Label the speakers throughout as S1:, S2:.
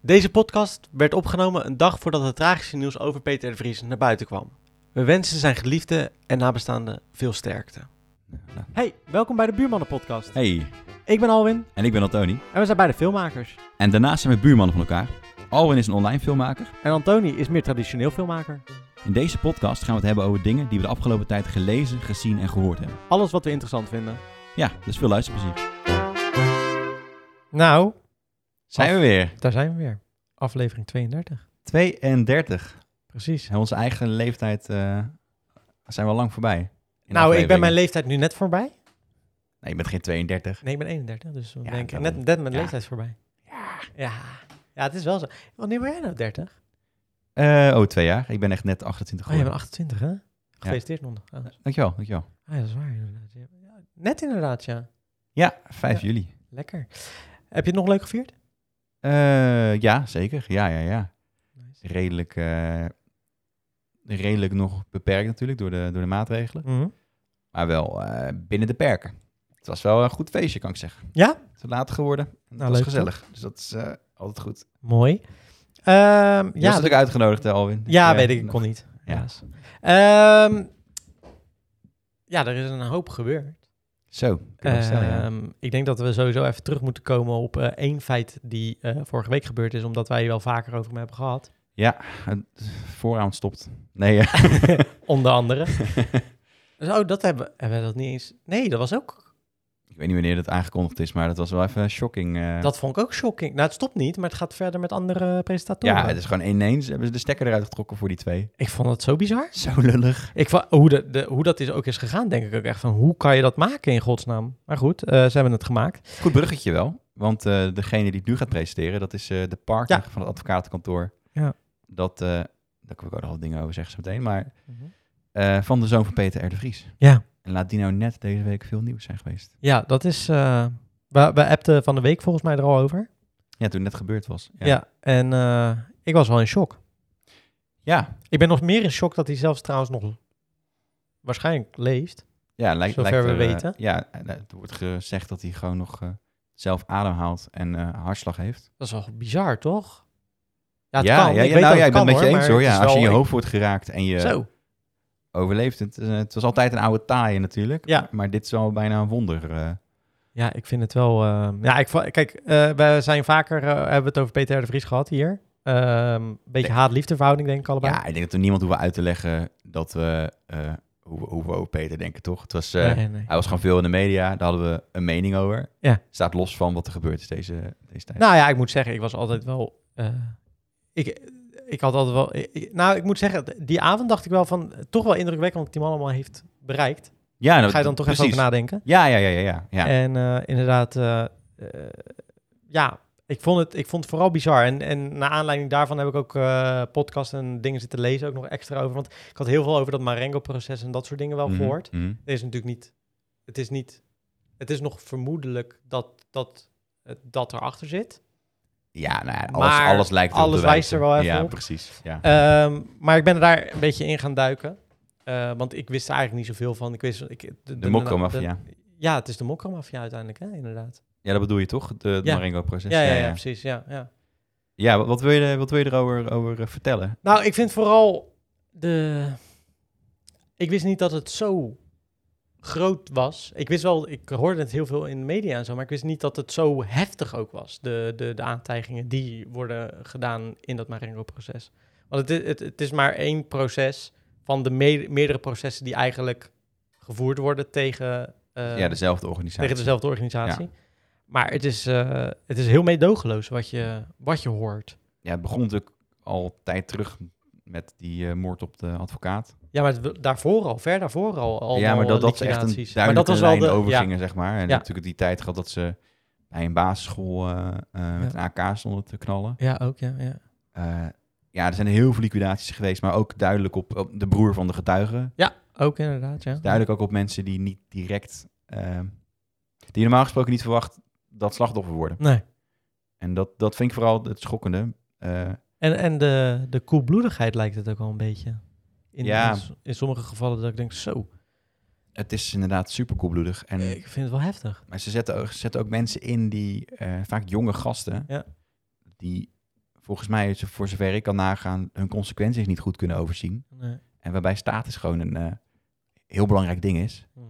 S1: Deze podcast werd opgenomen een dag voordat het tragische nieuws over Peter R. de Vries naar buiten kwam. We wensen zijn geliefden en nabestaanden veel sterkte. Hey, welkom bij de Buurmannen Podcast.
S2: Hey,
S1: Ik ben Alwin
S2: en ik ben Antoni.
S1: en we zijn beide filmmakers.
S2: En daarnaast zijn we buurmannen van elkaar. Alwin is een online filmmaker.
S1: En Antoni is meer traditioneel filmmaker.
S2: In deze podcast gaan we het hebben over dingen die we de afgelopen tijd gelezen, gezien en gehoord hebben.
S1: Alles wat we interessant vinden.
S2: Ja, dus veel luisterplezier.
S3: Nou,
S2: Zijn we weer.
S3: daar zijn we weer. Aflevering 32.
S2: 32.
S3: Precies.
S1: Nou,
S2: En onze eigen leeftijd eh, zijn we al lang voorbij. In
S3: nou, ik ben
S2: afleveringen.
S3: mijn leeftijd nu net voorbij.
S2: Nee, je bent geen 32.
S3: Nee, ik ben 31, dus dan
S2: Ja,
S3: ben ik
S2: daarom.
S3: net, net mijn
S2: Ja.
S3: leeftijd voorbij. Ja. ja. Ja, het is wel zo. Wanneer ben jij nou 30?
S2: Eh, oh, twee jaar. Ik ben echt net 28
S3: Oh, jij bent
S2: geworden.
S3: 28, hè? Gefeliciteerd nog. trouwens.
S2: Dankjewel, dankjewel.
S3: Ah, ja, dat is waar inderdaad. Ja, Net inderdaad, ja.
S2: Ja, 5
S3: Ja.
S2: juli.
S3: Lekker. Heb je het nog leuk gevierd?
S2: Eh, ja, zeker. Ja, ja, ja.
S3: Nice.
S2: Redelijk, eh, redelijk nog beperkt natuurlijk door de, door de maatregelen.
S3: Mhm.
S2: Maar wel eh, binnen de perken. Het was wel een goed feestje, kan ik zeggen.
S3: Ja?
S2: Het is laat geworden. En het
S3: Nou,
S2: was
S3: leuk,
S2: gezellig. Dus dat is eh, altijd goed. Je
S3: Mooi. Ehm,
S2: ja, was
S3: ja,
S2: natuurlijk uitgenodigd, hè, Alwin.
S3: Ja,
S2: eh,
S3: weet ik. Ik kon niet.
S2: Ja.
S3: Helaas. Ehm, ja, er is een hoop gebeurd.
S2: Zo, kun je wel stellen, ja.
S3: Ehm, Ik denk dat we sowieso even terug moeten komen op eh één feit die eh, vorige week gebeurd is, omdat wij hier wel vaker over hem hebben gehad.
S2: Het vooraan stopt. Nee, eh,
S3: Onder andere. dus, oh, dat hebben, hebben we dat niet eens. Nee, dat was ook.
S2: ik weet niet wanneer dat aangekondigd is, maar dat was wel even shocking. eh.
S3: Dat vond ik ook shocking. Nou, het stopt niet, maar het gaat verder met andere presentatoren.
S2: ja, het is gewoon ineens hebben ze de stekker eruit getrokken voor die twee.
S3: Ik vond dat zo bizar.
S2: Zo lullig.
S3: Ik, va- hoe, de, de- hoe dat is ook is gegaan, denk ik ook echt van hoe kan je dat maken in godsnaam? Maar goed, eh, ze hebben het gemaakt.
S2: Goed bruggetje wel, want eh, degene die het nu gaat presenteren, dat is eh, de partner van het advocatenkantoor.
S3: Ja.
S2: Dat, eh daar kan ik ook nog wat dingen over zeggen zo meteen, maar eh, van de zoon van Peter R. de Vries.
S3: Ja.
S2: En laat die nou net deze week veel nieuws zijn geweest.
S3: Ja, dat is. eh we, we appten van de week volgens mij er al over.
S2: Ja, toen het net gebeurd was.
S3: Ja, en eh, ik was wel in shock.
S2: ja.
S3: Ik ben nog meer in shock dat hij zelfs trouwens nog waarschijnlijk leeft.
S2: ja lijkt,
S3: Zover
S2: lijkt
S3: we
S2: er, eh,
S3: weten.
S2: ja, eh, er wordt gezegd dat hij gewoon nog eh, zelf ademhaalt en eh, hartslag heeft.
S3: Dat is wel bizar, toch? Ja, het
S2: ja,
S3: kan.
S2: ja,
S3: ik
S2: ja,
S3: weet
S2: nou,
S3: dat het
S2: ja, ik ben
S3: kan,
S2: het met je
S3: hoor,
S2: eens
S3: maar het
S2: hoor. Ja,
S3: is
S2: als je in je
S3: wel-
S2: hoofd wordt geraakt en je
S3: Zo.
S2: overleeft. Het, eh, het was altijd een oude taaie natuurlijk.
S3: Ja.
S2: Maar dit is wel bijna een wonder. eh.
S3: Ja, ik vind het wel. ehm, ja, ik, va- kijk, eh we zijn vaker. eh, hebben we het over Peter R. de Vries gehad hier. Ehm beetje
S2: Nee.
S3: haat-liefde verhouding, denk ik allebei.
S2: ja, ik denk dat er niemand hoeven uit te leggen dat we, eh, hoe, we- hoe we over Peter denken, toch? Het was... eh,
S3: nee, nee.
S2: Hij was gewoon veel in de media, daar hadden we een mening over.
S3: Ja.
S2: Staat los van wat er gebeurd is deze, deze tijd.
S3: Nou ja, ik moet zeggen, ik was altijd wel. eh, ik, ik had altijd wel. ik- ik- nou, ik moet zeggen, die avond dacht ik wel van. Toch wel indrukwekkend wat die man allemaal heeft bereikt.
S2: ja, nou,
S3: Daar ga je dan toch
S2: precies.
S3: even over nadenken.
S2: Ja, ja, ja, ja. ja, ja.
S3: En eh, inderdaad, eh, eh, ja, ik vond, het, ik vond het vooral bizar. En, en naar aanleiding daarvan heb ik ook eh podcasts en dingen zitten lezen, ook nog extra over. Want ik had heel veel over dat Marengo-proces en dat soort dingen wel
S2: Mhm,
S3: gehoord.
S2: mhm.
S3: Het is natuurlijk niet. Het is niet. Het is nog vermoedelijk dat dat, eh, dat erachter zit.
S2: Ja, nou ja, alles,
S3: Maar
S2: alles lijkt erop
S3: alles
S2: te
S3: wijst er
S2: wijzen.
S3: wel even
S2: Ja,
S3: op.
S2: precies. Ja.
S3: Ehm, maar ik ben er daar een beetje in gaan duiken. Eh, want ik wist er eigenlijk niet zoveel van. Ik wist, ik, de,
S2: de mokromafia.
S3: de- Ja, het is de mokromafia uiteindelijk, hè? inderdaad.
S2: Ja, dat bedoel je toch? De, het
S3: Ja.
S2: Marengo-proces.
S3: Ja, ja, ja, precies. Ja, ja.
S2: Ja, wat- wat wil je, wat wil je erover over, eh, vertellen?
S3: Nou, ik vind vooral de... Ik wist niet dat het zo groot was. Ik wist wel, ik hoorde het heel veel in de media en zo, maar ik wist niet dat het zo heftig ook was. De, de, de aantijgingen die worden gedaan in dat Marengo-proces. Want het, i- het, het is maar één proces van de me- meerdere processen die eigenlijk gevoerd worden tegen, eh,
S2: ja, dezelfde organisatie.
S3: tegen dezelfde organisatie. Maar het is, eh, het is heel meedogenloos wat je, wat je hoort.
S2: Ja, het begon natuurlijk al tijd terug met die eh, moord op de advocaat.
S3: Ja, maar het- daarvoor al, ver daarvoor al. allemaal
S2: ja, maar dat, dat ze echt een
S3: liquidaties.
S2: duidelijke
S3: Maar dat was wel
S2: lijn
S3: de
S2: overgingen, zeg maar. En
S3: Ja.
S2: natuurlijk die tijd gehad dat ze bij een basisschool eh, eh,
S3: Ja.
S2: met een AK stonden te knallen.
S3: Ja, ja ook, ja. ja.
S2: Eh, ja, er zijn heel veel liquidaties geweest, maar ook duidelijk op, op de broer van de getuige.
S3: Ook inderdaad, ja.
S2: Duidelijk ook op mensen die niet direct, ehm, die je normaal gesproken niet verwacht dat slachtoffer worden.
S3: Nee.
S2: En dat, dat vind ik vooral het schokkende. Eh,
S3: En, en de, de koelbloedigheid lijkt het ook wel een beetje. In,
S2: Ja.
S3: in, s- in sommige gevallen dat ik denk, zo,
S2: het is inderdaad super koelbloedig. En,
S3: ik vind het wel heftig.
S2: maar ze zetten, ook, ze zetten ook mensen in die, eh, vaak jonge gasten,
S3: Ja.
S2: die volgens mij, zo- voor zover ik kan nagaan, hun consequenties niet goed kunnen overzien.
S3: Nee.
S2: En waarbij status gewoon een eh, heel belangrijk ding is.
S3: Mhm.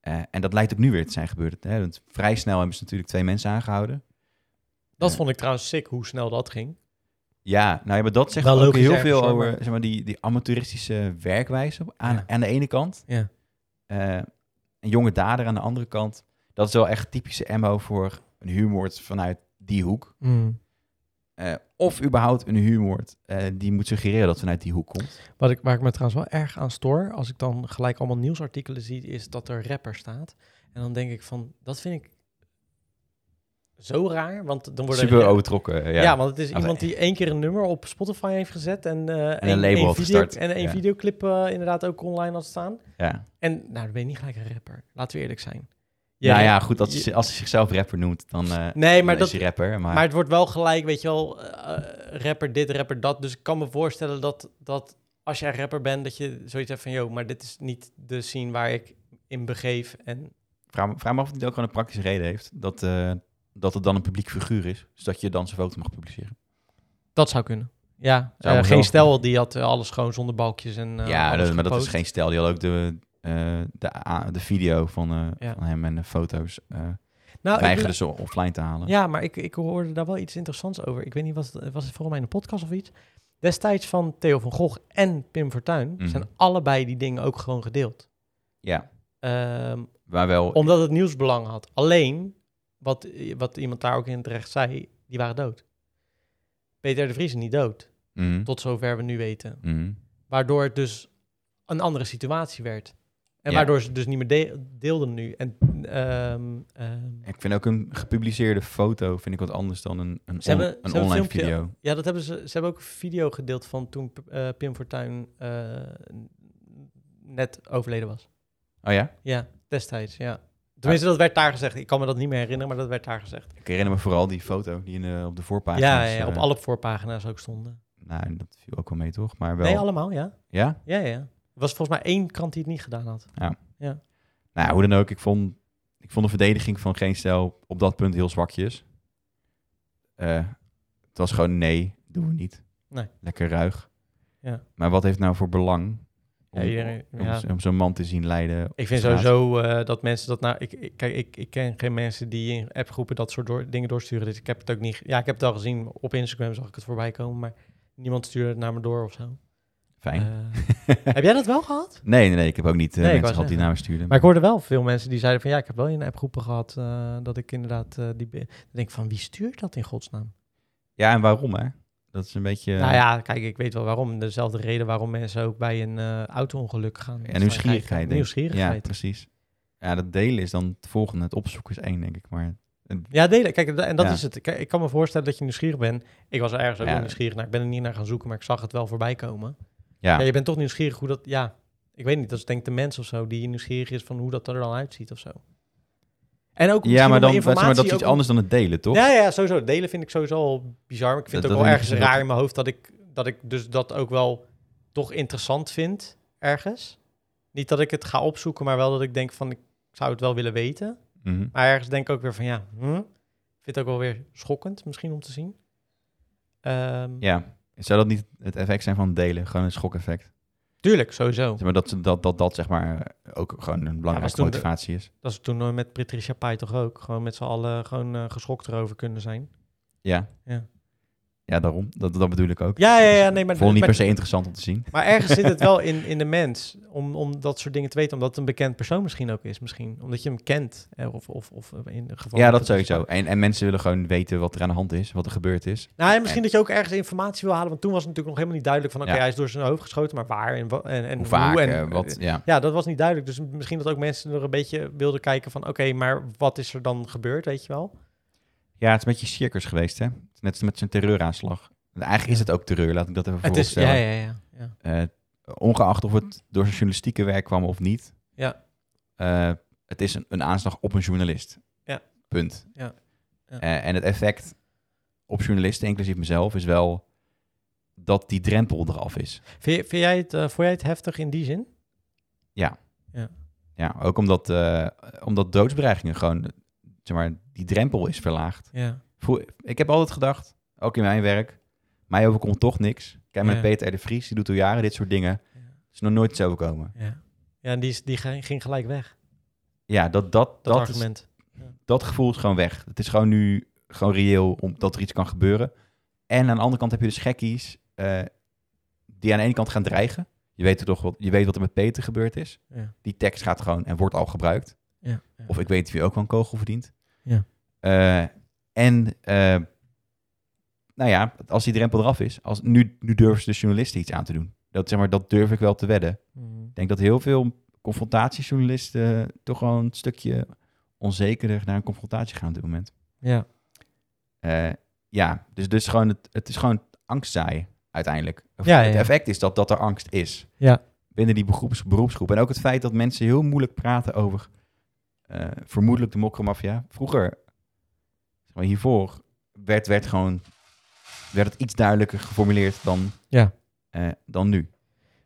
S2: Eh, en dat lijkt ook nu weer te zijn gebeurd. Hè? Want vrij snel hebben ze natuurlijk twee mensen aangehouden.
S3: Dat
S2: Ja.
S3: vond ik trouwens sick hoe snel dat ging.
S2: Ja, nou ja, maar dat zegt
S3: Wel
S2: ook
S3: logisch
S2: heel
S3: ergens,
S2: veel
S3: hoor,
S2: over
S3: maar-
S2: zeg maar, die, die amateuristische werkwijze. Aan,
S3: Ja.
S2: aan de ene kant.
S3: Ja.
S2: eh, een jonge dader aan de andere kant. Dat is wel echt typische MO voor een huurmoord vanuit die hoek.
S3: Mhm.
S2: Eh, of überhaupt een huurmoord eh, die moet suggereren dat het vanuit die hoek komt.
S3: Wat ik, waar ik me trouwens wel erg aan stoor, als ik dan gelijk allemaal nieuwsartikelen zie, is dat er rapper staat. En dan denk ik van, dat vind ik zo raar, want dan worden...
S2: Super overtrokken. eh,
S3: Ja,
S2: Ja.
S3: want het is
S2: Als-
S3: iemand die één keer een nummer op Spotify heeft gezet en, eh en
S2: een label had gestart.
S3: En een
S2: Ja.
S3: videoclip eh, inderdaad ook online had staan.
S2: ja.
S3: En nou, dan ben je niet gelijk een rapper. Laten we eerlijk zijn.
S2: nou ja, goed, als,
S3: je-
S2: ze- als ze zichzelf rapper noemt, dan, eh,
S3: Nee,
S2: dan
S3: maar dat,
S2: is hij rapper. Maar,
S3: Maar het wordt wel gelijk, weet je wel, eh, eh, rapper dit, rapper dat. Dus ik kan me voorstellen dat, dat als jij rapper bent, dat je zoiets hebt van... ...joh, maar dit is niet de scene waar ik in begeef. En
S2: vraag, me- vraag me af of het ook gewoon een praktische reden heeft. Dat, eh, dat het dan een publiek figuur is. Dus dat je dan zijn foto mag publiceren.
S3: dat zou kunnen. Ja,
S2: Zou
S3: eh,
S2: me
S3: geen
S2: wel-
S3: stel die had eh, alles gewoon zonder balkjes en eh,
S2: ja,
S3: alles
S2: dat- maar dat is
S3: gepost.
S2: geen stijl. Die had ook de, eh, de, a- de video van, eh,
S3: Ja.
S2: van hem en de foto's. eh
S3: Nou, ik-
S2: weigerden ze offline te halen.
S3: Ja, maar ik, ik hoorde daar wel iets interessants over. Ik weet niet, was het, was het volgens mij in een podcast of iets? Destijds van Theo van Gogh en Pim Fortuyn...
S2: Mhm.
S3: zijn allebei die dingen ook gewoon gedeeld.
S2: Ja,
S3: Ehm,
S2: maar wel
S3: Omdat het nieuwsbelang had. Alleen, wat, wat iemand daar ook in terecht zei, die waren dood. Peter de Vries is niet dood,
S2: Mhm,
S3: tot zover we nu weten.
S2: mhm.
S3: Waardoor het dus een andere situatie werd. En
S2: Ja.
S3: waardoor ze het dus niet meer de- deelden nu. En, ehm, ehm,
S2: Ik vind ook een gepubliceerde foto vind ik wat anders dan een, een,
S3: Ze hebben-
S2: on-
S3: ze
S2: een
S3: hebben
S2: online
S3: filmpje-
S2: video.
S3: ja, dat hebben ze, ze hebben ook een video gedeeld van toen eh, Pim Fortuyn eh, net overleden was.
S2: Oh ja?
S3: Ja, destijds, ja. Tenminste, dat werd daar gezegd. Ik kan me dat niet meer herinneren, maar dat werd daar gezegd.
S2: Ik herinner me vooral die foto die in de, op de voorpagina eh,
S3: Ja, ja, op alle voorpagina's ook stonden.
S2: Nou, dat viel ook wel mee, toch? Maar wel...
S3: Nee, allemaal, ja.
S2: Ja?
S3: Ja, ja, ja. Er was volgens mij één krant die het niet gedaan had.
S2: Nou, ja, hoe dan ook. Ik vond, ik vond de verdediging van geen stijl op dat punt heel zwakjes. Eh, het was gewoon nee, doen we niet.
S3: Nee.
S2: Lekker ruig.
S3: Ja.
S2: Maar wat heeft nou voor belang om,
S3: Ja, iedereen-
S2: om-
S3: ja.
S2: om zo'n man te zien lijden?
S3: Ik vind
S2: straat?
S3: sowieso eh, dat mensen dat nou... Ik, ik, kijk, ik, ik ken geen mensen die in appgroepen dat soort door- dingen doorsturen. Dus ik heb het ook niet... ge- Ja, ik heb het al gezien. Op Instagram zag ik het voorbij komen, maar niemand stuurde het naar me door of zo.
S2: Fijn.
S3: Eh, heb jij dat wel gehad?
S2: nee, nee, nee. Ik heb ook niet eh,
S3: Nee, ik wou
S2: mensen gehad
S3: zeggen.
S2: die naar me stuurden.
S3: Maar ik hoorde wel veel mensen die zeiden van... Ja, ik heb wel in appgroepen gehad eh, dat ik inderdaad eh, die... be- Dan denk ik van, wie stuurt dat in godsnaam?
S2: Ja, en waarom, hè? Dat is een beetje...
S3: Nou ja, kijk, ik weet wel waarom. Dezelfde reden waarom mensen ook bij een eh auto-ongeluk gaan.
S2: eh, Ja, nieuwsgierigheid. Denk ik.
S3: Nieuwsgierigheid.
S2: Ja, precies. Ja, dat delen is dan het volgende. Het opzoeken is één, denk ik. Maar
S3: Ja, delen. Kijk, en dat
S2: Ja.
S3: is het. Kijk, ik kan me voorstellen dat je nieuwsgierig bent. Ik was er ergens ook
S2: Ja.
S3: wel nieuwsgierig naar. Ik ben er niet naar gaan zoeken, maar ik zag het wel voorbij komen.
S2: ja,
S3: Ja. je bent toch nieuwsgierig hoe dat... Ja, ik weet niet. Dat is denk ik de mens of zo die nieuwsgierig is van hoe dat er dan uitziet of zo. En ook
S2: ja
S3: misschien
S2: maar
S3: om
S2: dan
S3: de
S2: zeg maar, dat is
S3: informatie
S2: iets
S3: ook om-
S2: anders dan het delen, toch?
S3: Ja, ja, sowieso. Delen vind ik sowieso al bizar. Maar ik vind
S2: Dat-
S3: het ook
S2: dat
S3: wel
S2: vind
S3: ergens
S2: ik dus
S3: raar
S2: ook-
S3: in mijn hoofd dat ik, dat ik dus dat ook wel toch interessant vind ergens. Niet dat ik het ga opzoeken, maar wel dat ik denk van ik zou het wel willen weten.
S2: Mhm.
S3: Maar ergens denk ik ook weer van ja, hm? ik vind het ook wel weer schokkend misschien om te zien. Ehm,
S2: ja. Zou dat niet het effect zijn van delen? Gewoon een schok-effect.
S3: Tuurlijk, sowieso.
S2: Zeg maar dat, ze- dat, dat dat zeg maar eh, ook gewoon een belangrijke
S3: toen de-
S2: motivatie is.
S3: Dat is toen eh, met Patricia Pai toch ook. Gewoon met z'n allen gewoon eh, geschokt erover kunnen zijn.
S2: Ja.
S3: Ja.
S2: Ja, daarom. Dat, dat bedoel ik ook.
S3: Ja, ja, ja, nee, maar...
S2: Vond niet
S3: maar-
S2: per se interessant om te zien.
S3: Maar ergens zit het wel in, in de mens om, om dat soort dingen te weten. Omdat het een bekend persoon misschien ook is. Misschien. Omdat je hem kent. hè, Of, of, of in het geval.
S2: Ja, dat sowieso. En, en mensen willen gewoon weten wat er aan de hand is, wat er gebeurd is.
S3: Nou, en misschien dat je ook ergens informatie wil halen. Want toen was het natuurlijk nog helemaal niet duidelijk van... oké,
S2: Ja.
S3: hij is door zijn hoofd geschoten, maar waar en, wa- en, en
S2: Hoe vaak,
S3: en,
S2: eh, wat, ja.
S3: Ja, dat was niet duidelijk. Dus misschien dat ook mensen er een beetje wilden kijken van... oké, maar wat is er dan gebeurd, weet je wel?
S2: Ja, het is een beetje circus geweest, hè? Net als met zijn terreuraanslag. Eigenlijk is het ook terreur, laat ik dat even
S3: Het is,
S2: vooropstellen.
S3: ja, ja, ja, ja.
S2: Eh, ongeacht of het door zijn journalistieke werk kwam of niet.
S3: Ja.
S2: Eh, het is een, een aanslag op een journalist.
S3: Ja.
S2: Punt.
S3: Ja. Ja.
S2: Eh, en het effect op journalisten, inclusief mezelf, is wel dat die drempel eraf is.
S3: Vind, je- vind jij het, eh, vond jij het heftig in die zin?
S2: Ja, ook omdat, eh, omdat doodsbedreigingen gewoon, zeg maar, die drempel is verlaagd.
S3: Ja.
S2: Vroe- ik heb altijd gedacht, Ook in mijn werk. Mij overkomt toch niks. Kijk maar
S3: Ja.
S2: naar Peter R. de Vries, die doet al jaren dit soort dingen.
S3: Ja.
S2: Het is nog nooit zo overkomen.
S3: Ja, ja en die, is- die ging ging gelijk weg,
S2: Ja, dat, dat,
S3: dat,
S2: dat, is-
S3: argument.
S2: dat gevoel is gewoon weg. Het is gewoon nu gewoon reëel om, dat er iets kan gebeuren. En aan de andere kant heb je dus gekkies eh, die aan de ene kant gaan dreigen. Je weet, er toch wat, je weet wat er met Peter gebeurd is.
S3: Ja.
S2: Die tekst gaat gewoon en wordt al gebruikt.
S3: Ja, ja.
S2: Of ik weet wie ook wel een kogel verdient.
S3: Ja.
S2: Eh, en eh, nou ja, als die drempel eraf is, als, nu, nu durven ze de journalisten iets aan te doen. Dat, zeg maar, dat durf ik wel te wedden.
S3: Mm.
S2: Ik denk dat heel veel confrontatiejournalisten toch wel een stukje onzekerder naar een confrontatie gaan op dit moment.
S3: ja.
S2: Eh, ja, dus, dus gewoon het, het is gewoon angstzaaien uiteindelijk. Of
S3: Ja, ja,
S2: Het
S3: ja.
S2: effect is dat, dat er angst is
S3: Ja.
S2: binnen die beroeps, beroepsgroep. En ook het feit dat mensen heel moeilijk praten over eh, vermoedelijk de mokkermafia. Vroeger, zeg maar hiervoor, werd, werd, gewoon, werd het iets duidelijker geformuleerd dan,
S3: Ja.
S2: eh, dan nu.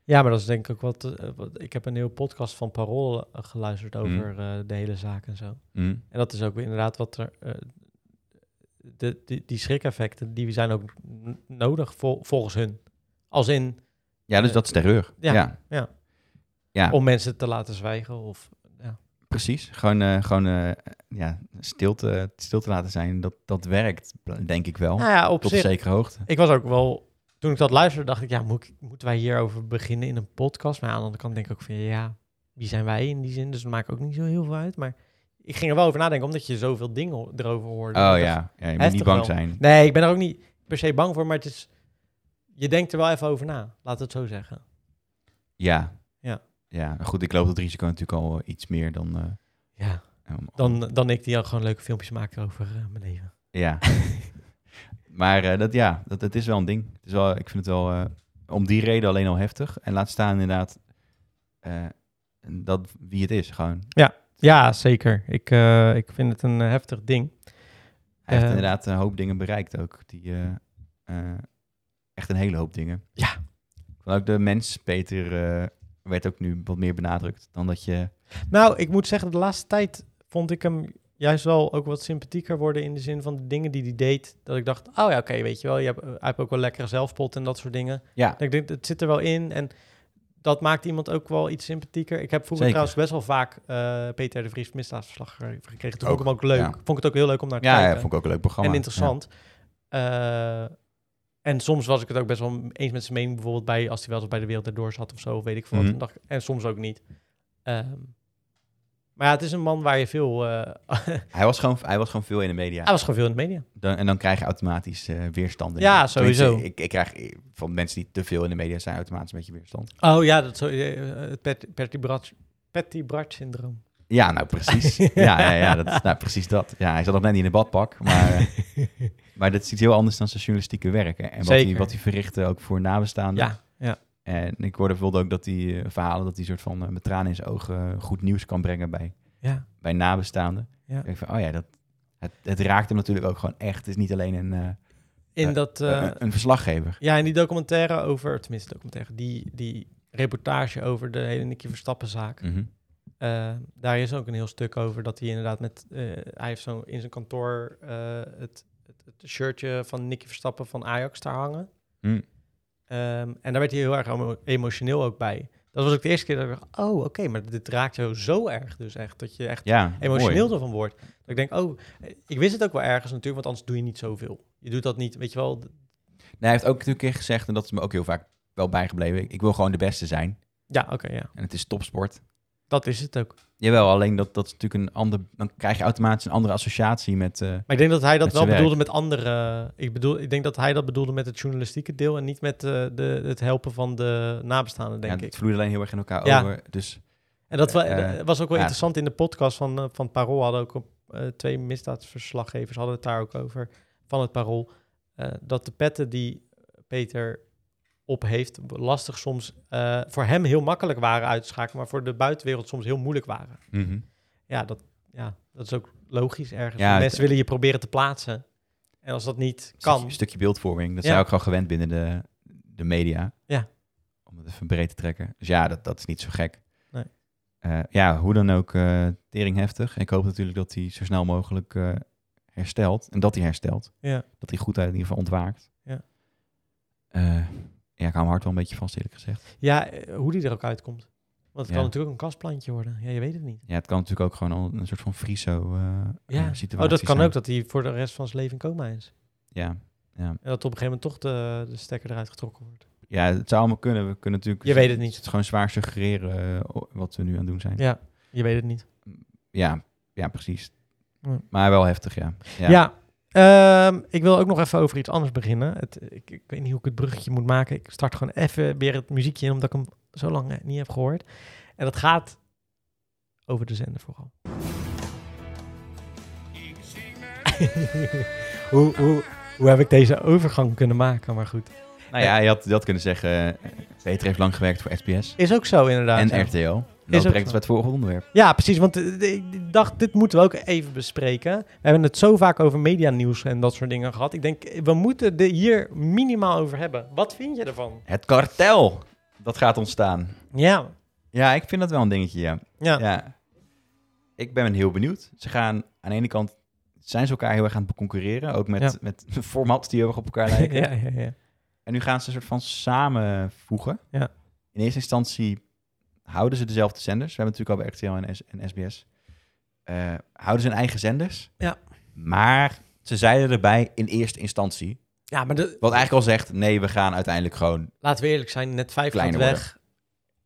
S3: Ja, maar dat is denk ik ook wat, eh, wat- Ik heb een heel podcast van Parool eh, geluisterd over eh, de hele zaak en zo.
S2: Mm.
S3: En dat is ook weer inderdaad wat er. eh, de, die, die schrikeffecten, die zijn ook n- nodig vol- volgens hun. Als in
S2: Ja, dus
S3: Eh,
S2: dat is terreur.
S3: ja,
S2: ja.
S3: ja.
S2: Ja,
S3: om mensen te laten zwijgen. Of,
S2: precies. Gewoon, eh, gewoon eh, ja, stil, te, stil te laten zijn, dat, dat werkt, denk ik wel.
S3: nou ja, op
S2: Tot
S3: zich.
S2: zekere hoogte.
S3: Ik was ook wel. Toen ik dat luisterde, dacht ik, ja, moet, ik- moeten wij hierover beginnen in een podcast? Maar aan de andere kant denk ik ook van, ja, wie zijn wij in die zin? Dus dat maakt ook niet zo heel veel uit. Maar ik ging er wel over nadenken, omdat je zoveel dingen ho- erover hoorde.
S2: Oh
S3: Ik dacht,
S2: ja, ja je moet
S3: Heftig
S2: niet bang
S3: wel.
S2: zijn.
S3: Nee, ik ben er ook niet per se bang voor, maar het is... Je denkt er wel even over na, laat het zo zeggen.
S2: Ja.
S3: Ja.
S2: ja. Goed, ik loop dat risico natuurlijk al eh, iets meer dan... eh,
S3: Ja,
S2: om-
S3: dan, dan ik die al gewoon leuke filmpjes maak over eh, mijn leven.
S2: Ja. maar eh, dat, ja, dat, dat is wel een ding. Het is wel, ik vind het wel eh, om die reden alleen al heftig. En laat staan inderdaad eh, dat, wie het is. Gewoon.
S3: Ja, zeker. Ik, eh, ik vind het een eh, heftig ding.
S2: Hij heeft
S3: Eh.
S2: inderdaad een hoop dingen bereikt ook. Die, eh, eh, echt een hele hoop dingen.
S3: Ja.
S2: Ik vond Ook de mens, Peter, eh, werd ook nu wat meer benadrukt dan dat je...
S3: Nou, ik moet zeggen, de laatste tijd vond ik hem juist wel ook wat sympathieker worden in de zin van de dingen die hij deed. Dat ik dacht, oh ja, oké, weet je wel, je hebt, eh, hij heeft ook wel lekkere zelfspot en dat soort dingen.
S2: Ja,
S3: Ik denk, het zit er wel in en dat maakt iemand ook wel iets sympathieker. Ik heb vroeger
S2: Zeker.
S3: trouwens best wel vaak eh, Peter de Vries misdaadsverslag gekregen. Toen vond
S2: Ook,
S3: ik hem ook leuk.
S2: ja.
S3: Vond ik het ook heel leuk om naar te
S2: ja, ja,
S3: kijken.
S2: vond ik ook een leuk programma.
S3: En interessant. Eh, en soms was ik het ook best wel eens met zijn mening, bijvoorbeeld bij, als hij wel eens bij de wereld erdoor zat of zo, of weet ik veel wat.
S2: Mhm.
S3: En, dacht ik- en soms ook niet. Ehm, maar ja, het is een man waar je veel. eh,
S2: Ja. Hij, was gewoon, hij was gewoon veel in de media.
S3: hij was gewoon veel in de media.
S2: Dan, en dan krijg je automatisch eh, weerstand. in
S3: Ja,
S2: je-
S3: sowieso.
S2: Tenminste, Ik, ik krijg eh, van mensen die te veel in de media zijn automatisch een beetje weerstand.
S3: Oh ja, dat zo, eh, het Pet- Petty Brat, Petty Bart syndroom.
S2: Ja, nou precies. ja, ja, ja, dat is nou precies dat. Ja, hij zat nog net niet in een badpak, maar, eh, maar dat is iets heel anders dan zijn journalistieke werk. Hè. En wat hij,
S3: Zeker.
S2: wat hij verrichtte ook voor nabestaanden.
S3: Ja, ja.
S2: En ik hoorde bijvoorbeeld ook dat hij eh, verhalen, dat hij soort van eh, met tranen in zijn ogen eh, goed nieuws kan brengen bij,
S3: ja.
S2: bij nabestaanden.
S3: Ja.
S2: Ik denk van, oh ja, dat, het, het raakt hem natuurlijk ook gewoon echt. Het is niet alleen een, eh,
S3: In
S2: Eh,
S3: dat. eh,
S2: een, een verslaggever.
S3: ja, in die documentaire over, tenminste documentaire, die, die reportage over de hele Nicky Verstappen zaak.
S2: Mhm.
S3: Eh, daar is ook een heel stuk over dat hij inderdaad met. eh, hij heeft zo in zijn kantoor eh, het, het, het shirtje van Nicky Verstappen van Ajax daar hangen.
S2: Mm.
S3: Ehm, en daar werd hij heel erg emo- emotioneel ook bij. Dat was ook de eerste keer dat ik dacht: oh, oké, maar dit raakt jou zo erg. Dus echt dat je echt
S2: Ja,
S3: emotioneel
S2: mooi.
S3: ervan wordt. Dat ik denk: oh, eh, ik wist het ook wel ergens natuurlijk, want anders doe je niet zoveel. Je doet dat niet, weet je wel. d-
S2: Nee, hij heeft ook natuurlijk een keer gezegd, en dat is me ook heel vaak wel bijgebleven, ik, ik wil gewoon de beste zijn.
S3: Ja, oké, ja.
S2: En het is topsport.
S3: Dat is het ook.
S2: Jawel, alleen dat, dat is natuurlijk een ander, dan krijg je automatisch een andere associatie met... eh,
S3: Maar ik denk dat hij dat
S2: Met
S3: wel
S2: zijn
S3: bedoelde met andere. Ik bedoel, ik denk dat hij dat bedoelde met het journalistieke deel en niet met eh, de, het helpen van de nabestaanden,
S2: ja,
S3: denk
S2: het
S3: ik.
S2: vloeit alleen heel erg in elkaar
S3: Ja.
S2: over. Dus
S3: En dat wa-
S2: eh,
S3: dat was ook wel
S2: ja.
S3: interessant in de podcast van, eh, van Parool. Hadden ook op, eh, twee misdaadverslaggevers hadden het daar ook over van het Parool. eh, dat de petten die Peter op heeft, lastig soms eh, voor hem heel makkelijk waren uit te schakelen, maar voor de buitenwereld soms heel moeilijk waren.
S2: mhm.
S3: Ja, dat, ja, dat is ook logisch ergens.
S2: Ja,
S3: Mensen
S2: het-
S3: willen je proberen te plaatsen. En als dat niet
S2: Een
S3: kan.
S2: stukje beeldvorming.
S3: Ja.
S2: Dat zijn we ook gewoon gewend binnen de, de media.
S3: Ja.
S2: Om het even breed te trekken. Dus ja, dat, dat is niet zo gek.
S3: Nee.
S2: Eh, ja, hoe dan ook, eh tering heftig. Ik hoop natuurlijk dat hij zo snel mogelijk eh, herstelt. En dat hij herstelt.
S3: Ja.
S2: Dat hij goed uit in ieder geval ontwaakt.
S3: Ja.
S2: Eh, ja, ik hou mijn hart wel een beetje vast, eerlijk gezegd.
S3: Ja, eh, hoe die er ook uitkomt. Want het
S2: Ja.
S3: kan natuurlijk een kastplantje worden. Ja, je weet het niet.
S2: Ja, het kan natuurlijk ook gewoon al een soort van friso eh eh,
S3: Ja.
S2: situatie
S3: Oh, dat kan
S2: zijn.
S3: ook dat hij voor de rest van zijn leven in coma is.
S2: Ja, ja.
S3: En dat op een gegeven moment toch de, de stekker eruit getrokken wordt.
S2: ja, het zou allemaal kunnen. We kunnen natuurlijk...
S3: Je weet het niet.
S2: Het is gewoon zwaar suggereren eh, wat we nu aan het doen zijn.
S3: Ja, je weet het niet.
S2: Ja, ja precies.
S3: Ja.
S2: Maar wel heftig, ja.
S3: Ja. ehm, ik wil ook nog even over iets anders beginnen. Het, ik, ik weet niet hoe ik het bruggetje moet maken. Ik start gewoon even weer het muziekje in, omdat ik hem zo lang eh, niet heb gehoord. En dat gaat over de zender vooral. hoe, hoe, hoe heb ik deze overgang kunnen maken? Maar goed.
S2: Nou ja, je had, je had kunnen zeggen... eh, Peter heeft lang gewerkt voor SBS
S3: Is ook zo inderdaad.
S2: en
S3: ja.
S2: RTL.
S3: ook
S2: Dat brengt
S3: zo.
S2: ons bij het volgende onderwerp.
S3: Ja, precies. Want eh, eh, ik dacht, dit moeten we ook even bespreken. We hebben het zo vaak over medianieuws en dat soort dingen gehad. Ik denk, eh, we moeten er hier minimaal over hebben. Wat vind je ervan?
S2: Het kartel! Dat gaat ontstaan.
S3: Ja,
S2: Ja, ik vind dat wel een dingetje, ja.
S3: ja.
S2: ja. Ik ben heel benieuwd. Ze gaan aan de ene kant zijn ze elkaar heel erg aan het concurreren, ook met,
S3: Ja.
S2: met formats die heel erg op elkaar
S3: ja,
S2: lijken.
S3: ja, ja.
S2: En nu gaan ze een soort van samenvoegen.
S3: Ja.
S2: In eerste instantie houden ze dezelfde zenders. We hebben natuurlijk al bij RTL en, S en SBS. Eh, houden ze hun eigen zenders.
S3: Ja.
S2: Maar ze zeiden erbij in eerste instantie.
S3: Ja, maar de-
S2: Wat eigenlijk al zegt, nee, we gaan uiteindelijk gewoon...
S3: laten we eerlijk zijn, net vijf
S2: Kleiner
S3: gaat weg.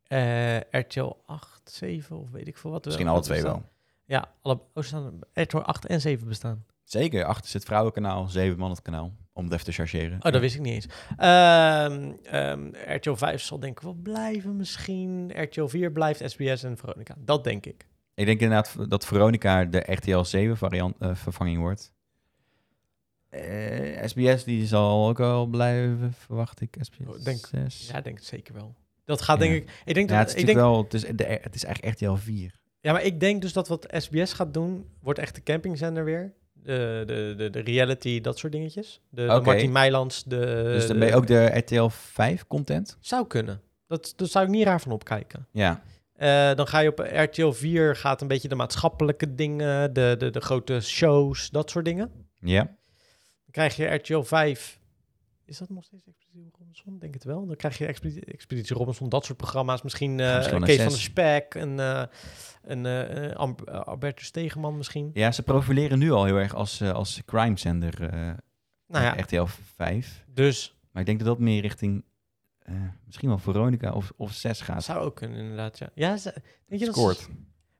S3: Eh, RTL 8, 7 of weet ik veel wat.
S2: Misschien
S3: wat
S2: alle
S3: er
S2: twee
S3: staan.
S2: wel.
S3: Ja, alle, oh, ze staan, RTL 8 en 7 bestaan.
S2: Zeker, achter zit vrouwenkanaal, zeven man het kanaal. Om het even te chargeren.
S3: Oh, dat wist ik niet eens. Ehm, ehm, RTL 5 zal denk ik wel blijven misschien. RTL 4 blijft SBS en Veronica. Dat denk ik.
S2: Ik denk inderdaad dat Veronica de RTL 7 variant eh, vervanging wordt. Eh, SBS die zal ook al blijven, verwacht ik. SBS
S3: Oh, ik denk-
S2: 6.
S3: Ja, ik denk het zeker wel. Dat gaat denk
S2: Ja.
S3: ik. Ik denk
S2: Ja,
S3: dat,
S2: het is
S3: ik denk,
S2: natuurlijk wel, het is, de, het is eigenlijk RTL 4.
S3: ja, maar ik denk dus dat wat SBS gaat doen, wordt echt de campingzender weer. De, de, de, de reality, dat soort dingetjes. De, de
S2: Oké.
S3: Martin Meilands. De,
S2: dus dan ben je ook de RTL 5 content?
S3: Zou kunnen. Dat, dat zou ik niet raar van opkijken.
S2: Ja.
S3: Eh, dan ga je op RTL 4, gaat een beetje de maatschappelijke dingen, de, de, de grote shows, dat soort dingen.
S2: Ja.
S3: Dan krijg je RTL 5. Is dat nog steeds Expeditie Robinson? Ik Denk het wel. Dan krijg je Expeditie, Expeditie Robinson, dat soort programma's. Misschien eh
S2: misschien wel
S3: Kees
S2: naar
S3: van de
S2: zes.
S3: Spek, een, eh een eh, Am- eh, Albertus Tegeman misschien.
S2: ja, ze profileren nu al heel erg als, eh, als crime zender eh,
S3: Nou ja,
S2: RTL 5.
S3: dus
S2: Maar ik denk dat dat meer richting eh, misschien wel Veronica of, of 6 gaat.
S3: dat zou ook kunnen inderdaad, ja. ja ze- denk je dat
S2: Scoort.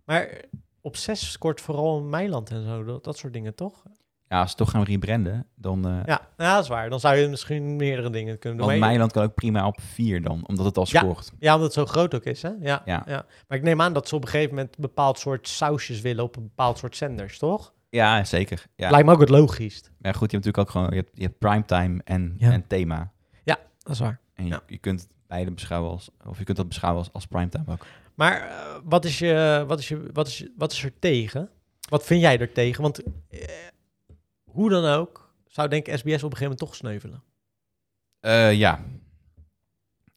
S3: Maar op 6 scoort vooral Meiland en zo, dat, dat soort dingen toch?
S2: Ja, als ze toch gaan rebranden, dan... eh,
S3: Ja, nou, ja, dat is waar. Dan zou je misschien meerdere dingen kunnen doen.
S2: Want
S3: Maar-
S2: Meiland kan ook prima op 4 dan, omdat het al
S3: Ja.
S2: scoort.
S3: Ja, omdat het zo groot ook is, hè? Ja, ja.
S2: Ja.
S3: Maar ik neem aan dat ze op een gegeven moment een bepaald soort sausjes willen op een bepaald soort zenders, toch?
S2: Ja, zeker. Ja.
S3: Lijkt me ook het logisch.
S2: Maar goed, je hebt natuurlijk ook gewoon... Je hebt, je hebt primetime en,
S3: Ja.
S2: en thema.
S3: Dat is waar.
S2: En je,
S3: Ja.
S2: je kunt beide beschouwen als... Of je kunt dat beschouwen als, als primetime ook.
S3: Maar eh, wat, is je, wat, is je, wat, is je- wat is er tegen? Wat vind jij er tegen? Want eh, hoe dan ook, zou denk ik SBS op een gegeven moment toch sneuvelen.
S2: Eh, ja.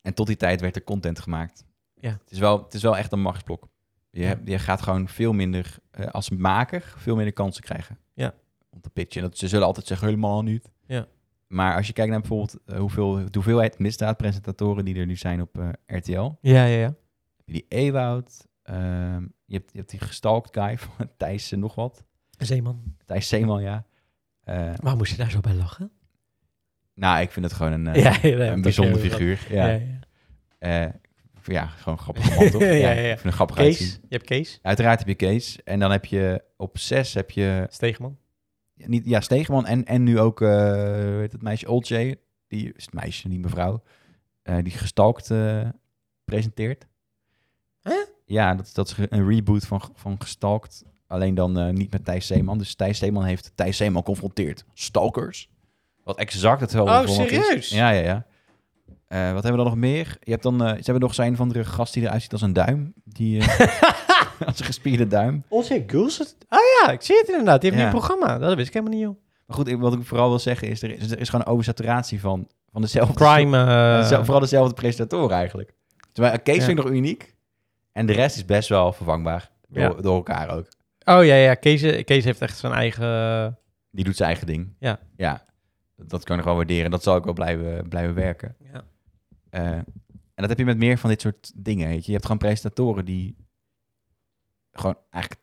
S2: En tot die tijd werd er content gemaakt.
S3: Ja.
S2: Het, is wel, het is wel echt een machtsblok. Je,
S3: Ja.
S2: hebt- je gaat gewoon veel minder, eh, als maker, veel minder kansen krijgen.
S3: Ja.
S2: Om te pitchen. Dat, ze zullen altijd zeggen, helemaal niet.
S3: Ja.
S2: Maar als je kijkt naar bijvoorbeeld eh, hoeveel, de hoeveelheid misdaadpresentatoren die er nu zijn op eh, RTL.
S3: Ja, ja, ja.
S2: Heb je die Ewoud. ehm, je, hebt, je hebt die gestalkt guy van Thijs en nog wat.
S3: Zeeman,
S2: Thijs Zeeman, ja. Eh,
S3: waar moest je daar zo bij lachen?
S2: nou, ik vind het gewoon een, eh,
S3: dat-
S2: een bijzonder
S3: dat-
S2: figuur.
S3: Ja,
S2: Ja.
S3: ja, ja.
S2: Eh, ik vind- ja, gewoon grappig man, toch?
S3: Ja, ja, ja.
S2: Ik vind een grappig
S3: Kees,
S2: uitzien.
S3: je hebt Kees,
S2: Uiteraard heb je Kees. En dan heb je op zes heb je...
S3: Stegeman.
S2: ja, Niet, ja, Stegeman en, en nu ook, eh hoe heet het meisje, Olcay. Die is het meisje, niet mevrouw. eh, die gestalkt eh, presenteert.
S3: Hè?
S2: Ja, dat, dat is ge- een reboot van, van gestalkt. Alleen dan eh, niet met Thijs Zeeman. Dus Thijs Zeeman heeft Thijs Zeeman confronteerd. Stalkers. Wat exact hetzelfde
S3: Oh,
S2: format is.
S3: serieus?
S2: Ja, ja, ja. Eh, wat hebben we dan nog meer? Je hebt dan, eh, ze hebben nog zijn van de gast die eruit ziet als een duim. Die, eh, als een gespierde duim.
S3: Onze Guls? Ah ja, ik zie het inderdaad. Die heeft
S2: Ja.
S3: nu een programma. Dat wist ik helemaal niet, joh.
S2: Maar goed, ik- wat ik vooral wil zeggen is, er is, er is gewoon een oversaturatie van, van dezelfde...
S3: Crime. eh,
S2: dezelfde- vooral dezelfde presentatoren eigenlijk. Terwijl eh, Kees
S3: Ja.
S2: vind ik nog uniek. En de rest is best wel vervangbaar. Door,
S3: Ja.
S2: door elkaar ook.
S3: Oh ja, ja. Kees, Kees heeft echt zijn eigen
S2: Die doet zijn eigen ding.
S3: Ja.
S2: Ja, dat kan ik wel waarderen. Dat zal ik wel blijven, blijven werken.
S3: Ja.
S2: Eh, en dat heb je met meer van dit soort dingen. Weet je. je hebt gewoon presentatoren die gewoon eigenlijk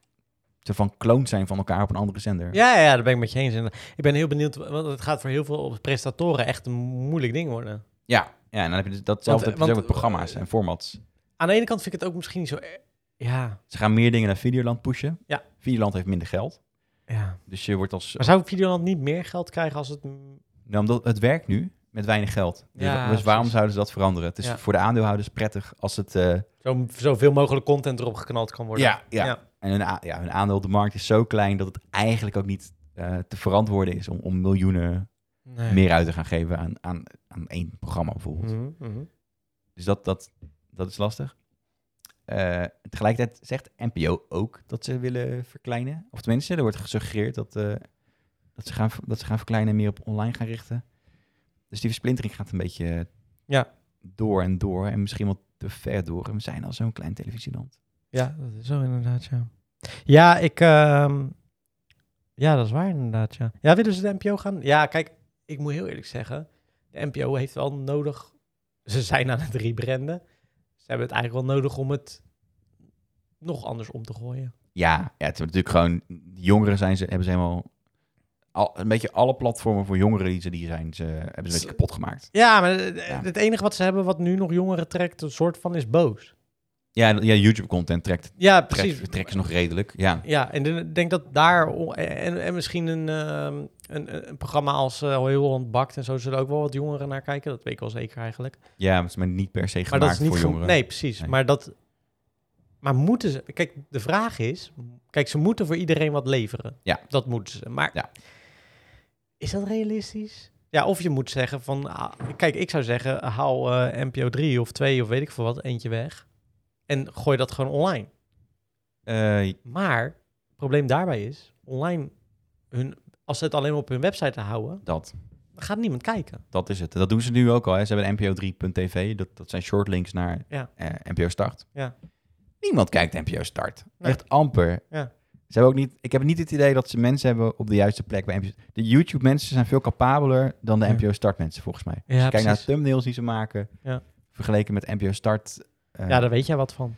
S2: te van kloon zijn van elkaar op een andere zender.
S3: Ja, ja, daar ben ik met je eens. En eh, ik ben heel benieuwd, want het gaat voor heel veel prestatoren echt een moeilijk ding worden.
S2: Ja, ja en dan heb je dus datzelfde
S3: Want, eh,
S2: heb je dus
S3: want-
S2: ook met programma's en formats.
S3: Aan de ene kant vind ik het ook misschien niet zo... e- Ja,
S2: Ze gaan meer dingen naar Videoland pushen.
S3: Ja.
S2: Videoland heeft minder geld.
S3: ja.
S2: Dus je wordt als...
S3: Maar zou Videoland niet meer geld krijgen als het... mm,
S2: Nou, omdat het werkt nu met weinig geld. Dus,
S3: Ja,
S2: dus
S3: precies.
S2: waarom zouden ze dat veranderen? Het is
S3: Ja.
S2: voor de aandeelhouders prettig als het... eh,
S3: Zo, zoveel mogelijk content erop geknald kan worden.
S2: ja, ja.
S3: Ja.
S2: En hun, a- ja, hun aandeel op de markt is zo klein dat het eigenlijk ook niet eh, te verantwoorden is om, om miljoenen
S3: Nee.
S2: meer uit te gaan geven aan, aan, aan één programma bijvoorbeeld.
S3: Mhm, mhm.
S2: Dus dat, dat, dat is lastig. Eh, tegelijkertijd zegt NPO ook dat ze willen verkleinen. Of tenminste, er wordt gesuggereerd dat, eh, dat, ze gaan, ver- dat ze gaan verkleinen en meer op online gaan richten. Dus die versplintering gaat een beetje
S3: Ja.
S2: door en door. En misschien wel te ver door. En we zijn al zo'n klein televisieland.
S3: Ja, dat is zo inderdaad, ja. Ja, ik... ehm, ja, dat is waar inderdaad, ja. Ja, willen ze de NPO gaan? Ja, kijk, ik moet heel eerlijk zeggen... De NPO heeft wel nodig... Ze zijn aan het rebranden. Ze hebben het eigenlijk wel nodig om het nog anders om te gooien.
S2: Ja, ja het is natuurlijk gewoon... de Jongeren zijn ze, hebben ze helemaal... Al, een beetje alle platformen voor jongeren die ze, die zijn, ze hebben ze een beetje kapot gemaakt.
S3: Ja, maar eh,
S2: Ja.
S3: het enige wat ze hebben wat nu nog jongeren trekt... een soort van is boos.
S2: Ja, ja YouTube-content trekt,
S3: Ja, precies.
S2: trekt, trekt is nog redelijk. Ja,
S3: Ja, en dan- ik denk dat daar o- en, en misschien een, ehm, een, een programma als eh Heel Holland Bakt en zo zullen ook wel wat jongeren naar kijken. Dat weet ik wel zeker eigenlijk.
S2: ja maar het is maar niet per se
S3: Maar
S2: gemaakt
S3: dat is niet
S2: voor
S3: gem-
S2: jongeren.
S3: Nee, precies.
S2: Nee.
S3: Maar dat. Maar moeten ze. Kijk, de vraag is. Kijk, ze moeten voor iedereen wat leveren.
S2: Ja.
S3: Dat moeten ze. Maar.
S2: Ja.
S3: Is dat realistisch? Ja, of je moet zeggen van. ah, kijk, ik zou zeggen. Haal eh, NPO 3 of 2 of weet ik veel wat. Eentje weg. En gooi dat gewoon online.
S2: Eh,
S3: Maar het probleem daarbij is, online, hun, als ze het alleen op hun website houden,
S2: dat,
S3: dan gaat niemand kijken.
S2: dat is het. Dat doen ze nu ook al. Hè. Ze hebben NPO3.tv. Dat, dat zijn shortlinks naar
S3: Ja.
S2: eh, NPO Start.
S3: Ja.
S2: Niemand kijkt NPO Start.
S3: Nee.
S2: Echt amper.
S3: Ja.
S2: Ze hebben ook niet, ik heb niet het idee dat ze mensen hebben op de juiste plek bij NPO. De YouTube mensen zijn veel capabeler dan de
S3: Ja.
S2: NPO Start mensen volgens mij.
S3: Ja,
S2: Kijk naar de thumbnails die ze maken.
S3: Ja.
S2: Vergeleken met NPO Start. eh,
S3: Ja, daar weet jij wat van.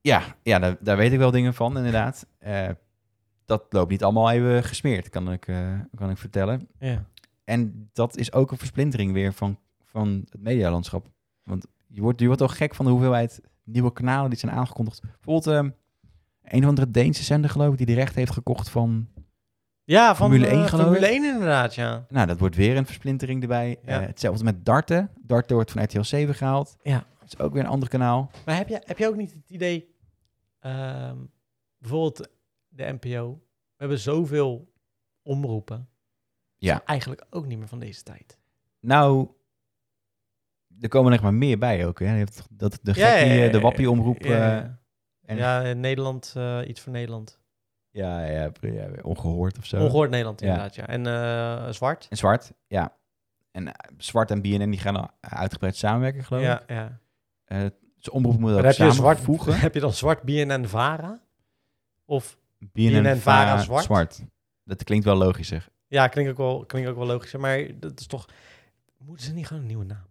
S2: Ja, ja daar, daar weet ik wel dingen van, inderdaad. Eh, dat loopt niet allemaal even gesmeerd, kan ik, eh, kan ik vertellen.
S3: Ja.
S2: En dat is ook een versplintering weer van, van het medialandschap. Want je wordt, je wordt al gek van de hoeveelheid nieuwe kanalen die zijn aangekondigd. Bijvoorbeeld ehm, een of andere Deense zender, geloof ik, die de rechten heeft gekocht van...
S3: Ja, van
S2: Formule
S3: Formule
S2: 1
S3: 1,
S2: geloof
S3: Formule
S2: ik.
S3: 1 inderdaad, ja.
S2: Nou, dat wordt weer een versplintering erbij.
S3: Ja.
S2: Eh, hetzelfde met darten. Darten wordt van RTL 7 gehaald.
S3: Ja.
S2: Dat is ook weer een ander kanaal.
S3: Maar heb je, heb je ook niet het idee, ehm, bijvoorbeeld de NPO, we hebben zoveel omroepen.
S2: Ja.
S3: Zijn Eigenlijk ook niet meer van deze tijd.
S2: Nou, er komen echt maar meer bij ook. Hè. Je hebt dat, de
S3: Ja,
S2: gekkie,
S3: ja, ja,
S2: eh, de
S3: ja,
S2: wappie-omroep. eh,
S3: ja,
S2: en-
S3: ja, in Nederland, eh, iets voor Nederland.
S2: Ja, ja, pre- ja, ongehoord of zo.
S3: Ongehoord Nederland
S2: Ja.
S3: inderdaad, ja. En eh, zwart.
S2: En zwart, ja. En eh, zwart en BNN die gaan al uitgebreid samenwerken, geloof ik.
S3: Ja, ja.
S2: Dus omroep moet dat
S3: Maar heb je
S2: samen
S3: zwart
S2: voegen.
S3: Heb je dan zwart BNN Vara? Of
S2: BNN,
S3: BNN
S2: Vara,
S3: Vara, zwart.
S2: Dat klinkt wel logischer.
S3: ja, klinkt ook wel, klinkt ook wel logischer, maar dat is toch. Moeten ze niet gewoon een nieuwe naam?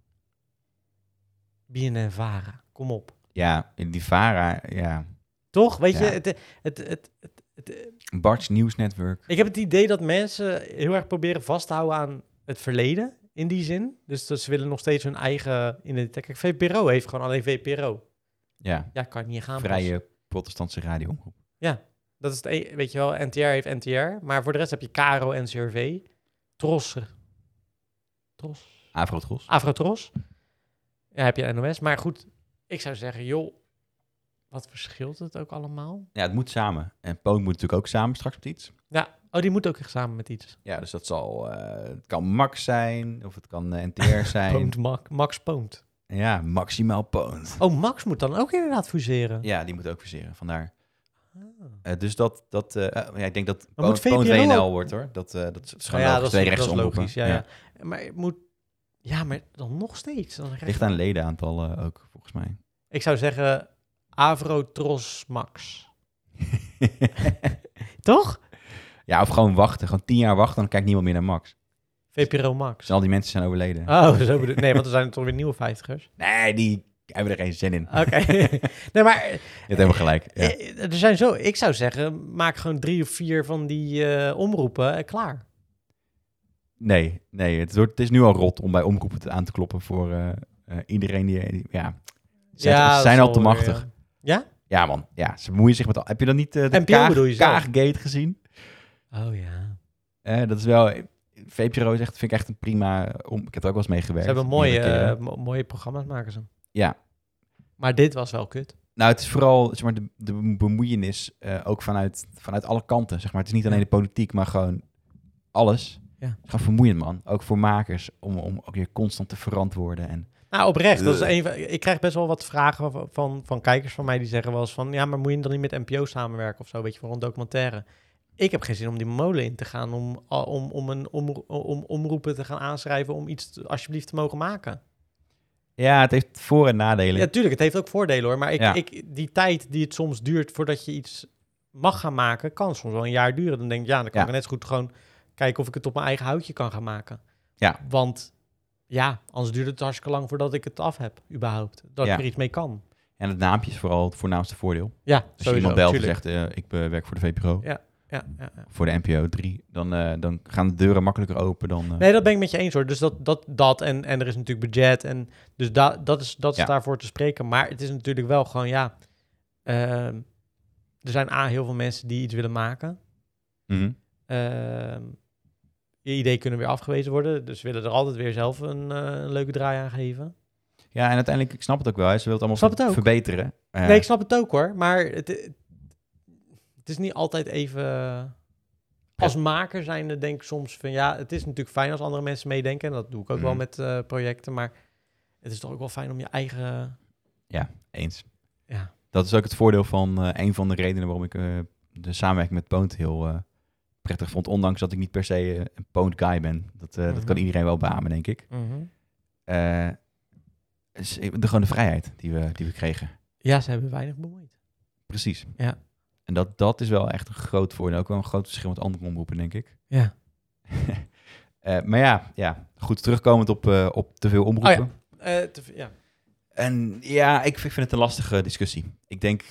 S3: BNN Vara, kom op.
S2: Ja, die Vara, ja.
S3: Toch? Weet je,
S2: Ja.
S3: het, het, het, het, het-
S2: Bart's Nieuws Network.
S3: ik heb het idee dat mensen heel erg proberen vast te houden aan het verleden. In die zin. Dus dat ze willen nog steeds hun eigen identiteit. Kijk, VPRO heeft gewoon alleen VPRO.
S2: Ja,
S3: Ja, kan je niet gaan.
S2: vrije protestantse radioomroep.
S3: Dat is het, e- weet je wel, NTR heeft NTR. Maar voor de rest heb je Caro, NCRV, Tros, Tros,
S2: Afrotros.
S3: Afrotros. Ja, heb je NOS. Maar goed, ik zou zeggen, joh, wat verschilt het ook allemaal?
S2: Ja, het moet samen. En Poon moet natuurlijk ook samen straks met iets.
S3: Ja, oh, die moet ook echt samen met iets.
S2: Ja, dus dat zal... eh, het kan Max zijn, of het kan eh, NTR zijn.
S3: Poont, Max, Max Poont.
S2: ja, maximaal Poon.
S3: Oh, Max moet dan ook inderdaad fuseren.
S2: Ja, die moet ook verseren, vandaar.
S3: Ah.
S2: Eh, dus dat, dat eh, eh, ja, ik denk dat
S3: Maar
S2: Poon-
S3: moet
S2: Poon
S3: VPRO
S2: WNL wordt hoor. Dat, eh, dat is gewoon
S3: Nou
S2: logisch. Twee
S3: dat is
S2: rechtsomroepen.
S3: logisch. Ja, ja. Maar het moet... Ja, maar dan nog steeds. Dan krijg
S2: Ligt
S3: je-
S2: aan ledenaantallen ook, volgens mij.
S3: Ik zou zeggen, Avro, Tros, Max. Toch?
S2: Ja, of gewoon wachten. Gewoon tien jaar wachten, dan kijkt niemand meer naar Max.
S3: VPRO Max.
S2: Dus al die mensen zijn overleden.
S3: Oh, zo bedoel Nee, want er zijn er toch weer nieuwe vijftigers.
S2: Nee, die hebben er geen zin in.
S3: Oké. nee, maar
S2: Je hebt helemaal gelijk. Ja.
S3: Eh, Er zijn zo, ik zou zeggen, maak gewoon drie of vier van die eh, omroepen en klaar.
S2: Nee, nee het, wordt, het is nu al rot om bij omroepen te- aan te kloppen voor eh, eh, iedereen die... die- ja, ze zijn-
S3: Ja,
S2: ze zijn
S3: dat
S2: al te
S3: zal weer,
S2: machtig.
S3: ja.
S2: Ja, man. Ja, ze bemoeien zich met al... Heb je dan niet eh, de
S3: NPO
S2: Kaag,
S3: bedoel je zo?
S2: Kaaggate gezien?
S3: Oh ja.
S2: Eh, dat is wel... VPRO is echt, vind ik echt een prima... eh, Om, ik heb er ook wel eens
S3: Ze
S2: meegewerkt.
S3: hebben mooie,
S2: meerdere keren.
S3: eh, mo- mooie programma's maken ze.
S2: Ja.
S3: Maar dit was wel kut.
S2: Nou, het is vooral zeg maar, de, de bemoeienis eh, ook vanuit, vanuit alle kanten. Zeg maar. Het is niet alleen de politiek, maar gewoon alles.
S3: Ja.
S2: Het is gewoon vermoeiend, man. Ook voor makers, om, om ook weer constant te verantwoorden. En,
S3: Nou, oprecht. Dat is
S2: Ugh.
S3: een, van- ik krijg best wel wat vragen van, van, van kijkers van mij die zeggen wel eens van... Ja, maar moet je dan niet met NPO samenwerken of zo, weet je, voor een documentaire? Ik heb geen zin om die molen in te gaan, om, al- om, om, een, om, om omroepen te gaan aanschrijven om iets te- alsjeblieft te mogen maken.
S2: ja, het heeft voor- en nadelen.
S3: Ja, tuurlijk, het heeft ook voordelen hoor. Maar ik,
S2: Ja.
S3: ik, die tijd die het soms duurt voordat je iets mag gaan maken, kan soms wel een jaar duren. Dan denk ik, ja, dan kan
S2: Ja.
S3: ik net zo goed gewoon kijken of ik het op mijn eigen houtje kan gaan maken.
S2: Ja.
S3: Want ja, anders duurt het hartstikke lang voordat ik het af heb, überhaupt. Dat
S2: Ja.
S3: ik er iets mee kan.
S2: En het naampje is vooral het voornaamste voordeel.
S3: Ja,
S2: Als je
S3: sowieso,
S2: iemand belt en
S3: tuurlijk.
S2: zegt, eh, ik eh, werk voor de VPRO,
S3: Ja, ja, ja.
S2: voor de NPO 3, dan, eh, dan gaan de deuren makkelijker open dan... eh,
S3: Nee, dat ben ik met je eens hoor. Dus dat, dat, dat en, en er is natuurlijk budget. En dus da, dat is, dat is
S2: Ja.
S3: daarvoor te spreken. Maar het is natuurlijk wel gewoon, ja. ehm, er zijn A, heel veel mensen die iets willen maken.
S2: mhm.
S3: Ehm, je ideeën kunnen weer afgewezen worden. Dus ze willen er altijd weer zelf een, eh, een leuke draai aan geven.
S2: Ja, en uiteindelijk, ik snap het ook wel. hè. Ze wil het allemaal
S3: Snap het
S2: ver-
S3: ook.
S2: verbeteren. Eh,
S3: Nee, ik snap het ook hoor. Maar het, het is niet altijd even... Als maker zijnde denk ik soms van... Ja, het is natuurlijk fijn als andere mensen meedenken. En dat doe ik ook wel
S2: Mhm.
S3: met eh, projecten. Maar het is toch ook wel fijn om je eigen...
S2: Eens.
S3: Ja.
S2: Dat is ook het voordeel van eh, een van de redenen waarom ik eh, de samenwerking met Poont heel eh, prettig vond. Ondanks dat ik niet per se eh, een Poont guy ben. Dat, eh, dat
S3: Mhm.
S2: kan iedereen wel beamen, denk ik. Eh, is eh, de, gewoon de vrijheid die we, die we kregen.
S3: Ja, ze hebben weinig bemoeid.
S2: Precies.
S3: Ja.
S2: En dat, dat is wel echt een groot voordeel. Ook wel een groot verschil met andere omroepen, denk ik.
S3: Ja.
S2: Eh, maar ja, ja, goed terugkomend op, eh, op te veel omroepen.
S3: Oh Eh, te- ja.
S2: En ja, ik vind vind het een lastige discussie. Ik denk,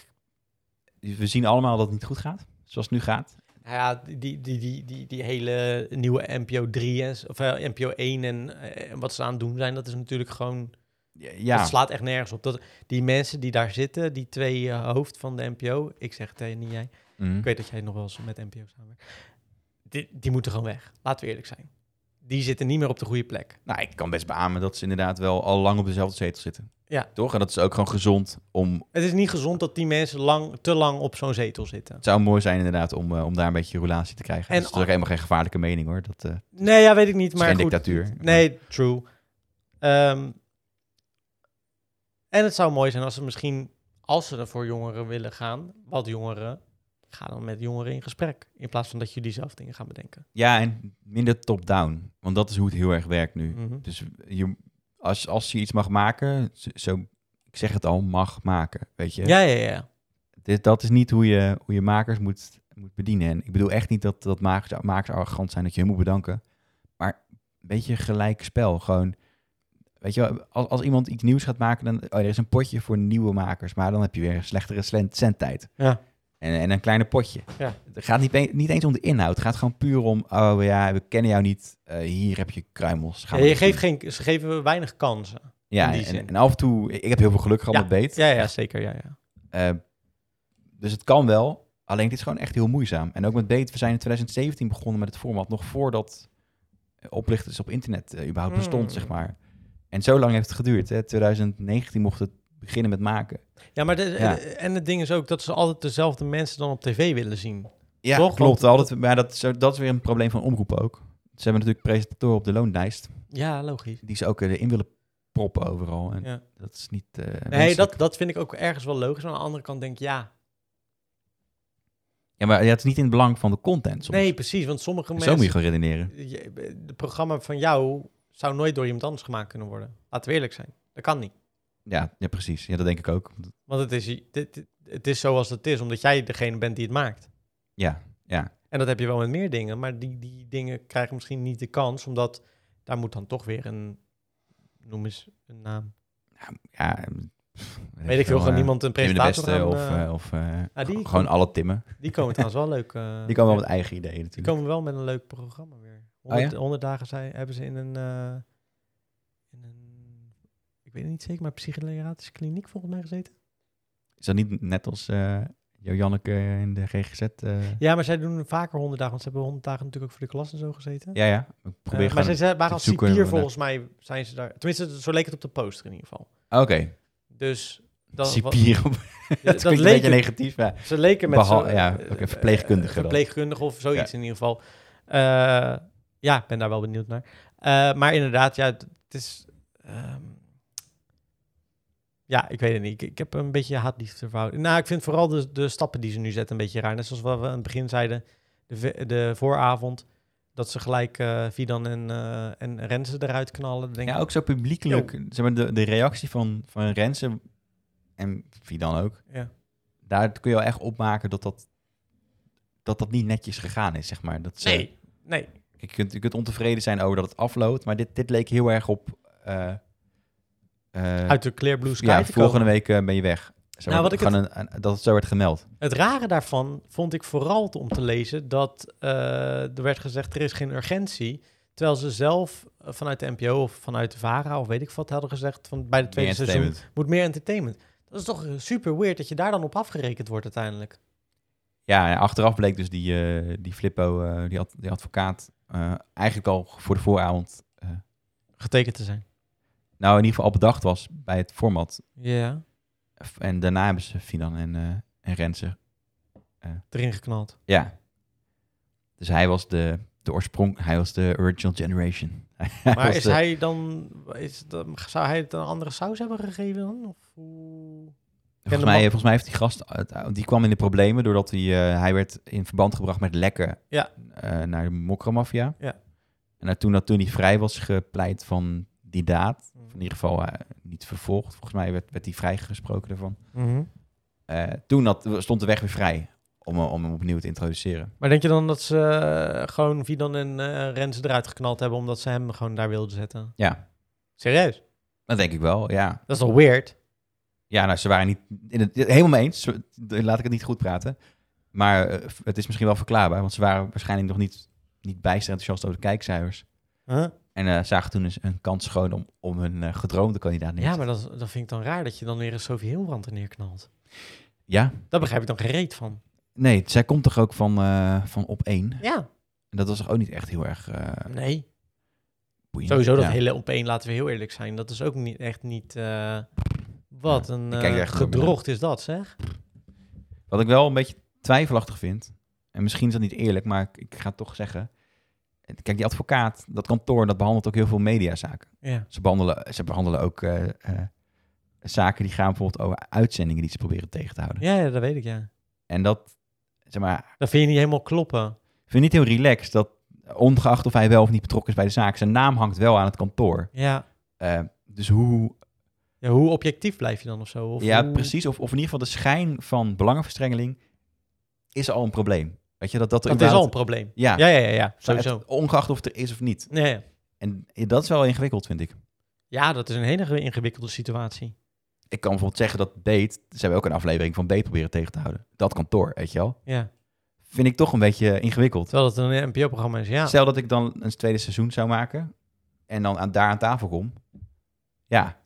S2: we zien allemaal dat het niet goed gaat, zoals het nu gaat.
S3: Nou ja, die, die, die, die, die hele nieuwe NPO 3 en, s- of eh, NPO 1 en eh, wat ze aan het doen zijn, dat is natuurlijk gewoon.
S2: Ja,
S3: Dat slaat echt nergens op. Dat, die mensen die daar zitten, die twee eh, hoofd van de NPO, ik zeg het eh, niet jij.
S2: Mhm.
S3: Ik weet dat jij nog wel eens met NPO samenwerkt. Die, die moeten gewoon weg. Laten we eerlijk zijn. Die zitten niet meer op de goede plek.
S2: Nou, ik kan best beamen dat ze inderdaad wel al lang op dezelfde zetel zitten.
S3: Ja.
S2: Toch? En dat is ook gewoon gezond om...
S3: Het is niet gezond dat die mensen lang, te lang op zo'n zetel zitten.
S2: Het zou mooi zijn inderdaad om, eh, om daar een beetje relatie te krijgen.
S3: En
S2: En dus dat is
S3: al-
S2: toch helemaal geen gevaarlijke mening hoor. Dat eh,
S3: Nee, ja, weet ik niet.
S2: is
S3: Maar
S2: geen
S3: goed,
S2: dictatuur.
S3: Nee, true. Ehm, en het zou mooi zijn als ze misschien, als ze er voor jongeren willen gaan, wat jongeren, ga dan met jongeren in gesprek. In plaats van dat jullie zelf dingen gaan bedenken.
S2: Ja, en minder top-down. Want dat is hoe het heel erg werkt nu.
S3: Mhm.
S2: Dus je, als, als je iets mag maken, zo, zo- ik zeg het al, mag maken. Weet je?
S3: Ja, ja, ja.
S2: Dit, dat is niet hoe je, hoe je makers moet, moet bedienen. En ik bedoel echt niet dat, dat makers, makers arrogant zijn, dat je hun moet bedanken. Maar een beetje gelijk spel. Gewoon, weet je, wel, als, als iemand iets nieuws gaat maken, dan oh, er is een potje voor nieuwe makers. Maar dan heb je weer een slechtere cent- centtijd.
S3: Ja.
S2: En, en een kleiner potje.
S3: Ja.
S2: Het gaat niet, een- niet eens om de inhoud. Het gaat gewoon puur om, oh ja, we kennen jou niet. Eh, hier heb je kruimels. Ga
S3: Ja,
S2: maar
S3: je
S2: eens
S3: geeft
S2: doen.
S3: geen, ze geven weinig kansen. in
S2: Ja,
S3: die
S2: en,
S3: zin.
S2: en af en toe, ik heb heel veel geluk gehad met beet.
S3: Ja, ja, zeker. Ja, ja.
S2: Eh, dus het kan wel. Alleen dit is gewoon echt heel moeizaam. En ook met Beet, we zijn in 2017 begonnen met het format. Nog voordat eh, oplichters op internet eh, überhaupt bestond,
S3: Mm.
S2: zeg maar. En zo lang heeft het geduurd. Hè? 2019 mocht het beginnen met maken.
S3: ja maar de,
S2: Ja.
S3: en het ding is ook dat ze altijd dezelfde mensen dan op tv willen zien.
S2: Ja,
S3: Toch?
S2: klopt.
S3: Want-
S2: Altijd, maar dat, is zo- dat is weer een probleem van omroepen ook. Ze hebben natuurlijk presentatoren op de loonlijst.
S3: Ja, logisch.
S2: Die ze ook eh, in willen proppen overal. En
S3: Ja.
S2: dat is niet... eh,
S3: Nee,
S2: wenselijk.
S3: dat, dat vind ik ook ergens wel logisch. Maar aan de andere kant denk ik, ja.
S2: Ja, maar ja, het is niet in het belang van de content soms.
S3: Nee, precies. Want sommige
S2: Zo moet
S3: mensen
S2: je gewoon redeneren.
S3: je- het programma van jou zou nooit door iemand anders gemaakt kunnen worden. Laten we eerlijk zijn. Dat kan niet.
S2: Ja, ja, precies. Ja, dat denk ik ook.
S3: Want het is, dit, dit- het is zoals het is, omdat jij degene bent die het maakt.
S2: Ja, ja.
S3: En dat heb je wel met meer dingen, maar die, die dingen krijgen misschien niet de kans, omdat daar moet dan toch weer een, noem eens een naam.
S2: Ja, pff,
S3: Weet ik veel, gewoon
S2: eh,
S3: niemand een
S2: Tim de
S3: presentator
S2: Beste
S3: gaan,
S2: of,
S3: eh,
S2: eh, of eh,
S3: ah, die
S2: g- gewoon alle Timmen.
S3: Die komen trouwens wel leuk. eh,
S2: Die komen wel met eigen ideeën
S3: die
S2: natuurlijk.
S3: komen wel met een leuk programma weer. 100,
S2: ja?
S3: 100 dagen zijn, hebben ze in een, eh, in een, ik weet het niet zeker, maar psychologische kliniek volgens mij gezeten.
S2: Is dat niet net als eh Jo Janneke in de GGZ? eh?
S3: Ja, maar zij doen vaker 100 dagen, want ze hebben 100 dagen natuurlijk ook voor de klas en zo gezeten.
S2: ja, ja. Ik probeer
S3: Eh, maar
S2: gewoon-
S3: ze ze waren als
S2: zoeken
S3: cipier
S2: we
S3: volgens mij zijn ze daar. Tenminste, zo leek het op de poster in ieder geval.
S2: Oké,
S3: Dus dat,
S2: cipier. op-
S3: wat-
S2: dat
S3: dat
S2: klinkt een beetje
S3: leek,
S2: negatief, maar
S3: ze leken met
S2: Behal-
S3: zo'n,
S2: ja,
S3: eh,
S2: oké,
S3: eh,
S2: verpleegkundige dan.
S3: verpleegkundige of zoiets in ieder geval. Eh, ja, ik ben daar wel benieuwd naar. Eh, maar inderdaad, ja, het het is. ehm, ja, ik weet het niet. Ik, ik heb een beetje haat-liefdeverhouding. Nou, ik vind vooral de, de stappen die ze nu zetten een beetje raar. Net zoals wat we aan het begin zeiden, de, ve- de vooravond, dat ze gelijk eh Vidan en, eh en Renze eruit knallen. Dan denk ik,
S2: Ja, ook zo publiekelijk. Zeg maar, de, de reactie van, van Rensen en wie dan ook,
S3: Ja.
S2: daar kun je wel echt opmaken dat dat, dat, dat niet netjes gegaan is, zeg maar. Dat ze,
S3: nee, nee.
S2: Kijk, je, kunt, je kunt ontevreden zijn over dat het afloopt, maar dit, dit leek heel erg op... eh, eh,
S3: Uit de Clear Blue Sky
S2: ja,
S3: te
S2: volgende
S3: komen.
S2: week eh, ben je weg. Zeg
S3: Nou,
S2: maar,
S3: wat ik
S2: gewoon een- een- dat het zo werd gemeld.
S3: Het rare daarvan vond ik vooral om te lezen dat eh, er werd gezegd er is geen urgentie. Terwijl ze zelf eh, vanuit de NPO of vanuit de VARA of weet ik wat hadden gezegd van bij de tweede
S2: Meer
S3: seizoen
S2: entertainment.
S3: moet meer entertainment. Dat is toch eh, super weird dat je daar dan op afgerekend wordt uiteindelijk.
S2: Ja, en achteraf bleek dus die, eh, die Flippo, eh, die, ad- die advocaat, eh, eigenlijk al voor de vooravond,
S3: Getekend te zijn.
S2: nou in ieder geval al bedacht was bij het format.
S3: Ja.
S2: En daarna hebben ze Finan en, eh en Rensen.
S3: Erin geknald.
S2: Ja. Dus hij was de, de oorsprong, hij was de original generation. Hij
S3: Maar
S2: was
S3: is
S2: de-
S3: hij dan, is dat, zou hij het een andere saus hebben gegeven dan? Of hoe?
S2: volgens,
S3: de man-
S2: mij, volgens mij heeft die gast, uit- die kwam in de problemen doordat hij, eh, hij werd in verband gebracht met lekken
S3: Ja.
S2: eh, naar de mokramafia.
S3: Ja.
S2: En dat toen, dat toen hij vrij was gepleit van die daad, of in ieder geval eh, niet vervolgd, volgens mij werd, werd hij vrijgesproken daarvan.
S3: Mhm.
S2: Eh, toen had, stond de weg weer vrij om, hem- om hem opnieuw te introduceren.
S3: Maar denk je dan dat ze eh, gewoon Vidan en eh Renze eruit geknald hebben omdat ze hem gewoon daar wilden zetten?
S2: Ja,
S3: Serieus?
S2: dat denk ik wel, ja.
S3: Dat is al weird.
S2: Ja, nou, ze waren niet in het, helemaal mee eens. Ze- de- Laat ik het niet goed praten. Maar eh, f- het is misschien wel verklaarbaar, want ze waren waarschijnlijk nog niet, niet bijster enthousiast over de kijkcijfers. En eh, zagen toen eens een kans schoon om, om hun eh, gedroomde kandidaat neer te
S3: Ja, maar dat, dat vind ik dan raar dat je dan weer een Sophie Hilbrand er neerknalt.
S2: Ja,
S3: Daar begrijp ik dan gereed van.
S2: nee, zij komt toch ook van, eh, van op één.
S3: Ja,
S2: En dat was toch ook niet echt heel erg eh
S3: nee.
S2: boeiend.
S3: Sowieso dat
S2: Ja.
S3: hele opeen, laten we heel eerlijk zijn. Dat is ook niet, echt niet... eh, wat een
S2: ik kijk er
S3: eh,
S2: echt goed
S3: gedrocht is dat, zeg.
S2: Wat ik wel een beetje twijfelachtig vind, en misschien is dat niet eerlijk, maar ik, ik ga het toch zeggen. Kijk, die advocaat, dat kantoor, dat behandelt ook heel veel mediazaken.
S3: Ja.
S2: Ze behandelen, ze behandelen ook eh, eh, zaken die gaan bijvoorbeeld over uitzendingen die ze proberen tegen te houden.
S3: Ja, ja, dat weet ik, ja.
S2: En dat, zeg maar,
S3: Dat vind je niet helemaal kloppen.
S2: ik vind het niet heel relaxed dat, ongeacht of hij wel of niet betrokken is bij de zaak, zijn naam hangt wel aan het kantoor.
S3: Ja.
S2: Eh, dus hoe,
S3: ja. Hoe objectief blijf je dan of zo? Of
S2: ja
S3: hoe-
S2: precies, of, of in ieder geval de schijn van belangenverstrengeling is al een probleem. Weet je, dat dat, er
S3: Dat is al een
S2: überhaupt-
S3: probleem.
S2: Ja,
S3: Ja, ja, ja, ja.
S2: maar
S3: Sowieso.
S2: het- ongeacht of het er is of niet.
S3: Ja, ja.
S2: En eh, dat is wel ingewikkeld, vind ik.
S3: ja, dat is een hele ingewikkelde situatie.
S2: Ik kan bijvoorbeeld zeggen dat Date, ze hebben ook een aflevering van Date proberen tegen te houden. Dat kantoor, weet je wel.
S3: Ja.
S2: vind ik toch een beetje ingewikkeld.
S3: Terwijl het een NPO-programma is, ja.
S2: Stel dat ik dan een tweede seizoen zou maken en dan aan, daar aan tafel kom. Ja,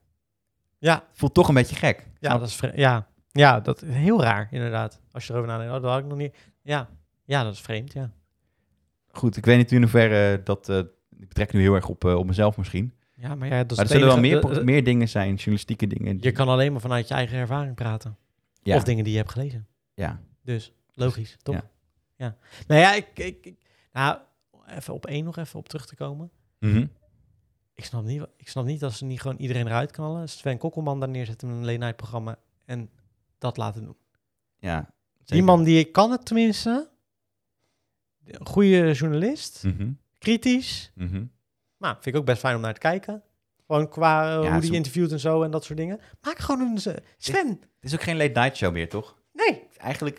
S3: Ja,
S2: voelt toch een beetje gek.
S3: Ja, dat is vre- ja. ja, dat is heel raar, inderdaad. Als je erover nadenkt, oh, dat had ik nog niet. Ja, ja dat is vreemd, ja.
S2: Goed, ik weet niet in hoeverre dat... eh, ik betrek nu heel erg op, eh, op mezelf misschien.
S3: Ja, maar ja, dat is
S2: maar
S3: het
S2: er zullen wel
S3: enige-
S2: meer,
S3: de-
S2: pro-
S3: de-
S2: meer dingen zijn, journalistieke dingen.
S3: Je kan alleen maar vanuit je eigen ervaring praten.
S2: ja,
S3: Of dingen die je hebt gelezen.
S2: ja.
S3: Dus, logisch, toch? Ja.
S2: Ja.
S3: Nou ja, ik, ik, ik- nou, even op één nog even op terug te komen.
S2: Mhm.
S3: Ik snap niet, wa- ik snap niet dat ze niet gewoon iedereen eruit knallen. Sven Kokkelman daar neerzetten in een late programma en dat laten doen.
S2: ja zeker.
S3: Die man die ik kan het tenminste. Een goede journalist.
S2: Mhm,
S3: Kritisch.
S2: mhm.
S3: Hm. Nou, vind ik ook best fijn om naar te kijken. Gewoon qua eh,
S2: Ja,
S3: hoe die
S2: zo-
S3: interviewt en zo en dat soort dingen. Maak gewoon een... ze- Sven!
S2: Het is ook geen late night show meer, toch?
S3: Nee!
S2: Eigenlijk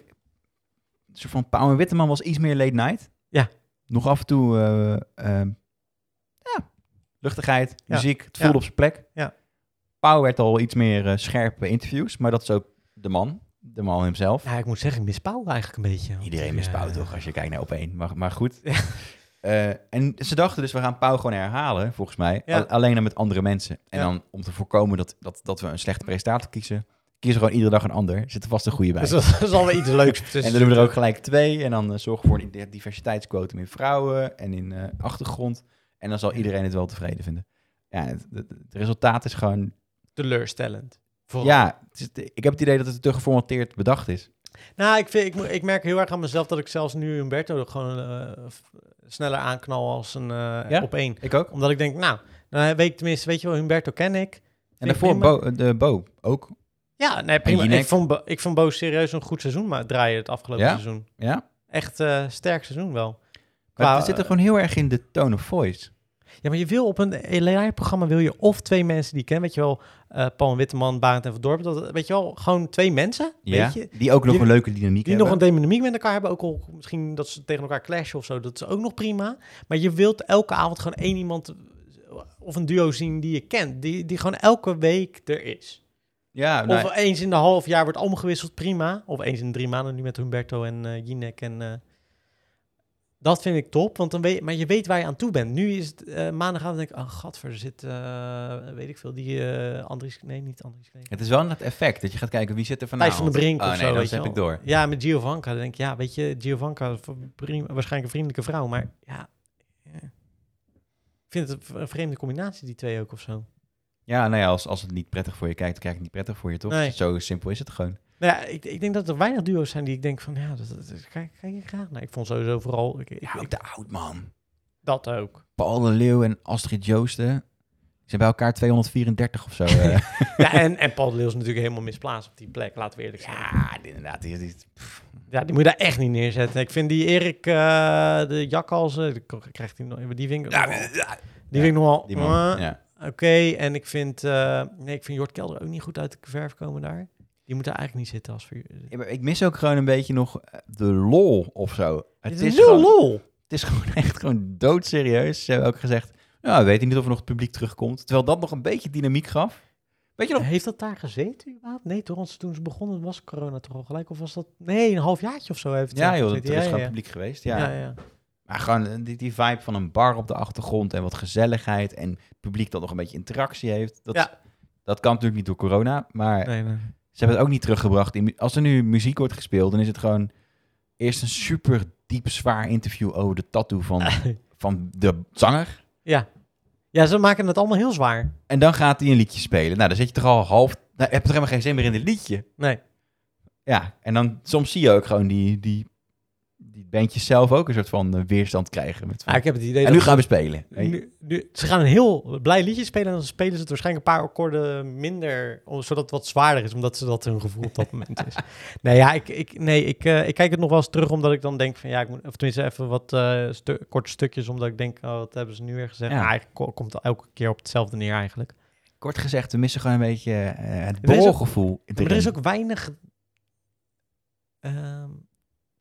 S2: een soort van Pauw en Witteman was iets meer late night.
S3: Ja.
S2: Nog af en toe, eh, eh, ja, luchtigheid,
S3: Ja.
S2: muziek, het voelde
S3: Ja.
S2: op zijn plek.
S3: Ja.
S2: Pauw werd al iets meer eh, scherpe interviews, maar dat is ook de man, de man hemzelf.
S3: Nou, ik moet zeggen, ik mis Pauw eigenlijk een beetje. Want,
S2: Iedereen mist
S3: eh,
S2: Pauw toch, als je kijkt naar opeen. Maar, maar goed. Eh, en ze dachten dus, we gaan Pauw gewoon herhalen, volgens mij.
S3: Ja.
S2: Al- alleen dan met andere mensen. En
S3: Ja.
S2: dan om te voorkomen dat, dat, dat we een slechte presentator kiezen, kiezen we gewoon iedere dag een ander. Zit er vast een goede bij.
S3: Dus dat is alweer iets leuks.
S2: en dan doen we er ook gelijk twee. En dan eh, zorgen we voor een diversiteitsquotum in vrouwen en in eh, achtergrond. En dan zal iedereen het wel tevreden vinden. Ja, het, het- het resultaat is gewoon...
S3: teleurstellend. Vooral.
S2: Ja, het is- ik heb het idee dat het te geformateerd bedacht is.
S3: Nou, ik, vind, ik, mo- ik merk heel erg aan mezelf dat ik zelfs nu Humberto gewoon eh, f- sneller aanknal als een eh,
S2: Ja?
S3: op één.
S2: Ik ook.
S3: Omdat ik denk, nou, dan weet ik tenminste, weet je wel, Humberto ken ik.
S2: En
S3: Vind ik
S2: daarvoor
S3: prima.
S2: Bo, de Bo ook.
S3: Ja, nee, prima.
S2: Jinek.
S3: Ik vond, Bo- ik vond Bo serieus een goed seizoen maar draaien het afgelopen
S2: Ja?
S3: seizoen.
S2: Ja?
S3: Echt eh, sterk seizoen wel.
S2: Maar
S3: Qua-
S2: het zit er gewoon heel erg in de tone of voice.
S3: Ja, maar je wil op een AI-programma wil je of twee mensen die je kent, weet je wel, eh, Paul en Witteman, Barend en Van Dorp, dat, weet je wel, gewoon twee mensen,
S2: Ja,
S3: weet je,
S2: die ook nog
S3: die-
S2: een leuke dynamiek
S3: die nog
S2: hebben.
S3: een dynamiek met elkaar hebben, ook al misschien dat ze tegen elkaar clashen of zo, dat is ook nog prima. Maar je wilt elke avond gewoon één iemand eh, of een duo zien die je kent, die, die gewoon elke week er is.
S2: Ja, nou,
S3: Of eens in de half jaar wordt omgewisseld, prima. Of eens in de drie maanden nu met Humberto en eh Jinek en... eh, dat vind ik top, want dan weet, maar je weet waar je aan toe bent. Nu is het eh, maandagavond denk ik, oh gadver, er zit, eh, weet ik veel, die eh Andries, nee niet Andries Knee.
S2: het is wel het effect dat je gaat kijken wie zit er vanavond.
S3: Thijs van de Brink
S2: oh,
S3: of
S2: nee,
S3: zo.
S2: dat
S3: weet je
S2: heb
S3: wel.
S2: ik door.
S3: Ja, met Giovanka. Dan denk ik, ja, weet je, Giovanka, v- prima- waarschijnlijk een vriendelijke vrouw. Maar ja, eh, ik vind het een v- een vreemde combinatie, die twee ook of zo.
S2: Ja, nou ja, als, als het niet prettig voor je kijkt, dan kijk het niet prettig voor je, toch?
S3: Nee.
S2: Zo simpel is het gewoon.
S3: Nou ja, ik, ik denk dat er weinig duo's zijn die ik denk van, ja, dat, dat, dat kijk, kijk ik graag naar. Ik vond sowieso vooral, ik, ik-
S2: Ja, ook
S3: ik-
S2: de oud man.
S3: dat ook.
S2: Paul de Leeuw en Astrid Joosten. Ze zijn bij elkaar 234 of zo. eh.
S3: ja, en, en Paul de Leeuw is natuurlijk helemaal misplaatst op die plek, laten we eerlijk zijn. Ja.
S2: ja, inderdaad. Die, die,
S3: die moet je daar echt niet neerzetten. Ik vind die Erik, eh, de jakhalzen, die k- krijgt hij nog, die vind ik,
S2: ja,
S3: die
S2: ja,
S3: vind ik nogal...
S2: die man.
S3: eh,
S2: Ja.
S3: Oké, en ik vind, eh, nee, ik vind Jort Kelder ook niet goed uit de verf komen daar. Die moet daar eigenlijk niet zitten als voor
S2: Ja, maar Ik mis ook gewoon een beetje nog eh, de lol of zo. Het is,
S3: heel
S2: gewoon,
S3: lol.
S2: Het is gewoon echt gewoon doodserieus. Ze hebben ook gezegd, nou, we weten niet of er nog het publiek terugkomt. Terwijl dat nog een beetje dynamiek gaf. Weet je nog?
S3: Heeft dat daar gezeten überhaupt? Nee, toch? Want toen ze begonnen was corona toch al gelijk? Of was dat... Nee, een half jaartje of zo heeft het
S2: Ja,
S3: er
S2: joh, dat- er is
S3: gezeten.
S2: gewoon
S3: ja,
S2: publiek geweest.
S3: ja.
S2: Ja.
S3: Ja, ja.
S2: Maar gewoon eh, die, die vibe van een bar op de achtergrond en wat gezelligheid en het publiek dat nog een beetje interactie heeft. Dat,
S3: Ja.
S2: dat kan natuurlijk niet door corona, maar
S3: Nee, nee.
S2: ze hebben het ook niet teruggebracht. in mu- Als er nu muziek wordt gespeeld, dan is het gewoon eerst een super diep zwaar interview over de tattoo van, van de zanger.
S3: ja. Ja, ze maken het allemaal heel zwaar.
S2: En dan gaat hij een liedje spelen. Nou, dan zit je toch al half... Nou, heb je toch helemaal geen zin meer in het liedje.
S3: Nee.
S2: Ja, en dan soms zie je ook gewoon die, die, die bandjes zelf ook een soort van eh, weerstand krijgen. Met van,
S3: Ah, ik heb het idee
S2: en
S3: dat...
S2: nu gaan we spelen. Weet je.
S3: Nu, nu- ze gaan een heel blij liedje spelen en dan spelen ze het waarschijnlijk een paar akkoorden minder, om- zodat het wat zwaarder is, omdat ze dat hun gevoel op dat moment is. Nee, ja, ik, ik, nee, ik, eh, ik kijk het nog wel eens terug, omdat ik dan denk van ja, ik moet, of tenminste even wat eh, stu- korte stukjes, omdat ik denk, oh, wat hebben ze nu weer gezegd?
S2: Ja.
S3: Ja. Eigenlijk ko- komt het elke keer op hetzelfde neer eigenlijk.
S2: Kort gezegd, we missen gewoon een beetje eh, het
S3: Er is ook-
S2: borrelgevoel. in de
S3: Maar er is
S2: ring.
S3: ook weinig ehm,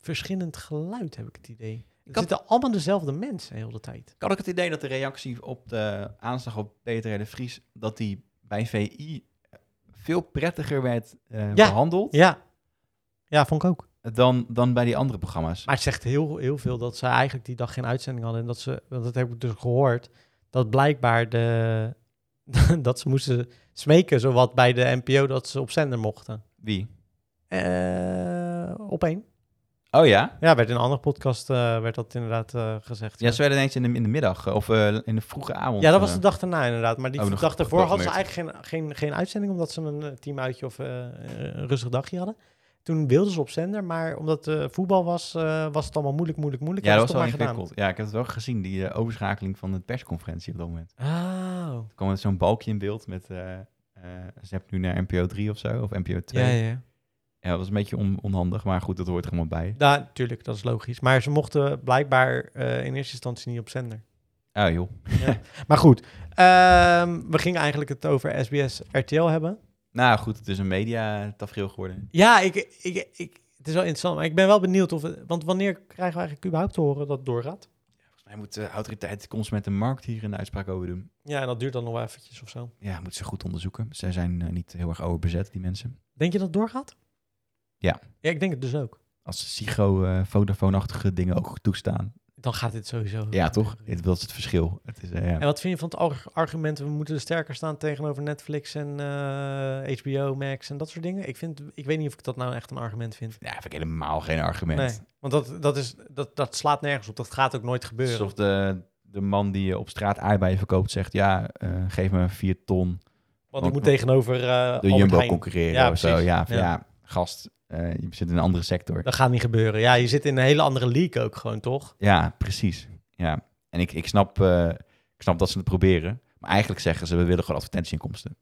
S3: verschillend geluid, heb ik het idee. Er
S2: had-
S3: zitten allemaal dezelfde mensen heel de tijd.
S2: Ik had ook het idee dat de reactie op de aanslag op Peter R. de Vries... dat die bij VI veel prettiger werd eh,
S3: Ja.
S2: behandeld...
S3: Ja, ja vond ik ook.
S2: Dan, dan bij die andere programma's.
S3: Maar het zegt heel, heel veel dat ze eigenlijk die dag geen uitzending hadden. En dat ze, want dat heb ik dus gehoord, dat blijkbaar de, dat ze moesten smeken, zowat bij de NPO, dat ze op zender mochten.
S2: Wie?
S3: Eh op één.
S2: Oh ja?
S3: Ja, werd in een andere podcast eh, werd dat inderdaad eh, gezegd.
S2: Ja, ze werden ineens in de, in de middag eh, of eh, in de vroege avond.
S3: Ja, dat was
S2: eh,
S3: de dag daarna inderdaad. Maar die
S2: Oh, nog-
S3: dag daarvoor
S2: nog
S3: hadden ze
S2: gemerkt.
S3: eigenlijk geen, geen, geen uitzending, omdat ze een eh, teamuitje of eh, een rustig dagje hadden. Toen wilden ze op zender, maar omdat eh voetbal was, eh, was het allemaal moeilijk, moeilijk, moeilijk.
S2: Ja, dat
S3: Hebben
S2: was
S3: ze
S2: wel
S3: het toch maar
S2: ingewikkeld. Ja, ik heb het wel gezien, die eh, overschakeling van de persconferentie op dat moment.
S3: gedaan. Oh,
S2: Er kwam zo'n balkje in beeld met... eh eh, ze hebt nu naar NPO 3 of zo, of NPO 2.
S3: ja,
S2: Ja,
S3: ja.
S2: dat was een beetje on- onhandig, maar goed, dat hoort er gewoon bij.
S3: Ja, natuurlijk, dat is logisch. Maar ze mochten blijkbaar eh, in eerste instantie niet op zender.
S2: Oh joh.
S3: Maar goed, ehm, we gingen eigenlijk het over SBS RTL hebben.
S2: Nou goed, het is een media tafereel geworden.
S3: Ja, ik, ik, ik, Het is wel interessant, maar ik ben wel benieuwd of... het- want wanneer krijgen we eigenlijk überhaupt te horen dat het doorgaat?
S2: Volgens mij moet de autoriteit Consument en Markt hier een uitspraak over doen.
S3: Ja, en dat duurt dan nog wel eventjes of zo.
S2: Ja, moeten ze goed onderzoeken. Zij zijn eh, niet heel erg overbezet, die mensen.
S3: Denk je dat het doorgaat?
S2: Ja.
S3: Ja, ik denk het dus ook.
S2: Als ze Sigo, eh, Vodafone-achtige dingen ook toestaan.
S3: Dan gaat dit sowieso...
S2: Ja, toch? Dit dat is het verschil. Het is, eh, ja.
S3: En wat vind je van het arg- argument, we moeten sterker staan tegenover Netflix en eh, HBO Max en dat soort dingen? Ik, vind, ik weet niet of ik dat nou echt een argument vind.
S2: ja, vind ik helemaal geen argument.
S3: Nee, want dat, dat, is, dat, dat slaat nergens op. Dat gaat ook nooit gebeuren.
S2: Alsof de, de man die eh, op straat aardbeien verkoopt zegt... ja, eh, geef me vier ton
S3: want ik moet tegenover eh Albert
S2: de Jumbo
S3: Heijn.
S2: concurreren
S3: Ja,
S2: of zo.
S3: precies.
S2: Ja, van,
S3: Ja.
S2: ja. gast, eh, je zit in een andere sector.
S3: Dat gaat niet gebeuren. Ja, je zit in een hele andere league ook gewoon, toch?
S2: Ja, precies. Ja. En ik, ik, snap, eh, ik snap dat ze het proberen. Maar eigenlijk zeggen ze, we willen gewoon advertentieinkomsten.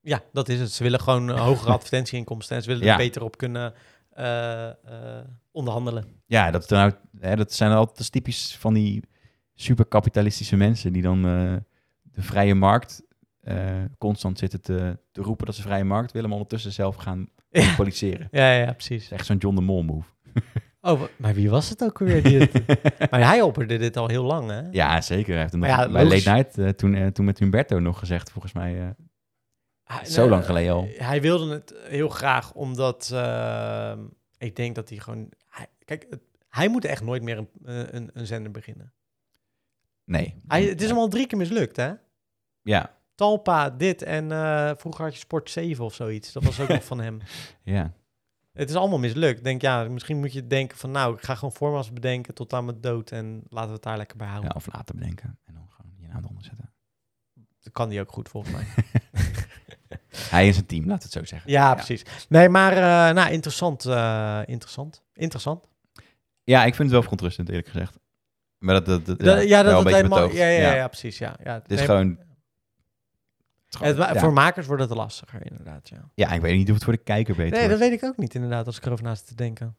S3: Ja, dat is het. Ze willen gewoon een hogere advertentieinkomsten en ze willen
S2: Ja.
S3: er beter op kunnen eh, eh, onderhandelen.
S2: Ja, dat, nou, hè, dat zijn altijd dus typisch van die superkapitalistische mensen... die dan eh, de vrije markt eh, constant zitten te, te roepen dat ze vrije markt willen... maar ondertussen zelf gaan
S3: Ja,
S2: policeren.
S3: ja, ja,
S2: Dat
S3: precies.
S2: is echt zo'n John de Mol move.
S3: Oh, wa- maar wie was het ook weer? Die het- maar hij opperde dit al heel lang, hè?
S2: Ja, zeker. Hij heeft het nog
S3: Maar ja,
S2: bij
S3: logisch.
S2: Late Night eh, toen, eh, toen met Humberto nog gezegd, volgens mij. eh,
S3: Hij-
S2: Zo
S3: nou,
S2: lang geleden al.
S3: Hij wilde het heel graag, omdat ehm, ik denk dat hij gewoon... Hij, kijk, het- hij moet echt nooit meer een, eh, een, een zender beginnen.
S2: nee.
S3: Hij, het is hem al drie keer mislukt, hè?
S2: Ja,
S3: Talpa, dit en eh, vroeger had je Sport 7 of zoiets. Dat was ook nog van hem.
S2: ja.
S3: Het is allemaal mislukt. Ik Denk ja, misschien moet je denken van nou, ik ga gewoon formats bedenken tot aan mijn dood en laten we het daar lekker bij
S2: ja.
S3: houden.
S2: Of later bedenken. En dan gewoon je naam eronder zetten.
S3: Dat kan die ook goed volgens mij.
S2: Hij is een team, laat het zo zeggen.
S3: Ja, precies. Nee, maar eh, nou, interessant, eh, interessant, interessant.
S2: Ja, ik vind het wel verontrustend, eerlijk gezegd. Maar dat, dat, dat,
S3: Da- Ja, dat,
S2: wel een
S3: dat
S2: beetje
S3: helemaal.
S2: betoogd.
S3: Ja, ja, ja, precies. Ja, ja.
S2: Het is
S3: Nee,
S2: gewoon... het is
S3: het,
S2: gewoon-
S3: wa-
S2: ja.
S3: Voor makers wordt het lastiger, inderdaad. Ja.
S2: ja, ik weet niet of het voor de kijker beter
S3: Nee, dat
S2: wordt.
S3: weet ik ook niet, inderdaad, als ik erover naast te denken.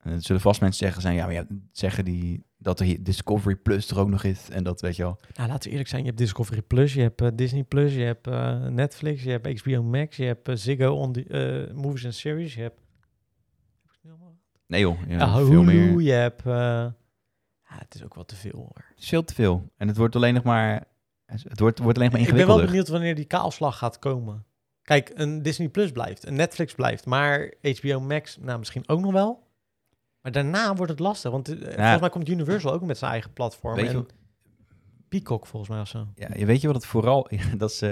S2: En Er zullen vast mensen zeggen, zijn, ja, maar ja, zeggen die, dat er hier Discovery Plus er ook nog is. En dat weet je al.
S3: Nou, laten we eerlijk zijn, je hebt Discovery Plus, je hebt eh, Disney Plus, je hebt eh, Netflix, je hebt HBO Max, je hebt eh, Ziggo on the, eh, Movies and Series, je hebt...
S2: Nee joh, ja,
S3: Ja,
S2: veel
S3: Hulu,
S2: meer.
S3: je hebt... eh, ja, het is ook wel te veel hoor.
S2: Het is veel te veel. En het wordt alleen nog maar, het wordt, wordt alleen nog maar
S3: Ik ben wel
S2: ingewikkelder.
S3: benieuwd wanneer die kaalslag gaat komen. Kijk, een Disney Plus blijft, een Netflix blijft, maar HBO Max, nou misschien ook nog wel. Maar daarna wordt het lastig, want eh, volgens mij komt Universal ook met zijn eigen platform.
S2: Weet je
S3: en
S2: wat-
S3: Peacock volgens mij of zo.
S2: Ja, je weet je wat het vooral... dat is eh,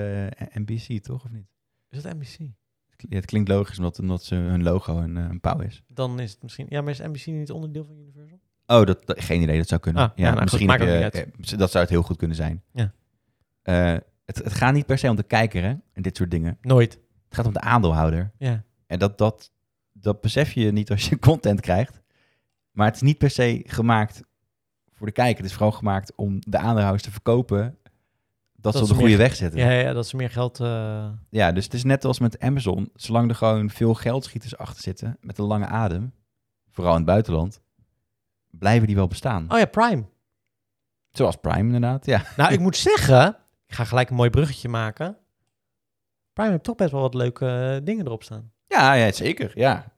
S2: NBC, toch? Of niet?
S3: Is dat NBC?
S2: Ja, het klinkt logisch, omdat, omdat ze, hun logo een, eh, een pauw is.
S3: Dan is het misschien... Ja, maar is NBC niet onderdeel van Universal?
S2: Oh, dat, dat- geen idee, dat zou kunnen.
S3: Ah, ja, nou,
S2: misschien
S3: goed,
S2: heb
S3: maakt
S2: je-
S3: ook niet
S2: eh, dat zou het heel goed kunnen zijn.
S3: Ja.
S2: Eh, het, het gaat niet per se om de kijker, hè? En dit soort dingen.
S3: Nooit.
S2: Het gaat om de aandeelhouder.
S3: Ja.
S2: En dat, dat, dat besef je niet als je content krijgt. Maar het is niet per se gemaakt voor de kijker. Het is vooral gemaakt om de aandeelhouders te verkopen... dat,
S3: ze
S2: ze op de
S3: meer-
S2: goede weg zetten.
S3: Ja, ja, dat ze meer geld. eh,
S2: Ja, dus het is net als met Amazon. Zolang er gewoon veel geldschieters achter zitten met een lange adem, vooral in het buitenland, blijven die wel bestaan.
S3: Oh ja, Prime.
S2: Zoals Prime inderdaad, ja.
S3: Nou, ik moet zeggen, ik ga gelijk een mooi bruggetje maken. Prime heeft toch best wel wat leuke eh, dingen erop staan.
S2: Ja, ja zeker, ja.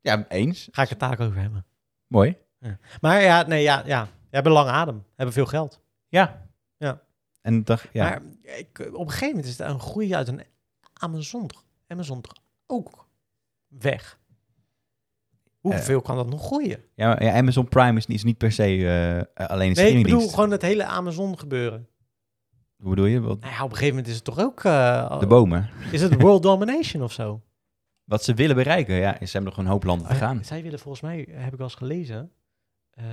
S2: Ja, eens.
S3: Ga ik het daar ook over hebben.
S2: Mooi.
S3: Maar ja, nee, ja, ja. We hebben lang adem, hebben veel geld.
S2: Ja.
S3: Ja.
S2: En dag, ja.
S3: Maar ik, op een gegeven moment is het een groei uit een Amazon, toch- Amazon toch ook weg. Hoeveel
S2: Eh,
S3: kan dat nog groeien?
S2: ja, maar- ja, Amazon Prime is niet, is niet per se eh, eh, alleen een
S3: Nee, ik bedoel
S2: streamingdienst.
S3: gewoon het hele Amazon gebeuren.
S2: Hoe bedoel je? Wat,
S3: Nou ja, op een gegeven moment is het toch ook... eh,
S2: de bomen.
S3: is het world domination of zo?
S2: Wat ze willen bereiken, ja, is ze hebben nog een hoop landen te
S3: Oh ja,
S2: gaan.
S3: Zij willen volgens mij, heb ik wel eens gelezen, eh,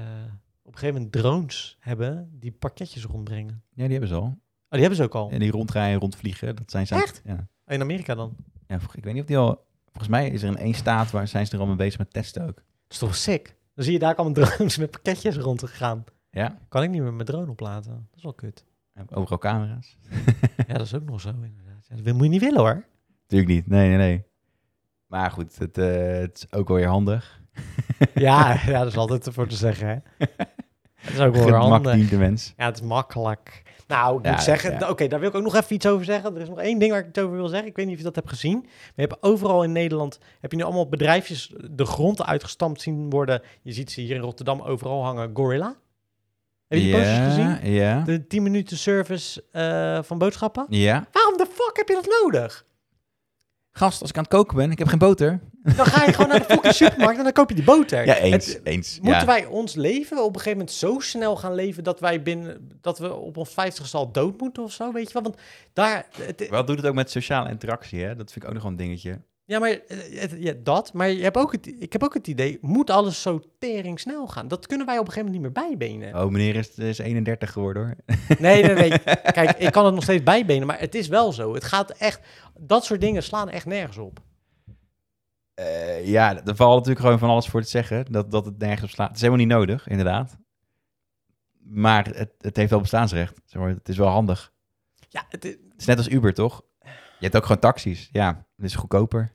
S3: op een gegeven moment drones hebben die pakketjes rondbrengen.
S2: Ja, die hebben ze al.
S3: Oh, die hebben ze ook al.
S2: En die rondrijden, rondvliegen, dat zijn ze aan-
S3: Echt?
S2: Ja.
S3: In Amerika dan.
S2: Ja, vol- ik weet niet of die al... Volgens mij is er in één staat waar zijn ze er al mee bezig met testen ook.
S3: Dat is toch sick? Dan zie je daar allemaal drones met pakketjes rond gaan.
S2: Ja,
S3: Kan ik niet meer mijn drone oplaten. Dat is wel kut.
S2: en overal camera's.
S3: Ja, dat is ook nog zo inderdaad. Ja, dat wil- moet je niet willen hoor.
S2: Natuurlijk niet, nee, nee, nee. Maar goed, het, eh, het is ook wel weer handig.
S3: Ja, ja dat is altijd ervoor te zeggen hè. Dat is ook wel weer
S2: Gemak
S3: handig.
S2: dient de mens.
S3: Ja, het is makkelijk. Nou, ik
S2: Ja,
S3: moet zeggen,
S2: ja.
S3: d- oké, daar wil ik ook nog even iets over zeggen. Er is nog één ding waar ik het over wil zeggen. Ik weet niet of je dat hebt gezien. Maar je hebt overal in Nederland, heb je nu allemaal bedrijfjes de grond uitgestampt zien worden. Je ziet ze hier in Rotterdam overal hangen, Gorilla. Heb je die posters gezien?
S2: Ja.
S3: De 10 minuten service eh, van boodschappen.
S2: Ja.
S3: Waarom de fuck heb je dat nodig?
S2: Gast, als ik aan het koken ben, ik heb geen boter.
S3: Dan ga je gewoon naar de fucking supermarkt en dan koop je die boter.
S2: Ja, eens.
S3: Het-
S2: eens.
S3: Moeten
S2: ja.
S3: wij ons leven op een gegeven moment zo snel gaan leven dat wij binnen dat we op ons vijftigste al dood moeten of zo, weet je wel? Want daar, het-
S2: Wel doet het ook met sociale interactie, hè? Dat vind ik ook nog wel een dingetje.
S3: ja, maar eh, het- ja, dat. Maar je hebt ook het, ik heb ook het idee, moet alles zo tering snel gaan? Dat kunnen wij op een gegeven moment niet meer bijbenen.
S2: Oh, meneer is, is 31 geworden, hoor.
S3: Nee, nee, nee. Kijk, ik kan het nog steeds bijbenen, maar het is wel zo. Het gaat echt, dat soort dingen slaan echt nergens op.
S2: Eh, ja, er valt natuurlijk gewoon van alles voor te zeggen. Dat, dat het nergens op slaat. Het is helemaal niet nodig, inderdaad. Maar het, het heeft wel bestaansrecht. Zeg maar, het is wel handig.
S3: Ja, het, is-
S2: Het is net als Uber, toch? Je hebt ook gewoon taxis. Ja, het is goedkoper.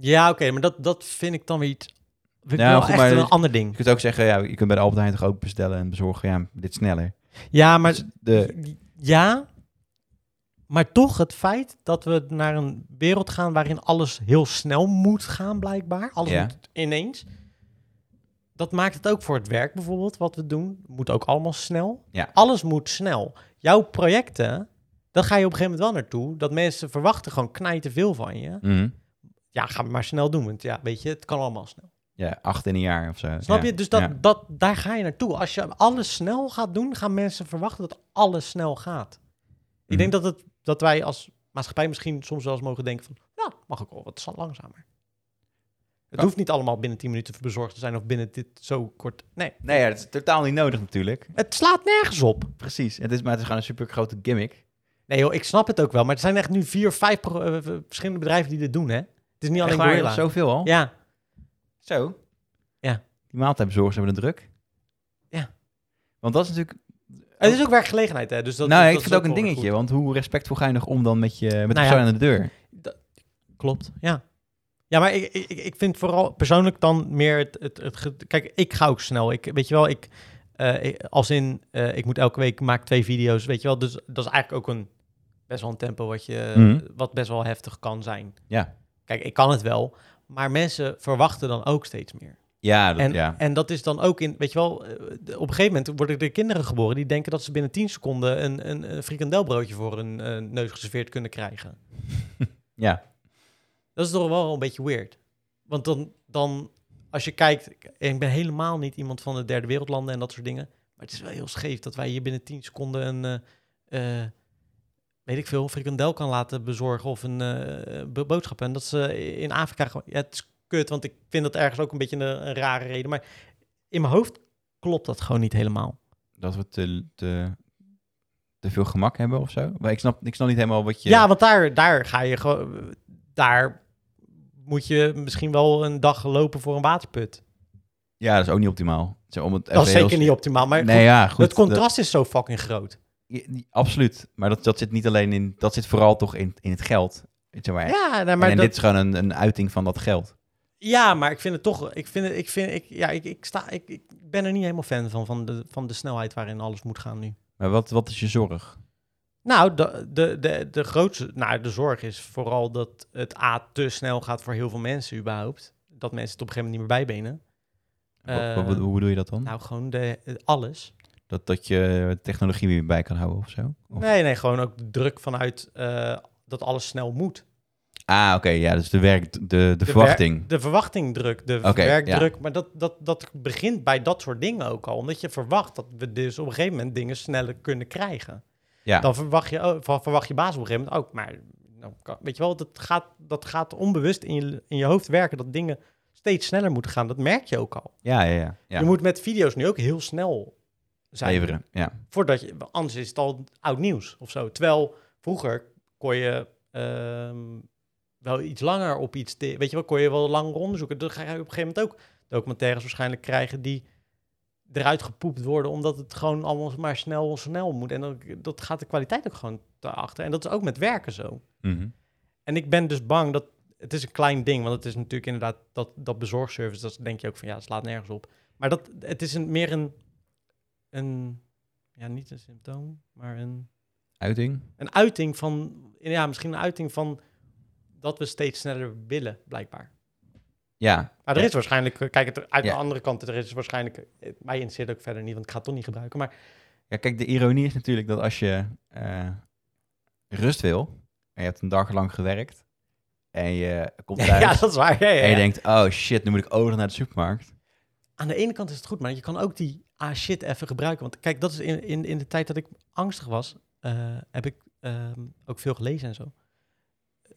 S3: ja oké, maar dat, dat vind ik dan weer iets. Vind ik
S2: Nou,
S3: wel
S2: goed,
S3: echt
S2: maar-
S3: een ander
S2: Je
S3: ding.
S2: kunt ook zeggen, ja, je kunt bij de Albert Heijn toch ook bestellen en bezorgen. Ja, dit is sneller.
S3: Ja, maar
S2: Dus de,
S3: Ja, maar toch het feit dat we naar een wereld gaan waarin alles heel snel moet gaan, blijkbaar. Alles
S2: Ja.
S3: moet ineens. Dat maakt het ook voor het werk bijvoorbeeld, wat we doen, moet ook allemaal snel.
S2: Ja.
S3: Alles moet snel. Jouw projecten, daar ga je op een gegeven moment wel naartoe. Dat mensen verwachten gewoon knijten veel van je.
S2: Mhm.
S3: Ja, ga maar snel doen, want ja, weet je, het kan allemaal snel.
S2: ja, acht in een jaar of zo.
S3: Snap
S2: Ja,
S3: je? Dus dat,
S2: ja.
S3: dat, daar ga je naartoe. Als je alles snel gaat doen, gaan mensen verwachten dat alles snel gaat.
S2: Mhm.
S3: Ik denk dat, het, dat wij als maatschappij misschien soms wel eens mogen denken van... ja, mag ook wel wat sla- langzamer. Het
S2: Ja.
S3: hoeft niet allemaal binnen 10 minuten bezorgd te zijn of binnen dit zo kort. Nee,
S2: Nee, ja, dat is totaal niet nodig natuurlijk.
S3: het slaat nergens op.
S2: Precies. Het is, maar het is gewoon een super grote gimmick.
S3: Nee joh, ik snap het ook wel. Maar er zijn echt nu vier, vijf pro- eh, eh, verschillende bedrijven die dit doen, hè? Het is niet
S2: Echt
S3: alleen
S2: waar,
S3: Gorilla.
S2: Zoveel al?
S3: Ja,
S2: Zo?
S3: Ja.
S2: Die maaltijdbezorgers hebben een druk.
S3: Ja.
S2: Want dat is natuurlijk...
S3: het is ook werkgelegenheid, hè? Dus dat,
S2: nou,
S3: dat
S2: ik
S3: is
S2: vind het ook een
S3: wel weer
S2: dingetje. Want hoe respectvol ga je nog om dan met, je, met de
S3: Nou ja.
S2: persoon aan de deur?
S3: Klopt, ja. Ja, maar ik, ik, ik vind vooral persoonlijk dan meer het, het, het ge- Kijk, ik ga ook snel. Ik, weet je wel, ik... eh, ik- als in, eh, ik moet elke week maak twee video's, weet je wel. Dus dat is eigenlijk ook een best wel een tempo wat, je,
S2: Mhm.
S3: wat best wel heftig kan zijn.
S2: Ja.
S3: Kijk, ik kan het wel. Maar mensen verwachten dan ook steeds meer.
S2: Ja, dat,
S3: En,
S2: ja.
S3: en dat is dan ook in, weet je wel, eh, de- op een gegeven moment worden er kinderen geboren die denken dat ze binnen 10 seconden een, een, een frikandelbroodje voor hun eh, neus geserveerd kunnen krijgen.
S2: ja.
S3: Dat is toch wel een beetje weird. Want dan, dan als je kijkt, en ik ben helemaal niet iemand van de derde wereldlanden en dat soort dingen, maar het is wel heel scheef dat wij hier binnen 10 seconden een, eh, eh, weet ik veel, een frikandel kan laten bezorgen of een eh, bo- boodschap. En dat ze in Afrika gewoon, ja, het is kut, want ik vind dat ergens ook een beetje een, een rare reden. Maar in mijn hoofd klopt dat gewoon niet helemaal.
S2: Dat we te, te, te veel gemak hebben of zo. Maar ik snap, ik snap niet helemaal wat je...
S3: Ja, want daar, daar ga je gewoon, daar moet je misschien wel een dag lopen voor een waterput.
S2: Ja, dat is ook niet optimaal. Zo, Om het
S3: Dat is
S2: even heel-
S3: zeker niet optimaal, maar
S2: Nee, ja, goed.
S3: het contrast is zo fucking groot.
S2: dat- ja, absoluut. Maar dat, dat zit niet alleen in... Dat zit vooral toch in, in het geld. Zeg maar.
S3: Ja, nee,
S2: en
S3: maar,
S2: en
S3: dat,
S2: dit is gewoon een, een uiting van dat geld.
S3: ja, maar ik vind het toch. Ik, vind het, ik, vind, ik, ja, ik, ik, sta, ik, ik ben er niet helemaal fan van, van de, van de snelheid waarin alles moet gaan nu.
S2: Maar wat, wat is je zorg?
S3: Nou, de, de, de, de grootste. Nou, de zorg is vooral dat het A te snel gaat voor heel veel mensen, überhaupt. Dat mensen het op een gegeven moment niet meer bijbenen.
S2: Wat-
S3: Eh,
S2: wat- hoe bedoel je dat dan?
S3: nou, gewoon de, alles.
S2: Dat, dat je technologie weer bij kan houden of zo? Of-
S3: Nee, nee, gewoon ook de druk vanuit eh, dat alles snel moet.
S2: Ah, oké. ja, dus de werk, de, de,
S3: wer-
S2: verwachting.
S3: De verwachtingdruk, de
S2: Oké,
S3: werkdruk. Maar dat, dat, dat begint bij dat soort dingen ook al. Omdat je verwacht dat we dus op een gegeven moment dingen sneller kunnen krijgen.
S2: Ja.
S3: Dan verwacht je, oh, ver- verwacht je baas op een gegeven moment ook. Maar nou, kan- weet je wel, dat gaat, dat gaat onbewust in je, in je hoofd werken. Dat dingen steeds sneller moeten gaan. Dat merk je ook al.
S2: Ja, ja, ja. ja.
S3: Je moet met video's nu ook heel snel zijn.
S2: leveren. Ja.
S3: Voordat je, anders is het al oud nieuws of zo. Terwijl vroeger kon je ehm, wel iets langer op iets. te- weet je wel, kon je wel langer onderzoeken. Dan ga je op een gegeven moment ook documentaires waarschijnlijk krijgen die eruit gepoept worden, omdat het gewoon allemaal maar snel snel moet. En dan, dat gaat de kwaliteit ook gewoon te achter. En dat is ook met werken zo.
S2: Mhm.
S3: En ik ben dus bang dat het is een klein ding, want het is natuurlijk inderdaad dat, dat bezorgservice, dat denk je ook van ja, het slaat nergens op. Maar dat, het is een, meer een, een, ja, niet een symptoom, maar een
S2: Uiting?
S3: Een uiting van, ja, misschien een uiting van dat we steeds sneller willen, blijkbaar.
S2: Ja.
S3: Maar er is waarschijnlijk, eh, kijk, het er- uit
S2: Ja.
S3: de andere kant, er is waarschijnlijk, eh, mij interesseert het ook verder niet, want ik ga het toch niet gebruiken. Maar
S2: ja, kijk, de ironie is natuurlijk dat als je eh, rust wil, en je hebt een dag lang gewerkt, en je komt thuis,
S3: ja, dat is waar. Ja, ja,
S2: en je
S3: ja.
S2: denkt, oh shit, nu moet ik over naar de supermarkt.
S3: Aan de ene kant is het goed, maar je kan ook die ah shit even gebruiken. Want kijk, dat is in, in, in de tijd dat ik angstig was, eh, heb ik ehm, ook veel gelezen en zo.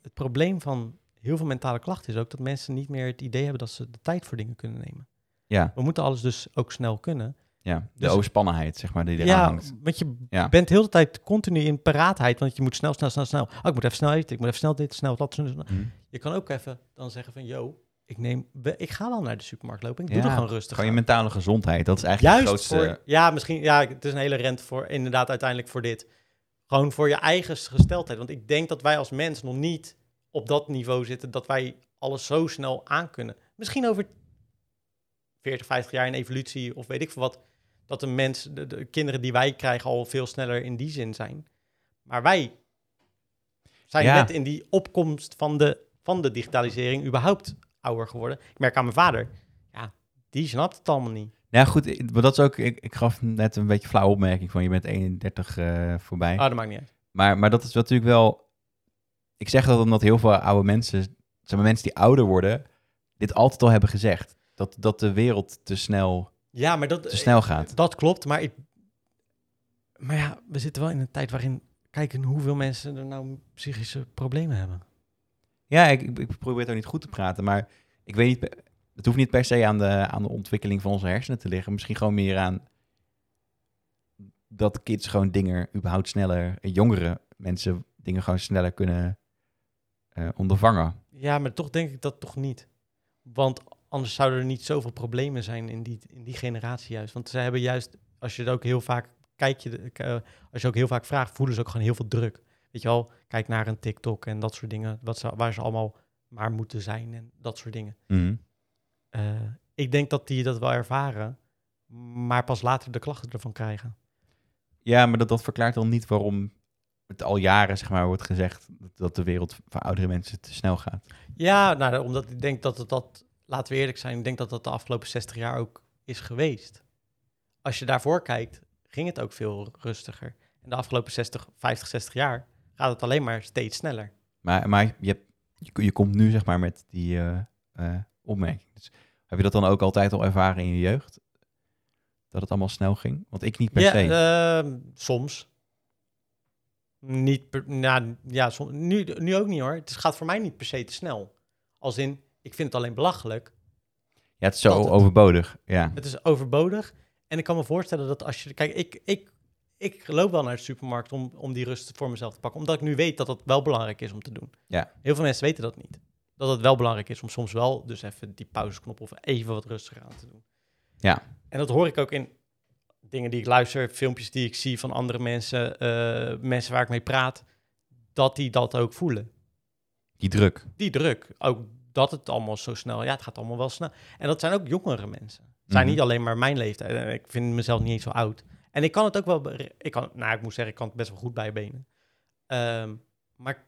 S3: Het probleem van heel veel mentale klachten is ook dat mensen niet meer het idee hebben dat ze de tijd voor dingen kunnen nemen.
S2: Ja,
S3: We moeten alles dus ook snel kunnen.
S2: ja. de
S3: Dus-
S2: overspannenheid, zeg maar, die eraan
S3: Ja,
S2: hangt.
S3: want je
S2: Ja.
S3: bent heel de tijd continu in paraatheid, want je moet snel, snel, snel, snel. Oh, ik moet even snel eten, ik moet even snel dit, snel dat. snel- snel.
S2: Hm.
S3: Je kan ook even dan zeggen van, yo, ik, neem, we- ik ga wel naar de supermarkt lopen, ik doe
S2: Ja,
S3: er gewoon rustig
S2: Gewoon je
S3: aan.
S2: mentale gezondheid, dat is eigenlijk
S3: Juist
S2: het grootste...
S3: voor, ja, misschien, ja, het is een hele rent voor, inderdaad, uiteindelijk voor dit. Gewoon voor je eigen gesteldheid. Want ik denk dat wij als mens nog niet op dat niveau zitten dat wij alles zo snel aankunnen. Misschien over 40, 50 jaar in evolutie of weet ik veel wat, dat een mens, de, de kinderen die wij krijgen al veel sneller in die zin zijn. Maar wij zijn
S2: Ja.
S3: net in die opkomst van de, van de digitalisering überhaupt ouder geworden. Ik merk aan mijn vader, ja, die snapt het allemaal niet.
S2: Nou ja, goed, ik- maar dat is ook. Ik, ik gaf net een beetje een flauwe opmerking van je bent 31 eh, voorbij.
S3: Ah, dat maakt niet uit.
S2: Maar, maar dat is natuurlijk wel. Ik zeg dat omdat heel veel oude mensen, zeg maar mensen die ouder worden, dit altijd al hebben gezegd. Dat, dat de wereld te snel,
S3: Ja, maar dat,
S2: te snel gaat.
S3: dat klopt. Maar, ik, maar ja, we zitten wel in een tijd waarin... Kijken hoeveel mensen er nou psychische problemen hebben.
S2: Ja, ik, ik ik probeer het ook niet goed te praten, maar ik weet niet. pe- Het hoeft niet per se aan de, aan de ontwikkeling van onze hersenen te liggen. Misschien gewoon meer aan dat kids gewoon dingen überhaupt sneller, eh, jongere mensen dingen gewoon sneller kunnen eh, ondervangen.
S3: Ja, maar toch denk ik dat toch niet. Want anders zouden er niet zoveel problemen zijn in die, in die generatie juist. Want ze hebben juist, als je het ook heel vaak kijkt, je de- k- eh, als je ook heel vaak vraagt, voelen ze ook gewoon heel veel druk. Weet je wel, kijk naar een TikTok en dat soort dingen, wat ze, waar ze allemaal maar moeten zijn en dat soort dingen. Eh, ik denk dat die dat wel ervaren, maar pas later de klachten ervan krijgen.
S2: Ja, maar dat, dat verklaart dan niet waarom het al jaren zeg maar, wordt gezegd dat- dat de wereld voor oudere mensen te snel gaat.
S3: Ja, nou, omdat ik denk dat het dat, laten we eerlijk zijn, ik denk dat dat de afgelopen 60 jaar ook is geweest. Als je daarvoor kijkt, ging het ook veel rustiger. En de afgelopen 60, 50, 60 jaar gaat het alleen maar steeds sneller.
S2: Maar, maar je, hebt, je, je komt nu zeg maar, met die eh, eh, opmerking. Dus heb je dat dan ook altijd al ervaren in je jeugd? Dat het allemaal snel ging? Want ik niet per se.
S3: Ja, ehm, soms. Niet per, nou, ja, som- nu, nu ook niet hoor. Het is- gaat voor mij niet per se te snel. Als in, ik vind het alleen belachelijk
S2: ja, het is zo
S3: dat het-
S2: overbodig. Ja.
S3: Het is overbodig. En ik kan me voorstellen dat als je. Kijk, ik, ik, ik loop wel naar de supermarkt om, om die rust voor mezelf te pakken. Omdat ik nu weet dat dat wel belangrijk is om te doen.
S2: Ja.
S3: Heel veel mensen weten dat niet. Dat het wel belangrijk is om soms wel dus even die pauzeknop of even wat rustiger aan te doen.
S2: Ja.
S3: En dat hoor ik ook in dingen die ik luister, filmpjes die ik zie van andere mensen, eh, mensen waar ik mee praat, dat die dat ook voelen
S2: Die druk.
S3: die druk. Ook dat het allemaal zo snel, ja, het gaat allemaal wel snel. En dat zijn ook jongere mensen. Het zijn
S2: Mhm.
S3: niet alleen maar mijn leeftijd. En ik vind mezelf niet eens zo oud. En ik kan het ook wel, bere- ik kan, nou, ik moet zeggen, ik kan het best wel goed bijbenen. Ehm, maar ik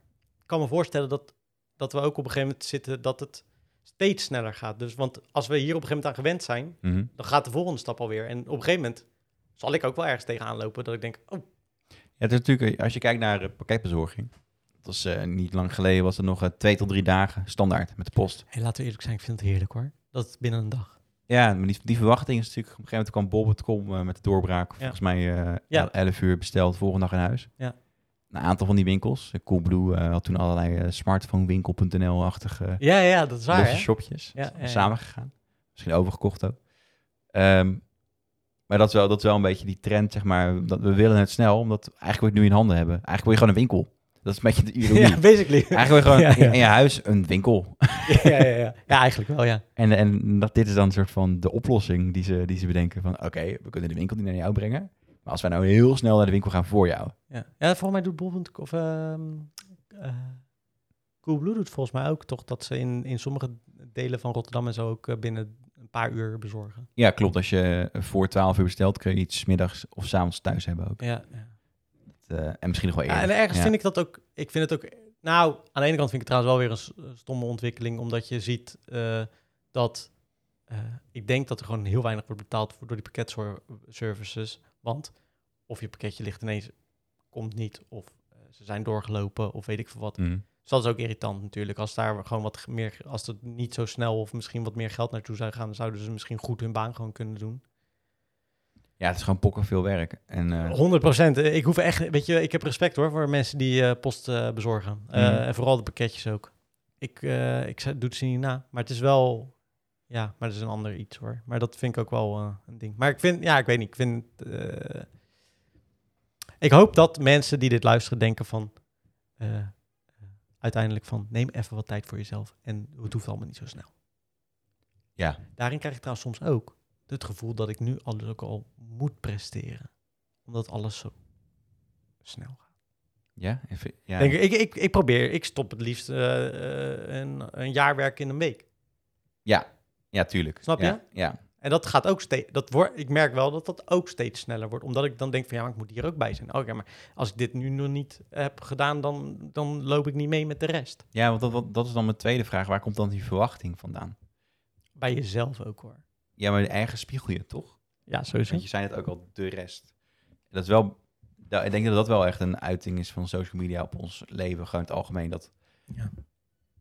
S3: kan me voorstellen dat, dat we ook op een gegeven moment zitten dat het steeds sneller gaat. Dus, want als we hier op een gegeven moment aan gewend zijn,
S2: Mhm.
S3: dan gaat de volgende stap alweer. En op een gegeven moment zal ik ook wel ergens tegenaan lopen dat ik denk, oh,
S2: Ja, het is natuurlijk, eh, als je kijkt naar eh, pakketbezorging. Dat was eh, niet lang geleden, was er nog eh, twee tot drie dagen standaard met de post.
S3: hey, laten we eerlijk zijn, ik vind het heerlijk hoor. Dat is binnen een dag.
S2: Ja, maar die, die verwachting is natuurlijk... Op een gegeven moment kwam bol.com eh, met de doorbraak. Volgens mij eh
S3: Ja.
S2: 11 uur besteld, volgende dag in huis.
S3: Ja.
S2: Een aantal van die winkels. Eh, Coolblue eh, had toen allerlei eh, smartphonewinkel.nl-achtige
S3: Ja, ja, dat is waar.
S2: losse
S3: Hè?
S2: shopjes.
S3: Ja, ja, ja.
S2: Samengegaan. Misschien overgekocht ook. Ehm, maar dat is, wel, dat is wel een beetje die trend, zeg maar. Dat we willen het snel, omdat eigenlijk we het nu in handen hebben. Eigenlijk wil je gewoon een winkel. Dat is een beetje de ironie.
S3: Ja, basically.
S2: Eigenlijk wil je gewoon
S3: Ja, ja.
S2: in je huis een winkel.
S3: ja, ja, ja. ja, eigenlijk wel, ja.
S2: En, en dat, dit is dan een soort van de oplossing die ze, die ze bedenken van... oké, we kunnen de winkel niet naar jou brengen... maar als wij nou heel snel naar de winkel gaan voor jou...
S3: Ja, ja volgens mij doet Bol of ehm eh, Coolblue doet volgens mij ook toch dat ze in, in sommige delen van Rotterdam en zo ook eh, binnen een paar uur bezorgen.
S2: Ja, klopt. Als je voor 12 uur bestelt... kun je iets 's middags of 's avonds thuis hebben ook.
S3: Ja, ja.
S2: echt... eh, en misschien nog wel
S3: Ja,
S2: eerder.
S3: en ergens
S2: Ja.
S3: vind ik dat ook. Ik vind het ook. Nou, aan de ene kant vind ik het trouwens wel weer een s- stomme ontwikkeling, omdat je ziet eh, dat. eh, ik denk dat er gewoon heel weinig wordt betaald voor, door die pakketservices. Want of je pakketje ligt ineens, komt niet, of eh, ze zijn doorgelopen, of weet ik veel wat.
S2: Mhm.
S3: Dus dat is ook irritant natuurlijk. Als daar gewoon wat meer, als het niet zo snel of misschien wat meer geld naartoe zou gaan, zouden ze misschien goed hun baan gewoon kunnen doen.
S2: Ja, het is gewoon pokken veel werk. En eh,
S3: 100 procent. Ik hoef echt, weet je, ik heb respect hoor voor mensen die eh, post eh, bezorgen. Eh,
S2: Mhm.
S3: En vooral de pakketjes ook. Ik, eh, ik zei- doe het ze niet na. Maar het is wel, ja, maar dat is een ander iets hoor. Maar dat vind ik ook wel eh, een ding. Maar ik vind, ja, ik weet niet. Ik vind, eh, ik hoop dat mensen die dit luisteren denken van, eh, uiteindelijk van, neem even wat tijd voor jezelf. En het hoeft allemaal niet zo snel.
S2: ja,
S3: Daarin krijg ik trouwens soms ook het gevoel dat ik nu alles ook al moet presteren. Omdat alles zo snel gaat.
S2: ja, even, ja.
S3: Denk, ik, ik, ik, ik probeer, ik stop het liefst eh, eh, een, een jaar werken in een week.
S2: ja, tuurlijk.
S3: Snap je?
S2: Ja, ja.
S3: En dat gaat ook steeds, dat wordt, ik merk wel dat dat ook steeds sneller wordt. Omdat ik dan denk van ja, maar ik moet hier ook bij zijn. Oké, maar als ik dit nu nog niet heb gedaan, dan, dan loop ik niet mee met de rest.
S2: Ja, want dat, wat- dat is dan mijn tweede vraag. Waar komt dan die verwachting vandaan?
S3: Bij jezelf ook hoor.
S2: Ja, maar je eigen spiegel je toch?
S3: Ja, sowieso.
S2: Want je zei het ook al, de rest. Dat is wel, da- ik denk dat dat wel echt een uiting is van social media op ons leven, gewoon in het algemeen. Dat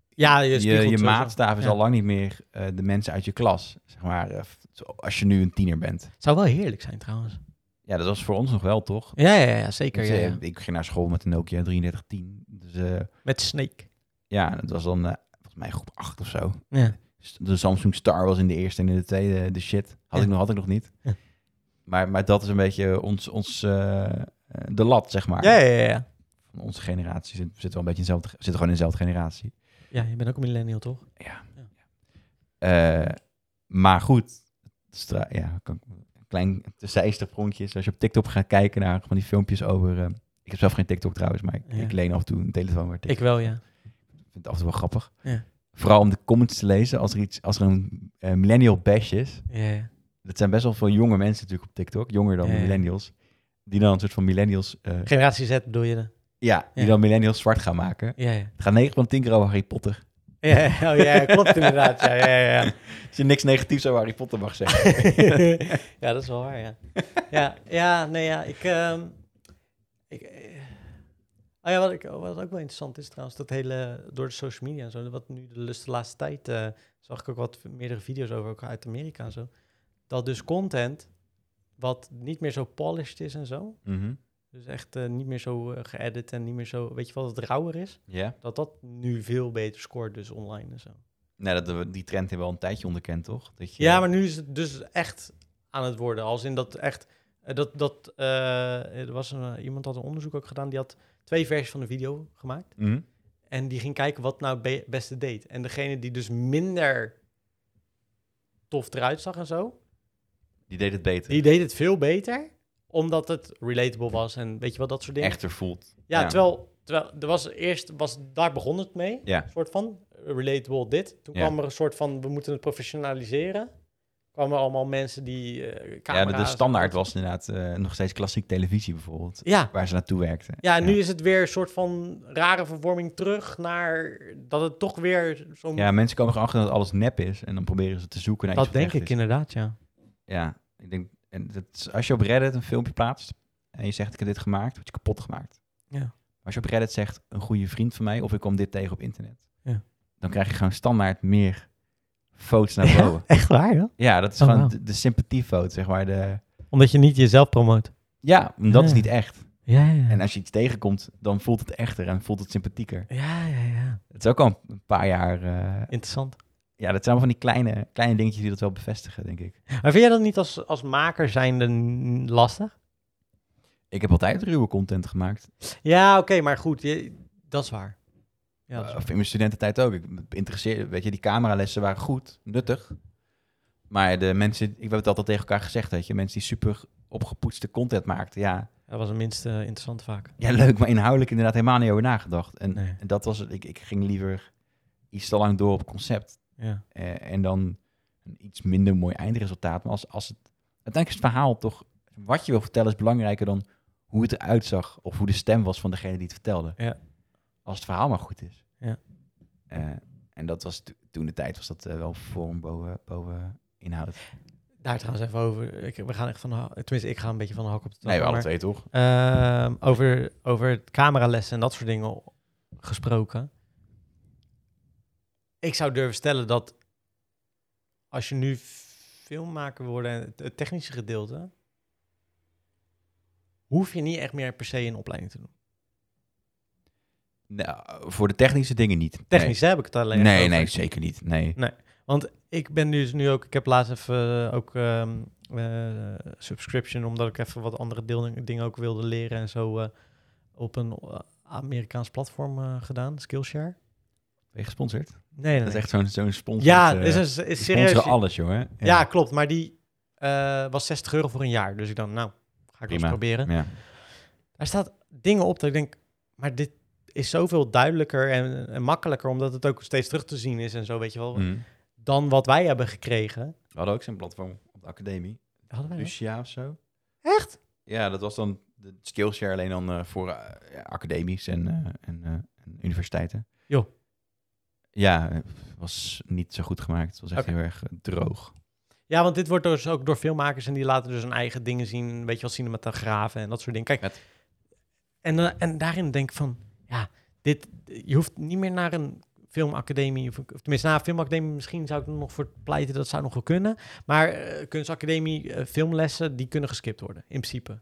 S3: Ja,
S2: je,
S3: je,
S2: je,
S3: spiegelt sowieso.
S2: maatstaf is
S3: Ja.
S2: al lang niet meer eh, de mensen uit je klas, zeg maar, eh, f- zo- als je nu een tiener bent.
S3: Zou wel heerlijk zijn trouwens.
S2: Ja, dat was voor ons nog wel, toch?
S3: Ja, ja, ja zeker.
S2: Want,
S3: Ja,
S2: eh,
S3: ja.
S2: Ik ging naar school met een Nokia 3310. Dus eh,
S3: Met Snake.
S2: ja, dat was dan eh, volgens mij groep 8 of zo. Dus
S3: Ja.
S2: De Samsung Star was in de eerste en in de tweede eh, de shit. Had,
S3: Ja.
S2: ik, nog, had ik nog niet.
S3: Ja.
S2: Maar, maar dat is een beetje ons, ons, eh, eh, de lat, zeg maar.
S3: Ja, ja, ja, ja.
S2: Van onze generatie zit, zit wel een beetje in dezelfde, zit gewoon in dezelfde generatie.
S3: Ja, je bent ook een millennial, toch?
S2: Ja.
S3: Ja.
S2: Eh, maar goed, stra- ja, kan, een klein terzijster pronkje. is Als je op TikTok gaat kijken naar van die filmpjes over... eh, ik heb zelf geen TikTok trouwens, maar ik,
S3: Ja.
S2: ik leen af en toe een telefoon. waar TikTok
S3: Ik wel, ja.
S2: Ik vind het af en toe wel grappig.
S3: Ja.
S2: Vooral om de comments te lezen als er, iets, als er een eh, millennial bash is.
S3: Ja, ja.
S2: Dat zijn best wel veel jonge mensen natuurlijk op TikTok, jonger dan
S3: Ja, ja.
S2: millennials. Die dan een soort van millennials, eh,
S3: Generatie Z bedoel je dan?
S2: ja, die
S3: Ja.
S2: dan millennials zwart gaan maken.
S3: Ja, ja.
S2: Het gaat 9 van 10 keer over Harry Potter.
S3: Ja, ja, oh, ja, ja, klopt inderdaad. Ja, ja, ja.
S2: Als je niks negatiefs over Harry Potter mag zeggen.
S3: ja, dat is wel waar, ja. Ja, ja nee, ja, ik... ehm, ik eh, oh ja, wat, ik, wat ook wel interessant is trouwens, dat hele... Door de social media en zo, wat nu de, lust de laatste tijd... eh, zag ik ook wat v- meerdere video's over, ook uit Amerika en zo. Dat dus content, wat niet meer zo polished is en zo...
S2: Mhm.
S3: Dus echt eh, niet meer zo eh, geëdit en niet meer zo... Weet je wat het rauwer is?
S2: Ja,
S3: Dat dat nu veel beter scoort dus online en zo.
S2: nou, dat, die trend hebben we al een tijdje onderkend, toch? Dat je,
S3: Ja, maar nu is het dus echt aan het worden. Als in dat echt... eh, Dat, dat, eh, er was een, eh, iemand had een onderzoek ook gedaan. Die had twee versies van de video gemaakt.
S2: Mhm.
S3: En die ging kijken wat nou het be- beste deed. En degene die dus minder tof eruit zag en zo...
S2: Die deed het beter.
S3: Die deed het veel beter. Omdat het relatable was en weet je wel, dat soort dingen.
S2: Echter voelt.
S3: Ja,
S2: Ja.
S3: terwijl, terwijl er was eerst, was, daar begon het mee,
S2: Ja.
S3: een soort van, relatable dit. Toen
S2: Ja.
S3: kwam er een soort van, we moeten het professionaliseren. Kwamen er allemaal mensen die eh
S2: Ja, de,
S3: camera's-
S2: de standaard was inderdaad eh, nog steeds klassiek televisie bijvoorbeeld.
S3: Ja,
S2: Waar ze naartoe werkten.
S3: ja en nu is het weer een soort van rare vervorming terug naar dat het toch weer zo'n...
S2: Ja, mensen komen gewoon achter dat alles nep is. En dan proberen ze te zoeken naar iets wat echt is.
S3: inderdaad, ja.
S2: ja, ik denk, en dat is- als je op Reddit een filmpje plaatst en je zegt ik heb dit gemaakt, word je kapot gemaakt.
S3: Ja.
S2: Als je op Reddit zegt een goede vriend van mij of ik kwam dit tegen op internet,
S3: Ja.
S2: dan krijg je gewoon standaard meer foto's naar
S3: Ja?
S2: boven.
S3: Echt waar, joe?
S2: Ja, dat is
S3: Oh,
S2: gewoon
S3: wauw.
S2: de, de sympathiefoto, zeg maar. De,
S3: Omdat je niet jezelf promoot.
S2: ja, dat is
S3: Ja.
S2: niet echt.
S3: Ja, ja,
S2: En als je iets tegenkomt, dan voelt het echter en voelt het sympathieker.
S3: Ja, ja, ja.
S2: Het is ook al een paar jaar... eh,
S3: Interessant.
S2: ja, dat zijn allemaal van die kleine, kleine dingetjes die dat wel bevestigen, denk ik.
S3: Maar vind jij dat niet als, als maker zijnde n- lastig?
S2: Ik heb altijd ruwe content gemaakt.
S3: Ja, oké, maar goed, je- dat is waar. Ja, dat is
S2: Uh,
S3: waar.
S2: of in mijn studententijd ook. Ik interesseerde, weet je, die cameralessen waren goed, nuttig. Maar de mensen, ik heb het altijd tegen elkaar gezegd, weet je, mensen die super opgepoetste content maakten, ja,
S3: dat was een minst eh, interessant vaak.
S2: ja, leuk, maar inhoudelijk inderdaad helemaal niet over nagedacht. En,
S3: Nee.
S2: en dat was het. Ik, ik ging liever iets te lang door op concept
S3: Ja.
S2: eh, en dan een iets minder mooi eindresultaat. Maar als, als het, uiteindelijk is het verhaal toch, wat je wil vertellen is belangrijker dan hoe het eruit zag of hoe de stem was van degene die het vertelde.
S3: Ja.
S2: Als het verhaal maar goed is.
S3: Ja.
S2: Eh, en dat was to- toen de tijd was dat eh, wel vorm boven, boven inhoud.
S3: Daar trouwens even over. Ik, we gaan echt van de ha- Tenminste, ik ga een beetje van de hak op de tak.
S2: Nee, we alle
S3: maar,
S2: twee toch?
S3: ehm, over, over cameralessen en dat soort dingen gesproken. Ik zou durven stellen dat als je nu filmmaker wordt en het- het technische gedeelte, hoef je niet echt meer per se een opleiding te doen.
S2: Nou, voor de technische dingen niet. Nee.
S3: Technisch hè, heb ik het alleen.
S2: Nee, nee,
S3: over.
S2: zeker niet. Nee.
S3: Want ik ben dus nu ook, ik heb laatst even eh, ook ehm, eh, subscription, omdat ik even wat andere deel, dingen ook wilde leren en zo eh, op een eh, Amerikaans platform eh, gedaan, Skillshare.
S2: Ben je gesponsord?
S3: Nee, nee.
S2: Dat is
S3: nee.
S2: echt zo'n zo'n sponsor.
S3: ja,
S2: eh,
S3: is, is, is
S2: ze
S3: serieus.
S2: sponsoren alles, joh. hè? Ja,
S3: Ja, klopt. Maar die eh, was 60 euro voor een jaar. Dus ik dacht, nou, ga ik wel eens
S2: Prima.
S3: proberen.
S2: Ja.
S3: Er staat dingen op dat ik denk, maar dit is zoveel duidelijker en, en makkelijker, omdat het ook steeds terug te zien is en zo, weet je wel,
S2: Mm.
S3: dan wat wij hebben gekregen.
S2: We hadden ook zo'n platform op de academie.
S3: Hadden
S2: Dus
S3: wij dat?
S2: Lucia of zo.
S3: Echt?
S2: Ja, dat was dan de Skillshare alleen dan eh, voor eh, ja, academies en, eh, en, eh, en universiteiten.
S3: Joh.
S2: Ja, eh, was niet zo goed gemaakt. Het was echt
S3: Oké.
S2: heel erg eh, droog.
S3: Ja, want dit wordt dus ook door filmmakers en die laten dus hun eigen dingen zien. Weet je wel, cinematografen en dat soort dingen. Kijk,
S2: Vet.
S3: en, eh, en daarin denk ik van, ja, dit, je hoeft niet meer naar een filmacademie, of, of tenminste naar een filmacademie misschien zou ik er nog voor pleiten, dat zou nog wel kunnen. Maar eh, kunstacademie, eh, filmlessen, die kunnen geskipt worden, in principe.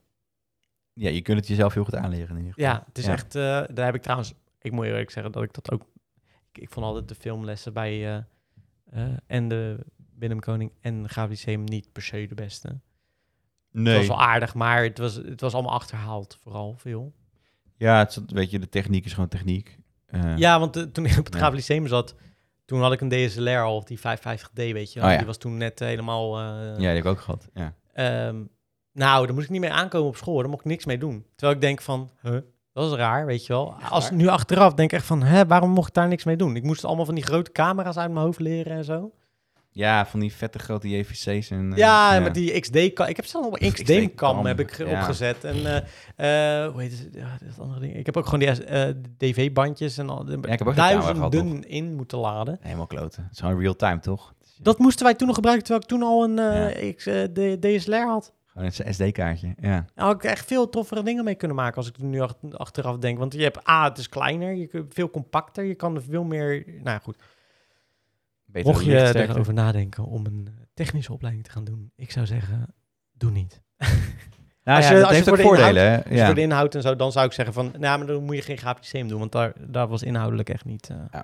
S2: Ja, je kunt het jezelf heel goed aanleren in ieder geval.
S3: Ja, het is echt. eh, daar heb ik trouwens. Ik moet eerlijk zeggen dat ik dat ook. Ik, ik vond altijd de filmlessen bij. eh, eh, en de Willem Koning en Gabi Seem niet per se de beste.
S2: Nee.
S3: Het was wel aardig, maar het was, het was allemaal achterhaald, vooral veel.
S2: Ja, het, is- weet je, de techniek is gewoon techniek. Eh,
S3: Ja, want eh, toen ik op het
S2: Ja.
S3: Graaf Lyceum zat, toen had ik een DSLR al, die 550D, weet je. wel.
S2: Oh ja.
S3: Die was toen net helemaal... eh,
S2: ja, die heb ik ook gehad. Ja.
S3: Ehm, nou, daar moest ik niet mee aankomen op school. hoor. Daar mocht ik niks mee doen. Terwijl ik denk van, huh, dat is raar, weet je wel. Als
S2: waar?
S3: nu achteraf denk ik echt van, hè, waarom mocht ik daar niks mee doen? Ik moest allemaal van die grote camera's uit mijn hoofd leren en zo.
S2: ja, van die vette grote JVC's. En, eh,
S3: ja, maar die XD-kam. Ik heb zelf nog een
S2: XD-kam,
S3: XD-kam heb ik
S2: ja.
S3: opgezet. En eh, eh, hoe heet het? Ja, dat andere ding. Ik heb ook gewoon die eh, DV-bandjes en al,
S2: Ja, ik heb ook zo'n camera gehad,
S3: duizenden in moeten laden.
S2: Helemaal kloten. Het is gewoon real time, toch?
S3: Dat moesten wij toen nog gebruiken, terwijl ik toen al een eh, X, eh, D- DSLR had.
S2: Gewoon een SD-kaartje. Ja.
S3: Daar had ik echt veel toffere dingen mee kunnen maken als ik er nu ach- achteraf denk. Want je hebt A, het is kleiner, je kunt veel compacter, je kan er veel meer... Nou ja, goed,
S2: Beter
S3: mocht je
S2: lichtsterkte.
S3: erover nadenken om een eh, technische opleiding te gaan doen, ik zou zeggen, doe niet.
S2: Nou,
S3: Ah ja,
S2: als je,
S3: dat
S2: dat
S3: als je
S2: heeft
S3: voor
S2: ook
S3: de
S2: voordelen. hè?
S3: Dus voor de
S2: ja.
S3: inhoud en zo, dan zou ik zeggen van, nou, maar dan moet je geen grafisch systeem doen, want daar, daar was inhoudelijk echt niet... eh,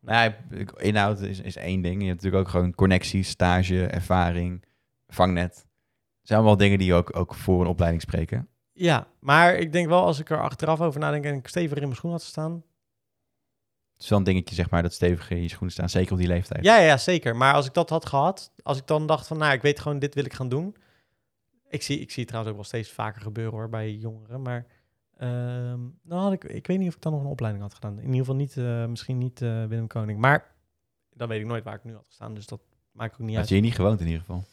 S2: Nou, ik- inhoud is, is één ding. Je hebt natuurlijk ook gewoon connecties, stage, ervaring, vangnet. Het zijn allemaal dingen die ook, ook voor een opleiding spreken.
S3: Ja, maar ik denk wel, als ik er achteraf over nadenk en ik steviger in mijn schoen had gestaan...
S2: Het is wel een dingetje, zeg maar, dat stevig in je schoenen staan. Zeker op die leeftijd.
S3: Ja, ja, zeker. Maar als ik dat had gehad, als ik dan dacht van, nou, ik weet gewoon, dit wil ik gaan doen. Ik zie, ik zie het trouwens ook wel steeds vaker gebeuren hoor, bij jongeren. Maar ehm dan had ik, ik weet niet of ik dan nog een opleiding had gedaan. In ieder geval niet, eh, misschien niet eh, Willem Koning. Maar dan weet ik nooit waar ik nu had gestaan, dus dat maakt ook niet
S2: Dat
S3: uit.
S2: je je niet gewoond in ieder geval.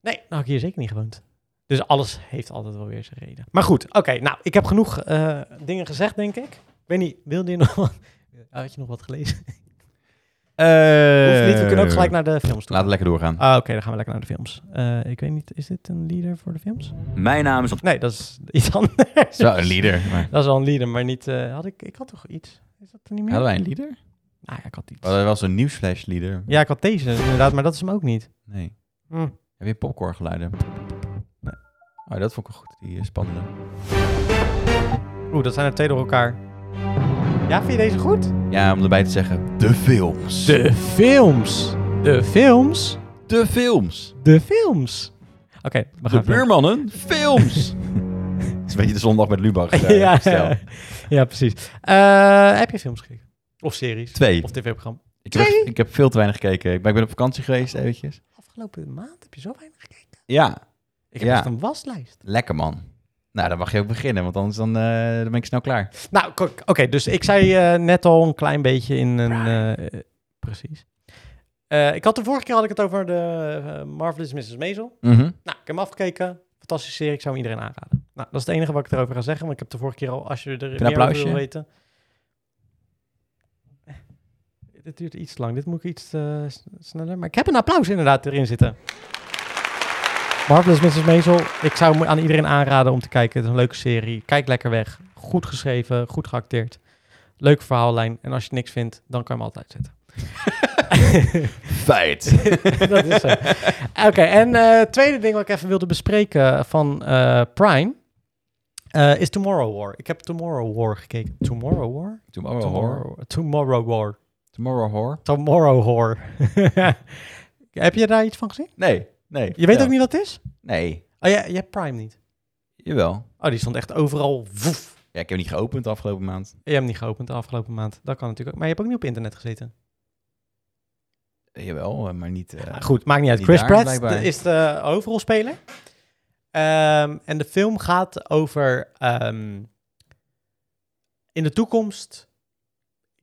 S3: Nee, nou had ik hier zeker niet gewoond. Dus alles heeft altijd wel weer zijn reden. Maar goed, oké, nou, ik heb genoeg eh, dingen gezegd, denk ik. Ik weet niet, wilde je nog wat? Had je nog wat gelezen? Eh. Hoeft niet, we kunnen ook gelijk naar de films toe.
S2: Laten we Eh, lekker doorgaan.
S3: Ah, Oké, dan gaan we lekker naar de films. Eh, ik weet niet, is dit een leader voor de films?
S2: Mijn naam is...
S3: Nee, dat is iets anders.
S2: Zo, een leader. Maar...
S3: Dat is wel een leader, maar niet... eh, had ik, ik had toch iets? Is dat er niet meer?
S2: Hadden wij een leader?
S3: Ah, ja, ik had iets.
S2: Oh, dat was een nieuwsflash leader.
S3: Ja, ik had deze inderdaad, maar dat is hem ook niet.
S2: Nee.
S3: Hm.
S2: Heb je popcorn geluiden? Nee. Oh, dat vond ik wel goed. Die eh, spannende.
S3: Oeh, dat zijn er twee door elkaar. Ja, vind je deze goed?
S2: Ja, om erbij te zeggen, de films.
S3: De films. De films.
S2: De films.
S3: De films. Oké, we gaan
S2: De buurmannen, films. Het is een beetje de zondag met Lubach. eh,
S3: ja,
S2: stijl.
S3: ja, ja, precies. Eh, heb je films gekeken? Of series?
S2: Twee.
S3: Of tv-programma?
S2: Ik heb,
S3: Twee.
S2: ik heb veel te weinig gekeken. Ik ben, ik ben op vakantie geweest eventjes.
S3: Afgelopen maand heb je zo weinig gekeken.
S2: Ja,
S3: Ik heb
S2: Ja.
S3: echt een waslijst.
S2: lekker man. Nou, dan mag je ook beginnen, want anders dan, eh, dan ben ik snel klaar.
S3: Nou, ko- oké, dus ik zei eh, net al een klein beetje in een... eh, eh, precies. Eh, ik had de vorige keer had ik het Mhm. over de eh, Marvelous Mrs. Maisel. Nou, ik heb hem afgekeken. Fantastische serie, ik zou hem iedereen aanraden. Nou, dat is het enige wat ik erover ga zeggen, want ik heb de vorige keer al, als je er meer
S2: applausje?
S3: over wil weten... Eh, Dit duurt iets te lang, dit moet ik iets eh, s- sneller... Maar ik heb een applaus inderdaad erin zitten. Marvelous Mrs. Maisel, ik zou hem aan iedereen aanraden om te kijken. Het is een leuke serie, kijk lekker weg. Goed geschreven, goed geacteerd. Leuke verhaallijn. En als je niks vindt, dan kan je hem altijd zetten.
S2: Feit.
S3: dat is zo. Oké, en eh tweede ding wat ik even wilde bespreken van eh, Prime eh, is Tomorrow War. Ik heb Tomorrow War gekeken. Tomorrow War?
S2: Tomorrow Horror.
S3: Tomorrow War.
S2: Tomorrow Horror?
S3: Tomorrow War. heb je daar iets van gezien?
S2: Nee, nee.
S3: Je weet
S2: Ja.
S3: ook niet wat het is?
S2: Nee,
S3: Oh, ja, je hebt Prime niet.
S2: jawel.
S3: Oh, die stond echt overal. Woef.
S2: Ja, ik heb hem niet geopend de afgelopen maand.
S3: Je hebt hem niet geopend de afgelopen maand. Dat kan natuurlijk ook. Maar je hebt ook niet op internet gezeten.
S2: Eh, Jawel, eh, maar niet... eh,
S3: Nou, goed, maakt niet uit.
S2: die
S3: Chris
S2: daar
S3: Pratt
S2: blijkbaar.
S3: de- is de hoofdrolspeler. Ehm, en de film gaat over ehm, in de toekomst.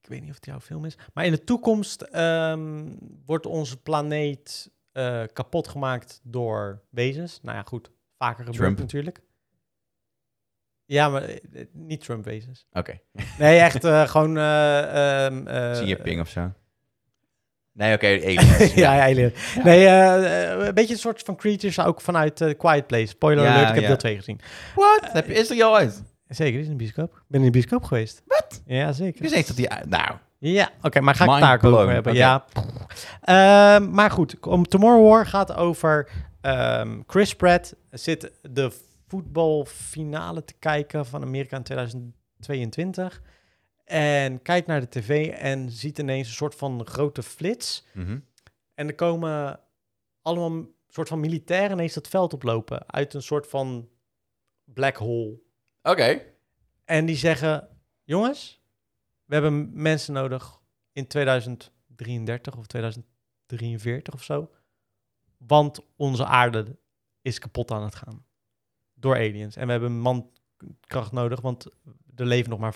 S3: Ik weet niet of het jouw film is, maar in de toekomst ehm, wordt onze planeet eh, kapot gemaakt door wezens. Nou ja, goed, vaker gebeurt
S2: Trump.
S3: natuurlijk. Ja, maar eh, eh, niet Trump-wezens.
S2: Oké,
S3: Nee, echt eh, gewoon. eh, ehm, eh,
S2: zie je ping of zo? Nee, oké, aliens.
S3: ja, ja, alien. Nee, eh, eh, een beetje een soort van creatures ook vanuit eh, Quiet Place. Spoiler
S2: Ja,
S3: alert, ik heb
S2: ja.
S3: deel 2 gezien.
S2: Wat? Heb je- Is er jou uit?
S3: Zeker, dit is een bioscoop. Ik ben in de bioscoop geweest. Wat? Ja,
S2: Ik
S3: zeker.
S2: wist niet dat die... Nou,
S3: Ja, oké, maar ga ik het
S2: Mind
S3: daar ook over
S2: blown.
S3: hebben?
S2: Oké.
S3: Ja. Ehm, maar goed, om Tomorrow War gaat over ehm, Chris Pratt zit de voetbalfinale te kijken van Amerika in 2022 en kijkt naar de tv en ziet ineens een soort van grote flits
S2: mhm.
S3: En er komen allemaal m- soort van militairen ineens dat veld oplopen. Uit een soort van black hole.
S2: oké.
S3: En die zeggen, jongens, we hebben m- mensen nodig in 2033 of 2043 of zo. Want onze aarde is kapot aan het gaan. Door aliens. En we hebben mankracht nodig, want er leven nog maar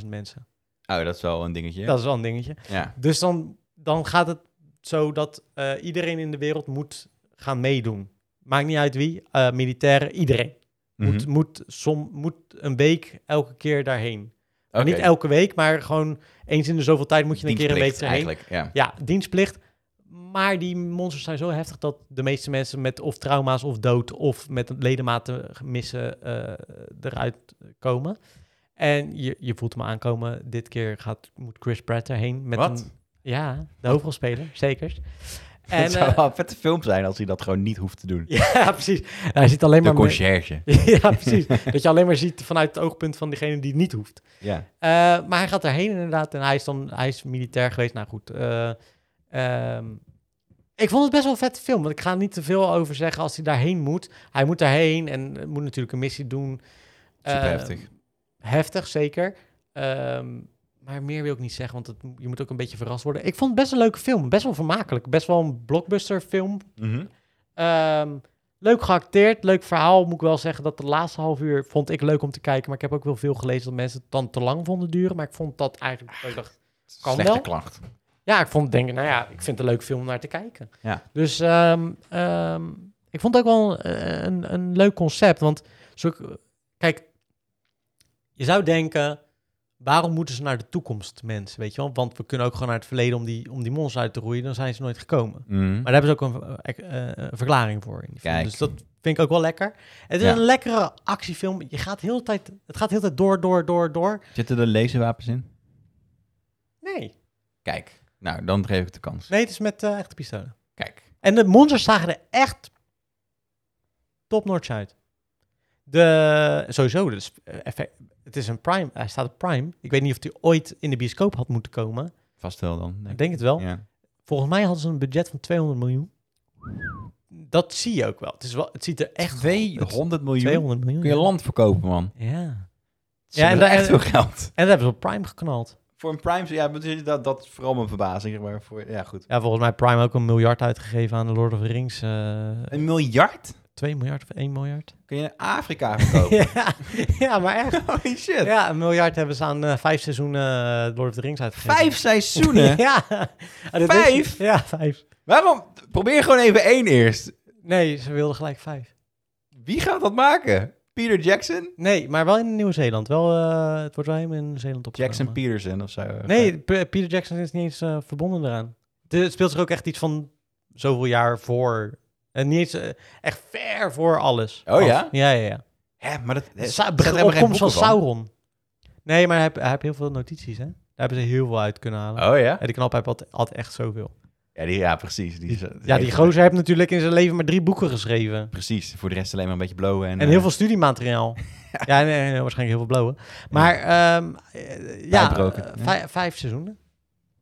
S3: 500.000 mensen.
S2: Oh, dat is wel een dingetje.
S3: Dat is wel een dingetje.
S2: Ja,
S3: Dus dan, dan gaat het zo dat eh, iedereen in de wereld moet gaan meedoen. Maakt niet uit wie, eh, militairen, iedereen. Moet,
S2: Mhm.
S3: moet, som, moet een week elke keer daarheen.
S2: Oké.
S3: Niet elke week, maar gewoon eens in de zoveel tijd moet je een keer een week
S2: Dienstplicht
S3: erheen.
S2: eigenlijk, ja.
S3: Ja, dienstplicht. Maar die monsters zijn zo heftig dat de meeste mensen met of trauma's of dood of met ledematen missen eh, eruit komen. En je, je voelt hem aankomen. Dit keer gaat, moet Chris Pratt erheen. Met
S2: Wat?
S3: Een, ja, de hoofdrolspeler, zeker. En,
S2: het zou
S3: eh,
S2: wel een vette film zijn als hij dat gewoon niet hoeft te doen.
S3: ja, precies. Nou, Hij ziet alleen
S2: De
S3: maar... me-
S2: conciërge.
S3: ja, precies. Dat je alleen maar ziet vanuit het oogpunt van degene die het niet hoeft.
S2: Ja.
S3: Eh, maar hij gaat daarheen inderdaad. En hij is dan hij is militair geweest. Nou goed. eh, ehm, ik vond het best wel een vette film. Want ik ga er niet te veel over zeggen als hij daarheen moet. Hij moet daarheen en eh, moet natuurlijk een missie doen.
S2: Super
S3: Eh,
S2: heftig.
S3: Heftig, zeker. Ehm, maar meer wil ik niet zeggen, want het, je moet ook een beetje verrast worden. Ik vond het best een leuke film. Best wel vermakelijk. Best wel een blockbuster film.
S2: Mhm.
S3: Ehm, leuk geacteerd, leuk verhaal. Moet ik wel zeggen dat de laatste half uur vond ik leuk om te kijken. Maar ik heb ook wel veel gelezen dat mensen het dan te lang vonden duren. Maar ik vond dat eigenlijk... dat ik dacht, Kan
S2: Slechte
S3: wel.
S2: klacht.
S3: ja, ik vond denk ik, nou ja, ik vind het een leuke film om naar te kijken.
S2: Ja.
S3: Dus ehm, ehm, ik vond het ook wel een, een, een leuk concept. Want zulke- kijk, je zou denken, waarom moeten ze naar de toekomst, mensen? Weet je wel? Want we kunnen ook gewoon naar het verleden om die, om die monsters uit te roeien. Dan zijn ze nooit gekomen.
S2: Mhm.
S3: Maar daar hebben ze ook een, eh, eh, een verklaring voor. In die film.
S2: Kijk.
S3: Dus dat vind ik ook wel lekker. Het is
S2: Ja.
S3: een lekkere actiefilm. Je gaat heel de tijd, het gaat heel de tijd door, door, door, door.
S2: Zitten er laserwapens in?
S3: Nee.
S2: Kijk. Nou, dan geef ik de kans.
S3: Nee, het is met eh, echte pistolen.
S2: Kijk.
S3: En de monsters zagen er echt top notch uit. De, sowieso, dus, eh, effect- het is een Prime. Hij staat op Prime. Ik weet niet of die ooit in de bioscoop had moeten komen.
S2: Vast wel dan.
S3: Ik
S2: denk ik.
S3: denk het wel.
S2: Ja.
S3: Volgens mij hadden ze een budget van 200 miljoen. Dat zie je ook wel. Het, is wel, het ziet er echt...
S2: 200 miljoen.
S3: 200 miljoen.
S2: Kun je
S3: ja.
S2: land verkopen, man.
S3: Ja.
S2: Ze ja, en
S3: en
S2: daar echt
S3: daar-
S2: veel geld.
S3: En dat hebben ze op Prime geknald.
S2: Voor een Prime, ja, maar dus dat, dat is vooral mijn verbazing. Maar voor, ja, goed.
S3: Ja, volgens mij Prime ook een miljard uitgegeven aan de Lord of the Rings. eh
S2: Een miljard?
S3: 2 miljard of 1 miljard?
S2: Kun je in Afrika verkopen?
S3: ja, ja, maar echt.
S2: Holy shit.
S3: Ja, een miljard hebben ze aan eh, vijf seizoenen eh, Lord of the Rings uitgegeven.
S2: Vijf seizoenen?
S3: ja. Ah, dat wist
S2: Vijf?
S3: ik. Ja, vijf.
S2: Waarom? Probeer gewoon even één eerst.
S3: Nee, ze wilden gelijk vijf.
S2: Wie gaat dat maken? Peter Jackson?
S3: Nee, maar wel in Nieuw-Zeeland. Wel, eh, het wordt wel helemaal in Zeeland opgenomen.
S2: Jackson Peterson of zo.
S3: Nee, P- Peter Jackson is niet eens eh, verbonden eraan. De- Het speelt zich ook echt iets van zoveel jaar voor. En niet eens eh, echt ver voor alles.
S2: Oh
S3: af.
S2: ja?
S3: Ja, ja, ja.
S2: Hè, maar dat
S3: De
S2: is
S3: Sa- de opkomst van Sauron. Nee, maar hij, heeft- hij heeft heel veel notities, hè? Daar hebben ze heel veel uit kunnen halen.
S2: Oh ja?
S3: En die knappe had, had echt zoveel.
S2: Ja, die, ja precies. Die, is-
S3: Ja, die gozer heeft natuurlijk in zijn leven maar drie boeken geschreven.
S2: Precies, voor de rest alleen maar een beetje blowen. En,
S3: En heel
S2: eh,
S3: veel studiemateriaal. ja, nee, nee, waarschijnlijk heel veel blauwe. Maar ehm, eh, ja,
S2: Pijproken,
S3: eh,
S2: ja.
S3: vij- vijf seizoenen.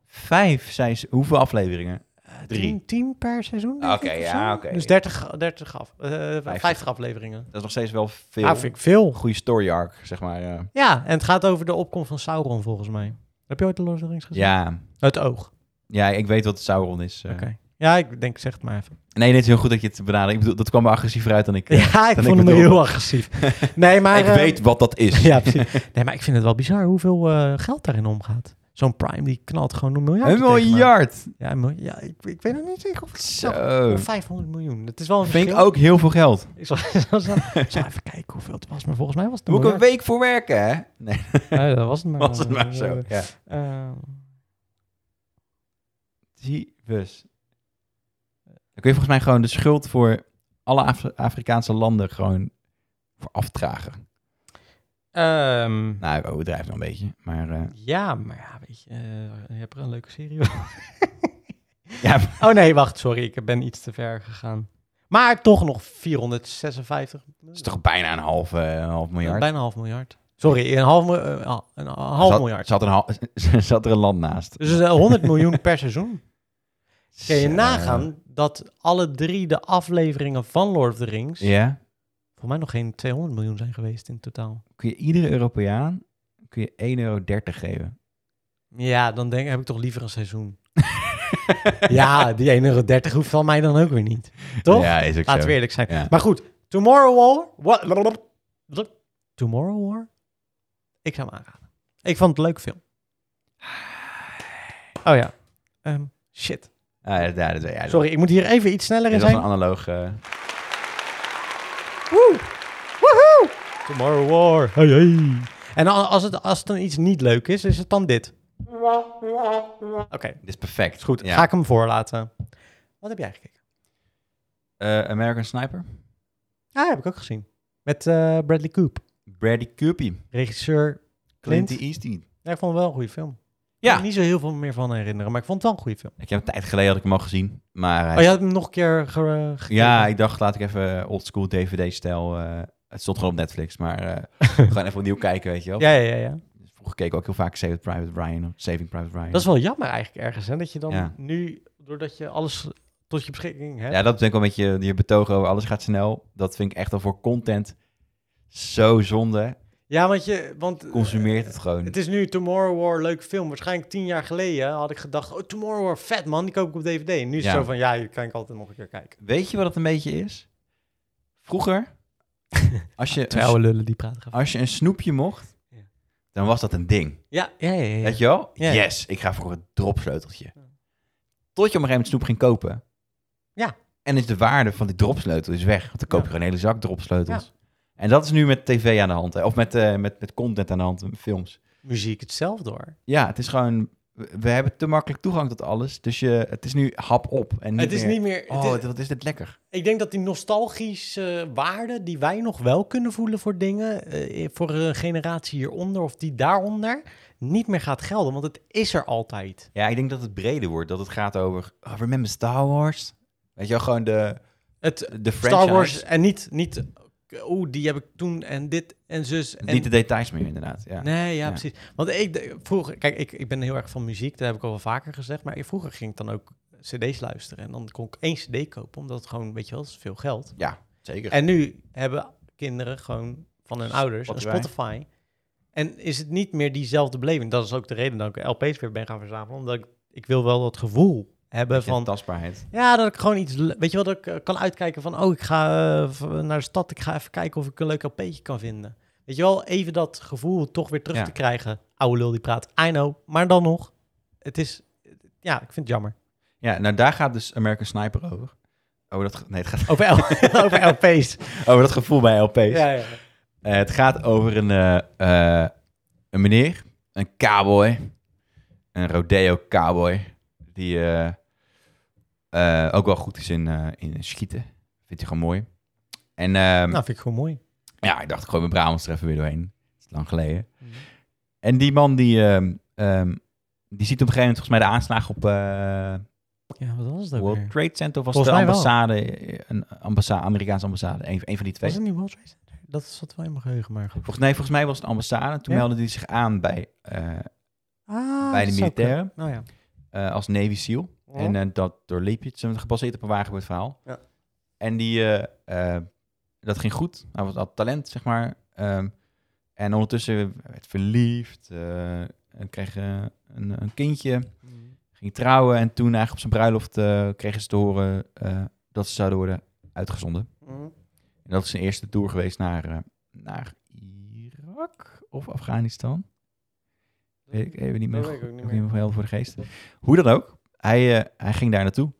S2: Vijf, zijn ze, hoeveel afleveringen?
S3: Eh,
S2: Drie.
S3: Tien, tien per seizoen. denk
S2: Oké,
S3: ik, of
S2: ja,
S3: zo.
S2: oké.
S3: Dus 30, 30 af, eh, 50 afleveringen.
S2: Dat is nog steeds wel veel.
S3: Ja, vind ik veel.
S2: Goede story arc, zeg maar. ja.
S3: Ja, en het gaat over de opkomst van Sauron volgens mij. Heb je ooit de Lord of the Rings gezien?
S2: ja.
S3: Het oog.
S2: ja, ik weet wat Sauron is. eh.
S3: Oké. Ja, ik denk, zeg het maar even.
S2: Nee, dit is heel goed dat je het benadert. Ik bedoel, dat kwam er agressiever uit dan ik. eh,
S3: ja, ik
S2: dan
S3: vond
S2: ik
S3: hem
S2: bedoel.
S3: heel agressief. Nee, maar...
S2: ik
S3: eh,
S2: weet wat dat is.
S3: Ja, precies. Nee, maar ik vind het wel bizar hoeveel eh, geld daarin omgaat. Zo'n Prime, die knalt gewoon een miljard.
S2: Een
S3: er tegenaan.
S2: miljard.
S3: Ja, een miljoen. ja ik, ik weet nog niet zeker of het
S2: Zo.
S3: zo. 500 miljoen. Dat is wel een
S2: Vind ik
S3: verschil.
S2: ook heel veel geld.
S3: Ik zal, zal- zal- ik zal even kijken hoeveel het was. Maar volgens mij was het een
S2: Moet ik een
S3: miljard.
S2: week voor werken, hè? Nee,
S3: Ja, dat was het maar.
S2: was het maar zo. Ja.
S3: Eh,
S2: Jeebus. Dan kun je volgens mij gewoon de schuld voor alle Af- Afrikaanse landen gewoon voor afdragen.
S3: ehm,
S2: Nou, ik overdrijf nog een beetje. Maar eh,
S3: ja, maar ja, weet je, eh, je hebt er een leuke serie over.
S2: ja,
S3: Oh nee, wacht, sorry, ik ben iets te ver gegaan. Maar toch nog 456
S2: dat is toch bijna een half, eh, een half miljard.
S3: Bijna een half miljard. Sorry, een half, mi- eh, ah, een half
S2: zat,
S3: miljard.
S2: Zat, een hal- zat er een land naast.
S3: Dus eh, 100 miljoen per seizoen. Kun je
S2: Zo.
S3: nagaan dat alle drie de afleveringen van Lord of the Rings...
S2: Ja.
S3: voor mij nog geen 200 miljoen zijn geweest in totaal.
S2: Kun je iedere Europeaan kun je 1,30 euro geven.
S3: Ja, dan denk, heb ik toch liever een seizoen. ja, die 1,30 euro hoeft van mij dan ook weer niet. Toch?
S2: Ja, is ook
S3: Laten
S2: zo.
S3: we eerlijk zijn.
S2: Ja.
S3: Maar goed, Tomorrow War... Wa- blablabla- blab- Tomorrow War? Ik zou hem aanraden. Ik vond het een leuke film.
S2: Ah.
S3: Oh ja. Ehm, shit.
S2: Ah, ja, ja, dat- ja, dat-
S3: Sorry, ik moet hier even iets sneller in
S2: Dat was
S3: zijn.
S2: een analoog. eh,
S3: Woe! Woehoe! Tomorrow War. Hey, hey. En a- als het, als het dan iets niet leuk is, is het dan dit. Oké,
S2: dit is perfect.
S3: is goed.
S2: Ja.
S3: Ga ik hem voorlaten. Wat heb jij gekeken?
S2: Eh, American Sniper.
S3: Ah, heb ik ook gezien. Met eh, Bradley Coop.
S2: Brady Cupie.
S3: Regisseur.
S2: Clint
S3: Clint?
S2: Eastwood.
S3: Ja, ik vond het wel een goede film.
S2: Ja.
S3: Ik kan er niet zo heel veel meer van herinneren, maar ik vond het wel een goede film.
S2: Ik heb een tijd geleden had ik hem al gezien. Maar hij-
S3: Oh, je had hem nog een keer ge- gekeken?
S2: ja, ik dacht laat ik even oldschool DVD-stijl. eh, het stond gewoon op Netflix, maar eh, gewoon even opnieuw kijken, weet je wel.
S3: ja, ja, ja, ja.
S2: Vroeger keek ik ook heel vaak Saving Private Ryan. Of Saving Private Ryan.
S3: Dat is wel jammer eigenlijk ergens, hè? Dat je dan
S2: Ja.
S3: nu, doordat je alles tot je beschikking hebt...
S2: Ja, dat denk ik wel een beetje je betogen over alles gaat snel. Dat vind ik echt al voor content zo zonde.
S3: Ja, want je... Want, eh,
S2: Consumeert het gewoon.
S3: Het is nu Tomorrow War, leuke film. Waarschijnlijk tien jaar geleden had ik gedacht... Oh, Tomorrow War, vet man, die koop ik op DVD. En nu is het
S2: Ja.
S3: zo van, ja, je kan ik altijd nog een keer kijken.
S2: Weet je wat het een beetje is? Vroeger, als je,
S3: Twee
S2: een,
S3: oude lullen die praten.
S2: als je een snoepje mocht,
S3: Ja.
S2: dan was dat een ding.
S3: Ja, ja, ja. ja, ja.
S2: Weet je wel?
S3: Ja.
S2: Yes, ik ga voor het dropsleuteltje. Tot je op een gegeven moment snoep ging kopen.
S3: Ja.
S2: En is de waarde van die dropsleutel is weg. Want dan koop
S3: Ja.
S2: je gewoon een hele zak dropsleutels. En dat is nu met tv aan de hand. hè, Of met, eh, met, met content aan de hand, films.
S3: Muziek hetzelfde hoor.
S2: Ja, het is gewoon... we- We hebben te makkelijk toegang tot alles. Dus je, het is nu hap op. En niet
S3: het is
S2: meer,
S3: niet meer... het
S2: Oh,
S3: is-
S2: wat is dit lekker.
S3: Ik denk dat die nostalgische waarde die wij nog wel kunnen voelen voor dingen, eh, voor een generatie hieronder of die daaronder, niet meer gaat gelden, want het is er altijd.
S2: Ja, ik denk dat het breder wordt. Dat het gaat over... Oh, remember Star Wars? Weet je wel, gewoon de,
S3: Het
S2: de franchise.
S3: Star Wars en niet, niet oeh, die heb ik toen en dit en zus. En,
S2: Niet de details meer, inderdaad. Ja.
S3: Nee, ja,
S2: Ja.
S3: precies. Want ik d- vroeger, kijk, ik, ik ben heel erg van muziek, dat heb ik al wel vaker gezegd, maar ik- vroeger ging ik dan ook cd's luisteren en dan kon ik één cd kopen, omdat het gewoon, weet je wel, dat is veel geld.
S2: Zeker.
S3: En nu hebben kinderen gewoon van hun ouders een
S2: Spotify.
S3: Spotify. En is het niet meer diezelfde beleving. Dat is ook de reden dat ik LP's weer ben gaan verzamelen. Omdat ik, ik wil wel dat gevoel hebben
S2: van...
S3: van...
S2: Tastbaarheid.
S3: Ja, dat ik gewoon iets... le- Weet je wel, dat ik eh, kan uitkijken van... Oh, ik ga eh, v- naar de stad. Ik ga even kijken of ik een leuk LP'tje kan vinden. Weet je wel, even dat gevoel toch weer terug
S2: Ja.
S3: te krijgen. Oude lul die praat, I know. Maar dan nog, het is... Ja, ik vind het jammer.
S2: Ja, nou daar gaat dus American Sniper over. Over dat, ge- nee, het gaat
S3: Over, L- over LP's.
S2: over dat gevoel bij LP's.
S3: Ja, ja.
S2: Eh, het gaat over een, eh, eh, een meneer, een cowboy, een rodeo cowboy, die eh, eh, ook wel goed is in, eh, in schieten. Vindt hij gewoon mooi. En ehm,
S3: Nou, vind ik gewoon mooi.
S2: ja, ik dacht, ik gooi mijn Brabants er even weer doorheen. Dat is lang geleden. En die man die, ehm, ehm, die ziet op een gegeven moment volgens mij de aanslag op eh,
S3: Ja, wat was het ook
S2: World
S3: weer?
S2: Trade Center. Of was
S3: Volgens
S2: de
S3: mij wel.
S2: ambassade, een ambassa Amerikaanse ambassade, een, een van die twee.
S3: Was het niet World Trade Center? Dat zat wel in mijn geheugen, maar goed.
S2: Volgens, nee, volgens mij was het een ambassade. Toen
S3: Ja?
S2: meldde hij zich aan bij, eh,
S3: Ah,
S2: bij de
S3: dat zou kunnen.
S2: militairen
S3: Nou ja.
S2: eh, als Navy SEAL. En eh, dat doorliep je. Het is gebaseerd op een waargebeurd verhaal.
S1: Ja.
S2: En die, eh, eh, dat ging goed. Hij was, had talent, zeg maar. Ehm, en ondertussen werd verliefd. eh, en kreeg eh, een, een kindje. Ging trouwen. En toen eigenlijk op zijn bruiloft eh, kregen ze te horen eh, dat ze zouden worden uitgezonden. En dat is zijn eerste tour geweest naar, eh, naar Irak of Afghanistan. Weet ik even niet meer.
S1: Dat weet ik ook niet
S2: goed-
S1: meer.
S2: helder voor de geest. Hoe dan ook, hij, eh, hij ging daar naartoe.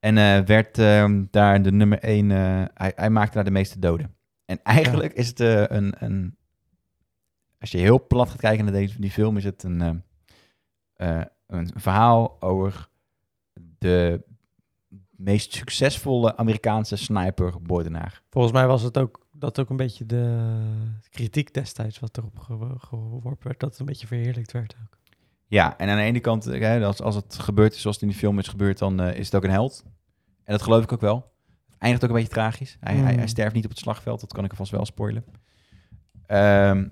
S2: En eh, werd ehm, daar de nummer één. eh, hij, hij maakte daar de meeste doden. En eigenlijk is het eh, een, een. Als je heel plat gaat kijken naar deze, die film, is het een, ehm, eh, een verhaal over de meest succesvolle Amerikaanse sniper-moordenaar.
S3: Volgens mij was het ook, dat ook een beetje de kritiek destijds wat erop ge- geworpen werd. Dat het een beetje verheerlijkt werd ook.
S2: Ja, en aan de ene kant, eh, hè, als, als het gebeurd is zoals het in die film is gebeurd, dan eh, is het ook een held. En dat geloof ik ook wel. Het eindigt ook een beetje tragisch. Hij,
S3: Mm.
S2: hij, hij sterft niet op het slagveld, dat kan ik alvast wel spoilen. Ehm,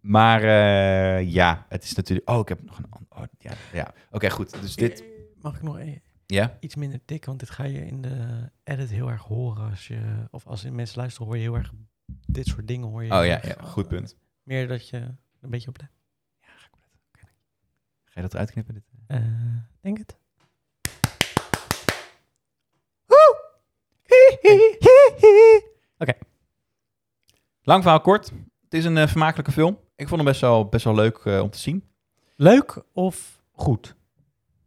S2: maar eh, ja, het is natuurlijk... Oh, ik heb nog een... an- Oh, ja, ja. oké, goed. Dus dit...
S3: Mag ik nog e-
S2: Ja?
S3: iets minder dik? Want dit ga je in de edit heel erg horen. Als je, of als mensen luisteren, hoor je heel erg dit soort dingen. Hoor je
S2: Oh
S3: heel
S2: ja, ja,
S3: erg,
S2: goed
S3: eh,
S2: punt.
S3: Meer dat je een beetje op let.
S2: Ga je dat eruit knippen? Dit?
S3: Eh, denk het.
S2: Lang verhaal kort. Het is een eh, vermakelijke film. Ik vond hem best wel, best wel leuk eh, om te zien.
S3: Leuk of goed?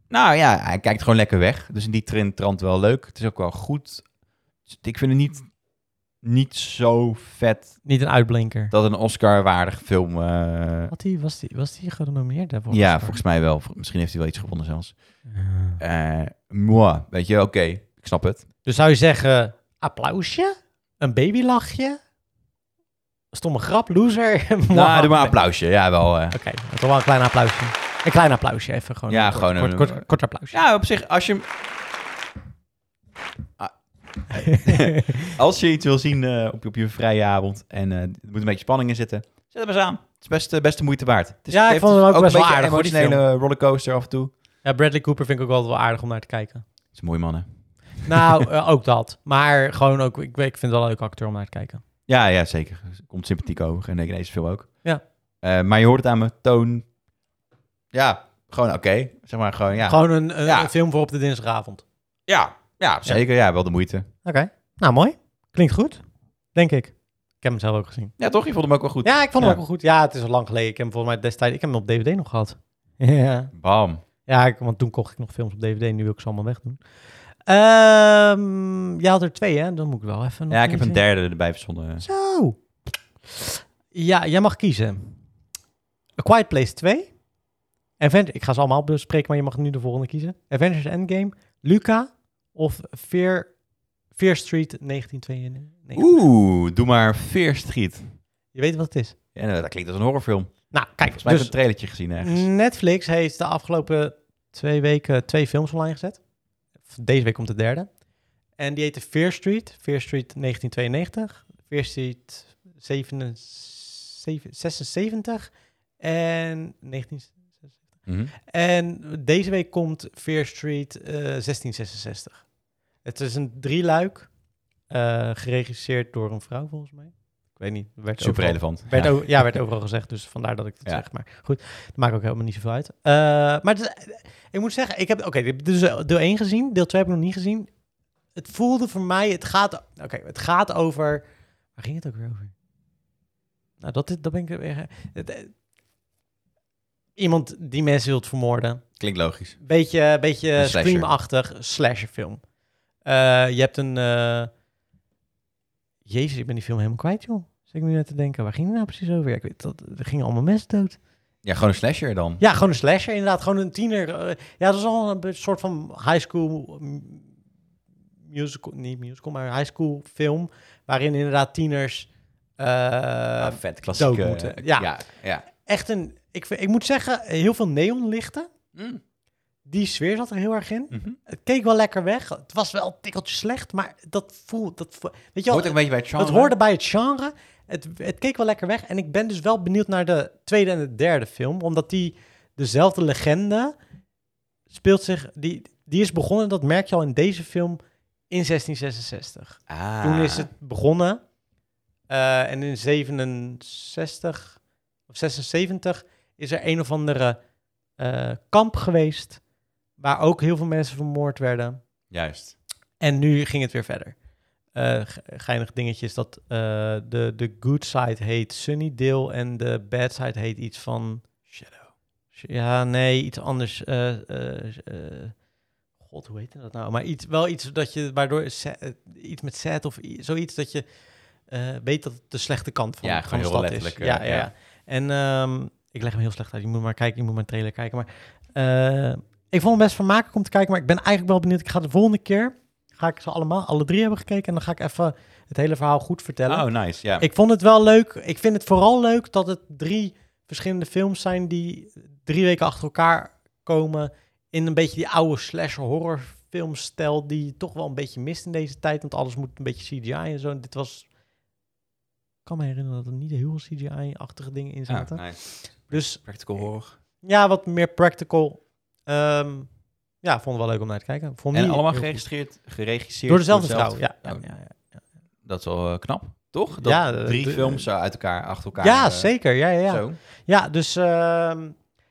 S2: Nou ja, hij kijkt gewoon lekker weg. Dus in die trend trant wel leuk. Het is ook wel goed. Dus Ik vind het niet, niet zo vet
S3: Niet een uitblinker.
S2: dat een Oscar-waardig film... eh,
S3: Had die, was, die, was die genomineerd daarvoor?
S2: ja, volgens mij wel. Vol- Misschien heeft hij wel iets gewonnen zelfs.
S3: Ja.
S2: Eh moi, weet je, oké, ik snap het.
S3: Dus zou je zeggen, applausje? Een babylachje? Stomme grap, loser?
S2: Nou, doe maar een
S3: Oké,
S2: applausje. Ja, wel. eh.
S3: okay, toch wel een klein applausje. Een klein applausje, even gewoon.
S2: Ja,
S3: een
S2: gewoon
S3: kort,
S2: een-
S3: kort, kort, kort applausje.
S2: Ja, op zich, als je, hem- als je iets wil zien eh, op, je- op je vrije avond en eh, er moet een beetje spanning in zitten, zet hem eens aan. Het is best, eh, best de moeite waard. Het is,
S3: Ja, ik
S2: heeft
S3: vond hem ook
S2: een
S3: best wel
S2: beetje
S3: aardig, hoor, die
S2: emotionele rollercoaster af en toe.
S3: ja, Bradley Cooper vind ik ook altijd wel aardig om naar te kijken.
S2: Het is een mooi man, hè?
S3: Nou, eh, ook dat. Maar gewoon ook, ik, weet- ik vind het wel een leuke acteur om naar te kijken.
S2: Ja, ja, zeker. Komt sympathiek over. En ik deze film ook.
S3: Ja.
S2: Eh, maar je hoort het aan mijn toon. Ja, gewoon oké. Zeg maar gewoon, ja.
S3: Gewoon een, een,
S2: Ja.
S3: een film voor op de dinsdagavond. Oké.
S2: Ja, ja, zeker. Ja, wel de moeite.
S3: Nou, mooi. Klinkt goed, denk ik. Ik heb hem zelf ook gezien.
S2: Ja, toch? Je vond hem ook wel goed.
S3: Ja, ik vond hem
S2: Ja.
S3: ook wel goed. Ja, het is al lang geleden. Ik heb hem volgens mij destijds... Ik heb hem op DVD nog gehad. Ja.
S2: Bam.
S3: Ja, ik- want toen kocht ik nog films op DVD. Nu wil ik ze allemaal wegdoen. Ehm jij had er twee, hè? Dan moet ik wel even... nog
S2: Ja, ik heb een
S3: eentje-
S2: derde erbij verzonnen.
S3: Zo. Ja, jij mag kiezen. A Quiet Place 2. Aven- ik ga ze allemaal bespreken, maar je mag nu de volgende kiezen. Avengers Endgame, Luca of Fear, Fear Street 1992.
S2: Oeh, doe maar Fear Street.
S3: Je weet wat het is.
S2: Ja, nou, dat klinkt als een horrorfilm.
S3: Nou, kijk.
S2: Volgens mij
S3: Dus
S2: heb ik een trailertje gezien ergens.
S3: Netflix heeft de afgelopen twee weken twee films online gezet. Deze week komt de derde. En die heette Fear Street. Fear Street 1992. Fear Street 77 76 en 19...
S2: Mhm.
S3: En deze week komt Fear Street eh, 1666. Het is een drieluik, eh geregisseerd door een vrouw volgens mij. Ik weet niet. Werd
S2: Super
S3: overal-
S2: relevant.
S3: werd
S2: Ja.
S3: o- ja, werd overal gezegd, dus vandaar dat ik het
S2: Ja.
S3: zeg. Maar goed, dat maakt ook helemaal niet zoveel uit. Eh, maar het is- ik moet zeggen, ik heb... Oké, dit- dit is deel 1 gezien, deel 2 heb ik nog niet gezien. Het voelde voor mij, het gaat... Oké, het gaat over... Waar ging het ook weer over? Nou, dat, is- dat ben ik... weer- het- eh, Iemand die mensen wilt vermoorden.
S2: Klinkt logisch.
S3: Beetje, beetje
S2: Een slasher.
S3: screamachtig slasherfilm. Eh, je hebt een... eh, Jezus, ik ben die film helemaal kwijt, joh. Zit ik nu net te denken, waar ging het nou precies over? Ja, ik weet dat, er gingen allemaal mensen dood.
S2: Ja, gewoon een slasher dan.
S3: Ja, gewoon een slasher inderdaad. Gewoon een tiener. eh, ja, dat is al een be- soort van high school mm, musical, niet musical, maar high school film. Waarin inderdaad tieners... eh,
S2: Ah, vet, klassieke. eh,
S3: dood moeten. Ja.
S2: ja. ja.
S3: echt een... Ik, vind- ik moet zeggen, heel veel neonlichten. Die sfeer zat er heel erg in.
S2: Mhm.
S3: Het keek wel lekker weg. Het was wel een tikkeltje slecht, maar dat voelt... Dat voel- weet je wel,
S2: Hoort ook een beetje bij het genre.
S3: Het hoorde bij het genre. Het, het keek wel lekker weg. En ik ben dus wel benieuwd naar de tweede en de derde film. Omdat die dezelfde legende speelt zich... Die, die is begonnen, dat merk je al in deze film, in 1666.
S2: Ah.
S3: Toen is het begonnen. eh, en in 67 of 76 is er een of andere eh, kamp geweest... waar ook heel veel mensen vermoord werden.
S2: Juist.
S3: En nu ging het weer verder. Eh, ge- geinig dingetje is dat eh, de, de good side heet Sunnydale en de bad side heet iets van...
S2: Shadow.
S3: Sh- Ja, nee, iets anders. eh, eh, eh, God, hoe heette dat nou? Maar iets, wel iets dat je, waardoor sa- eh, iets met sad of i- zoiets dat je eh, weet dat het de slechte kant van,
S2: Ja,
S3: van
S2: gewoon
S3: de
S2: heel
S3: stad is.
S2: letterlijk,
S3: Ja, ja, ja.
S2: eh, ja.
S3: En ehm, ik leg hem heel slecht uit. Je moet maar kijken, je moet mijn trailer kijken. Maar eh, ik vond hem best vermakelijk om te kijken, maar ik ben eigenlijk wel benieuwd. Ik ga de volgende keer, ga ik ze allemaal, alle drie hebben gekeken en dan ga ik even het hele verhaal goed vertellen.
S2: Oh, nice. Ja.
S3: Ik vond het wel leuk. Ik vind het vooral leuk dat het drie verschillende films zijn die drie weken achter elkaar komen. In een beetje die oude slash horror filmstijl die je toch wel een beetje mist in deze tijd. Want alles moet een beetje CGI en zo. En dit was... Ik kan me herinneren dat er niet heel veel CGI-achtige dingen in
S2: Ah,
S3: zaten.
S2: nice.
S3: Dus
S2: Practical horror.
S3: ja, wat meer practical. Ehm, ja, vond het wel leuk om naar te kijken. Vond
S2: En
S3: die
S2: allemaal
S3: heel goed.
S2: geregistreerd, geregisseerd.
S3: Door dezelfde vrouw,
S2: dezelfde-
S3: ja. Ja,
S2: Oh,
S3: ja, ja.
S2: Dat is wel eh, knap, toch? Dat
S3: Ja, eh,
S2: drie
S3: de-
S2: films zo uit elkaar, achter elkaar.
S3: Ja,
S2: eh,
S3: zeker. Ja, ja, ja.
S2: Zo.
S3: Ja, dus ehm,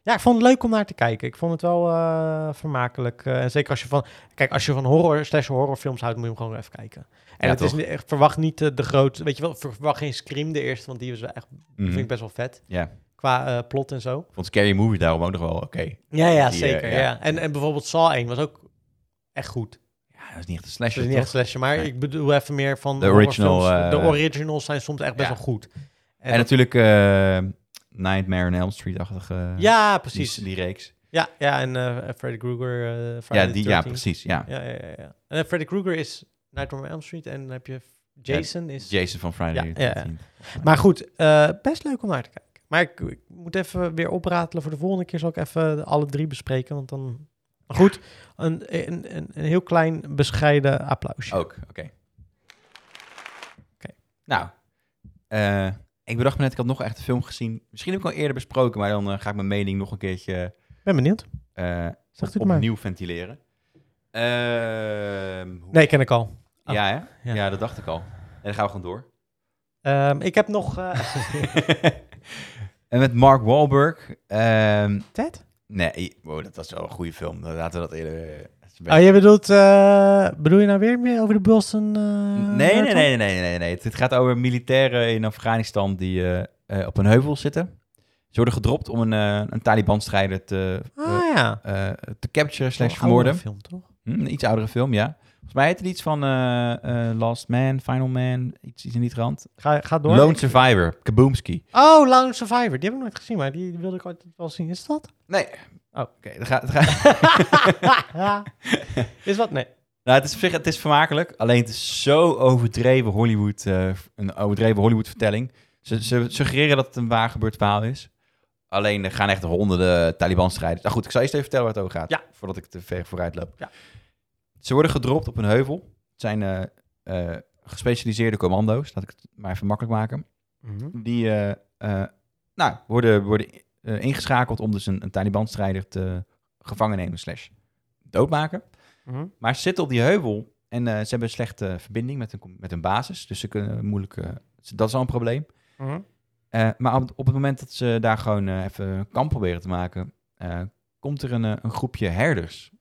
S3: ja, ik vond het leuk om naar te kijken. Ik vond het wel eh, vermakelijk. Eh, en zeker als je van, kijk, als je van horror slash horrorfilms houdt, moet je hem gewoon even kijken. En
S2: Ja,
S3: het is
S2: toch?
S3: niet, echt- verwacht niet eh, de grote, weet je wel, ver- verwacht geen Scream de eerste, want die was wel echt,
S2: Mhm.
S3: vind ik best wel vet
S2: Ja.
S3: qua eh, plot en zo.
S2: Vond Scary Movie daarom ook nog wel oké.
S3: Ja, ja,
S2: Die, eh,
S3: zeker.
S2: ja.
S3: ja. En, en bijvoorbeeld Saw 1 was ook echt goed.
S2: Ja, dat is niet echt een
S3: Dat
S2: slasher,
S3: is niet
S2: toch?
S3: echt slasher, maar
S2: Nee.
S3: ik bedoel even meer van
S2: De original,
S3: horrorfilms.
S2: eh,
S3: de originals zijn soms echt best
S2: ja.
S3: wel goed.
S2: En,
S3: dat-
S2: natuurlijk eh, Nightmare on Elm Street-achtige... eh,
S3: ja,
S2: die-
S3: precies.
S2: Die, reeks.
S3: Ja, ja en eh, Freddy Krueger. eh Friday
S2: Ja,
S3: the
S2: die, ja,
S3: 13th.
S2: precies. Ja.
S3: Ja, ja, ja. ja. En eh, Freddy Krueger is Nightmare on Elm Street en dan heb je Jason is...
S2: Jason van Friday
S3: Ja,
S2: the
S3: ja, ja.
S2: 13th.
S3: Maar goed, eh, best leuk om naar te kijken. Maar ik, ik moet even weer opratelen. Voor de volgende keer zal ik even alle drie bespreken, want dan... Maar goed, een, een, een, een heel klein bescheiden applausje.
S2: Ook, oké. Nou, eh, ik bedacht me net, ik had nog echt een film gezien. Misschien heb ik al eerder besproken, maar dan eh, ga ik mijn mening nog een keertje
S3: Ik ben benieuwd.
S2: eh,
S3: Zegt u het maar.
S2: opnieuw ventileren. Ehm, hoe-
S3: Nee, ken ik al. ah,
S2: ja, hè?
S3: ja.
S2: Ja. dat dacht ik al. En dan gaan we gewoon door.
S3: Ehm, ik heb nog... eh,
S2: en met Mark Wahlberg. ehm,
S3: Ted?
S2: nee, wow, dat was wel een goede film. Laten we dat eerder... eh, dat is een
S3: Oh, je bedoelt... eh, bedoel je nou weer meer over de Boston... eh,
S2: Nee, nee,
S3: Marathon?
S2: nee, nee, nee, nee, nee. Het- Het gaat over militairen in Afghanistan die eh, eh, op een heuvel zitten. Ze worden gedropt om een, eh, een Taliban-strijder te, eh
S3: Ah, ja.
S2: eh, te capturen slash
S3: Zo'n oudere
S2: vermoorden.
S3: film, toch?
S2: Hm, een iets oudere film, ja. Volgens mij heet het iets van eh, eh, Last Man, Final Man, iets, iets in die trant.
S3: Ga, ga door.
S2: Lone Survivor, Kaboomski.
S3: Oh, Lone Survivor. Die heb ik nooit gezien, maar die wilde ik ooit wel zien. Is dat?
S2: Nee.
S3: Oh.
S2: Oké, dat gaat... dat gaat-
S3: is wat? Nee.
S2: nou, het is, op zich- het is vermakelijk, alleen het is zo overdreven Hollywood, eh, een overdreven Hollywood-vertelling. Ze, ze suggereren dat het een waar gebeurd verhaal is. Alleen er gaan echt honderden Taliban-strijders. Nou goed, ik zal eerst even vertellen waar het over gaat.
S3: Ja.
S2: Voordat ik te ver vooruit loop.
S3: Ja.
S2: Ze worden gedropt op een heuvel. Het zijn eh, eh, gespecialiseerde commando's. Laat ik het maar even makkelijk maken.
S3: Mhm.
S2: Die eh, eh, nou, worden, worden eh, ingeschakeld om dus een, een Taliban-strijder te gevangen nemen slash doodmaken. Maar ze zitten op die heuvel en eh, ze hebben een slechte verbinding met hun, met hun basis. Dus ze kunnen moeilijk... eh, dat is al een probleem.
S3: Mhm.
S2: Eh, maar op, op het moment dat ze daar gewoon eh, even een kamp proberen te maken, eh, komt er een, eh, een groepje herders.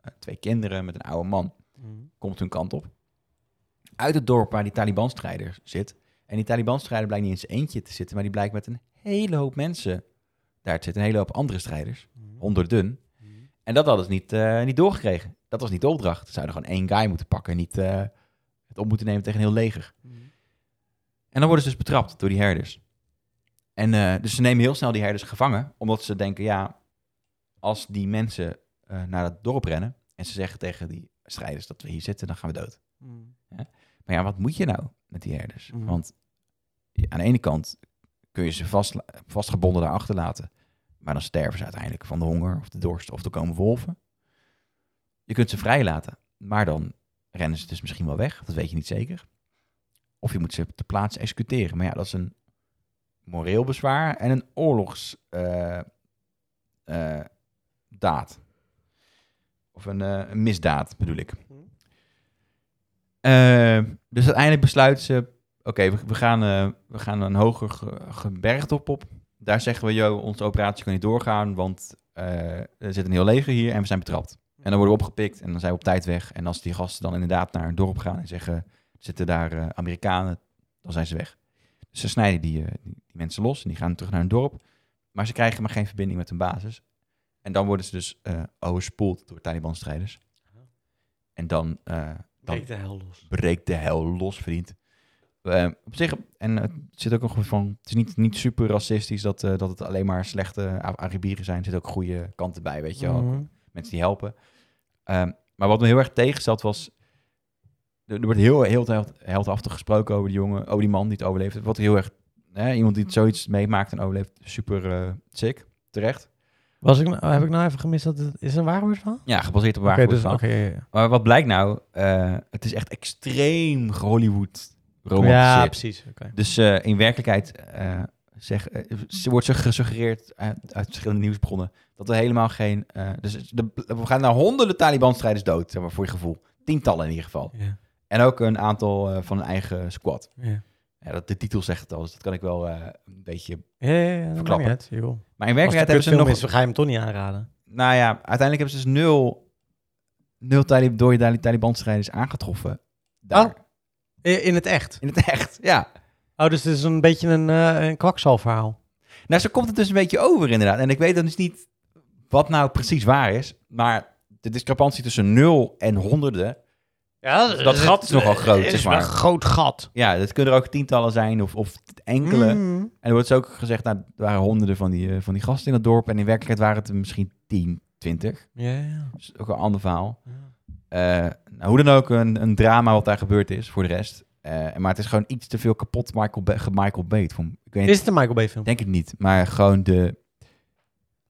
S2: Eh, twee kinderen met een oude man.
S3: Mhm.
S2: Komt hun kant op. Uit het dorp waar die Taliban-strijder zit. En die Taliban-strijder blijkt niet in zijn eentje te zitten, maar die blijkt met een hele hoop mensen daar te zitten. Een hele hoop andere strijders. Honderden. En dat hadden ze niet, eh, niet doorgekregen. Dat was niet de opdracht. Ze zouden gewoon één guy moeten pakken en niet eh, het op moeten nemen tegen een heel leger. En dan worden ze dus betrapt door die herders. En eh, dus ze nemen heel snel die herders gevangen, omdat ze denken, ja, als die mensen eh, naar dat dorp rennen en ze zeggen tegen die strijders dat we hier zitten, dan gaan we dood. Maar ja, wat moet je nou met die herders?
S1: Mhm.
S2: Want ja, aan de ene kant kun je ze vast, vastgebonden daar achterlaten. Maar dan sterven ze uiteindelijk van de honger of de dorst of er komen wolven. Je kunt ze vrijlaten, maar dan rennen ze dus misschien wel weg. Dat weet je niet zeker. Of je moet ze ter plaatse executeren. Maar ja, dat is een moreel bezwaar en een oorlogsdaad. daad of een, eh, een misdaad bedoel ik. Eh, dus uiteindelijk besluiten ze... Oké, we, we, gaan, eh, we gaan een hoger ge- gebergte op, op. Daar zeggen we, joh, onze operatie kan niet doorgaan... want eh, er zit een heel leger hier en we zijn betrapt. En dan worden we opgepikt en dan zijn we op tijd weg. En als die gasten dan inderdaad naar een dorp gaan en zeggen... er zitten daar eh, Amerikanen, dan zijn ze weg. Dus ze snijden die, eh, die, die mensen los en die gaan terug naar hun dorp. Maar ze krijgen maar geen verbinding met hun basis. En dan worden ze dus eh overspoeld door Taliban-strijders. En dan... eh, Dan-
S1: Breek de hel los.
S2: breekt de hel los, vriend. Eh, op zich, en het zit ook nog van, het is niet, niet super racistisch dat, eh, dat het alleen maar slechte A- Arabieren zijn. Er zitten ook goede kanten bij, weet je wel.
S3: Mhm.
S2: Mensen die helpen. Ehm, maar wat me heel erg tegenstelt was, er, er wordt heel, heel held- heldhaftig gesproken over die jongen, over die man die het overleeft. Wat heel erg, hè, iemand die het zoiets meemaakt en overleeft, super eh, sick, terecht.
S3: Was ik, nou- heb ik nou even gemist dat het is een waar van?
S2: Ja, gebaseerd op waar
S3: Oké, dus, oké, ja, ja.
S2: Maar wat blijkt nou, eh, het is echt extreem Hollywood
S3: ja,
S2: romantiseerd.
S3: precies. oké.
S2: Dus eh, in werkelijkheid eh, zeg, eh, ze wordt ze gesuggereerd uit, uit verschillende nieuwsbronnen dat er helemaal geen. eh, dus de- we gaan naar honderden Taliban-strijders dood, zeg maar, voor je gevoel. Tientallen in ieder geval.
S1: Ja.
S2: En ook een aantal eh, van hun eigen squad.
S1: Ja.
S2: Ja, dat, de titel zegt het al, dus dat kan ik wel eh, een beetje.
S3: Ja, ja, ja, dat maakt
S2: Verklappen.
S3: niet uit, joh.
S2: Maar in
S3: Als het
S2: werkelijkheid hebben ze nog.
S3: is, ga je hem toch niet aanraden.
S2: Nou ja, uiteindelijk hebben ze dus nul, nul Talib, dode Tali- Taliban-strijders aangetroffen. Daar.
S3: Oh. I- In het echt.
S2: In het echt, ja.
S3: Oh, dus het is een beetje een, eh een kwakzalverhaal.
S2: Nou, zo komt het dus een beetje over inderdaad. En ik weet dan dus niet wat nou precies waar is. Maar de discrepantie tussen nul en honderden...
S3: Ja,
S2: dat dat gat is nogal groot, zeg maar.
S3: een groot gat.
S2: Ja, dat kunnen er ook tientallen zijn of, of enkele.
S3: Mhm.
S2: En er wordt dus ook gezegd, nou, er waren honderden van die, eh, van die gasten in het dorp. En in werkelijkheid waren het er misschien tien, twintig.
S3: Ja, ja.
S2: Dus ook een ander verhaal. Eh, nou, hoe dan ook, een, een drama wat daar gebeurd is voor de rest. Eh, maar het is gewoon iets te veel kapot Michael, Ba- ge- Michael Bate. Voor, ik weet niet,
S3: Is het een Michael Bay film?
S2: Denk het niet. Maar gewoon de...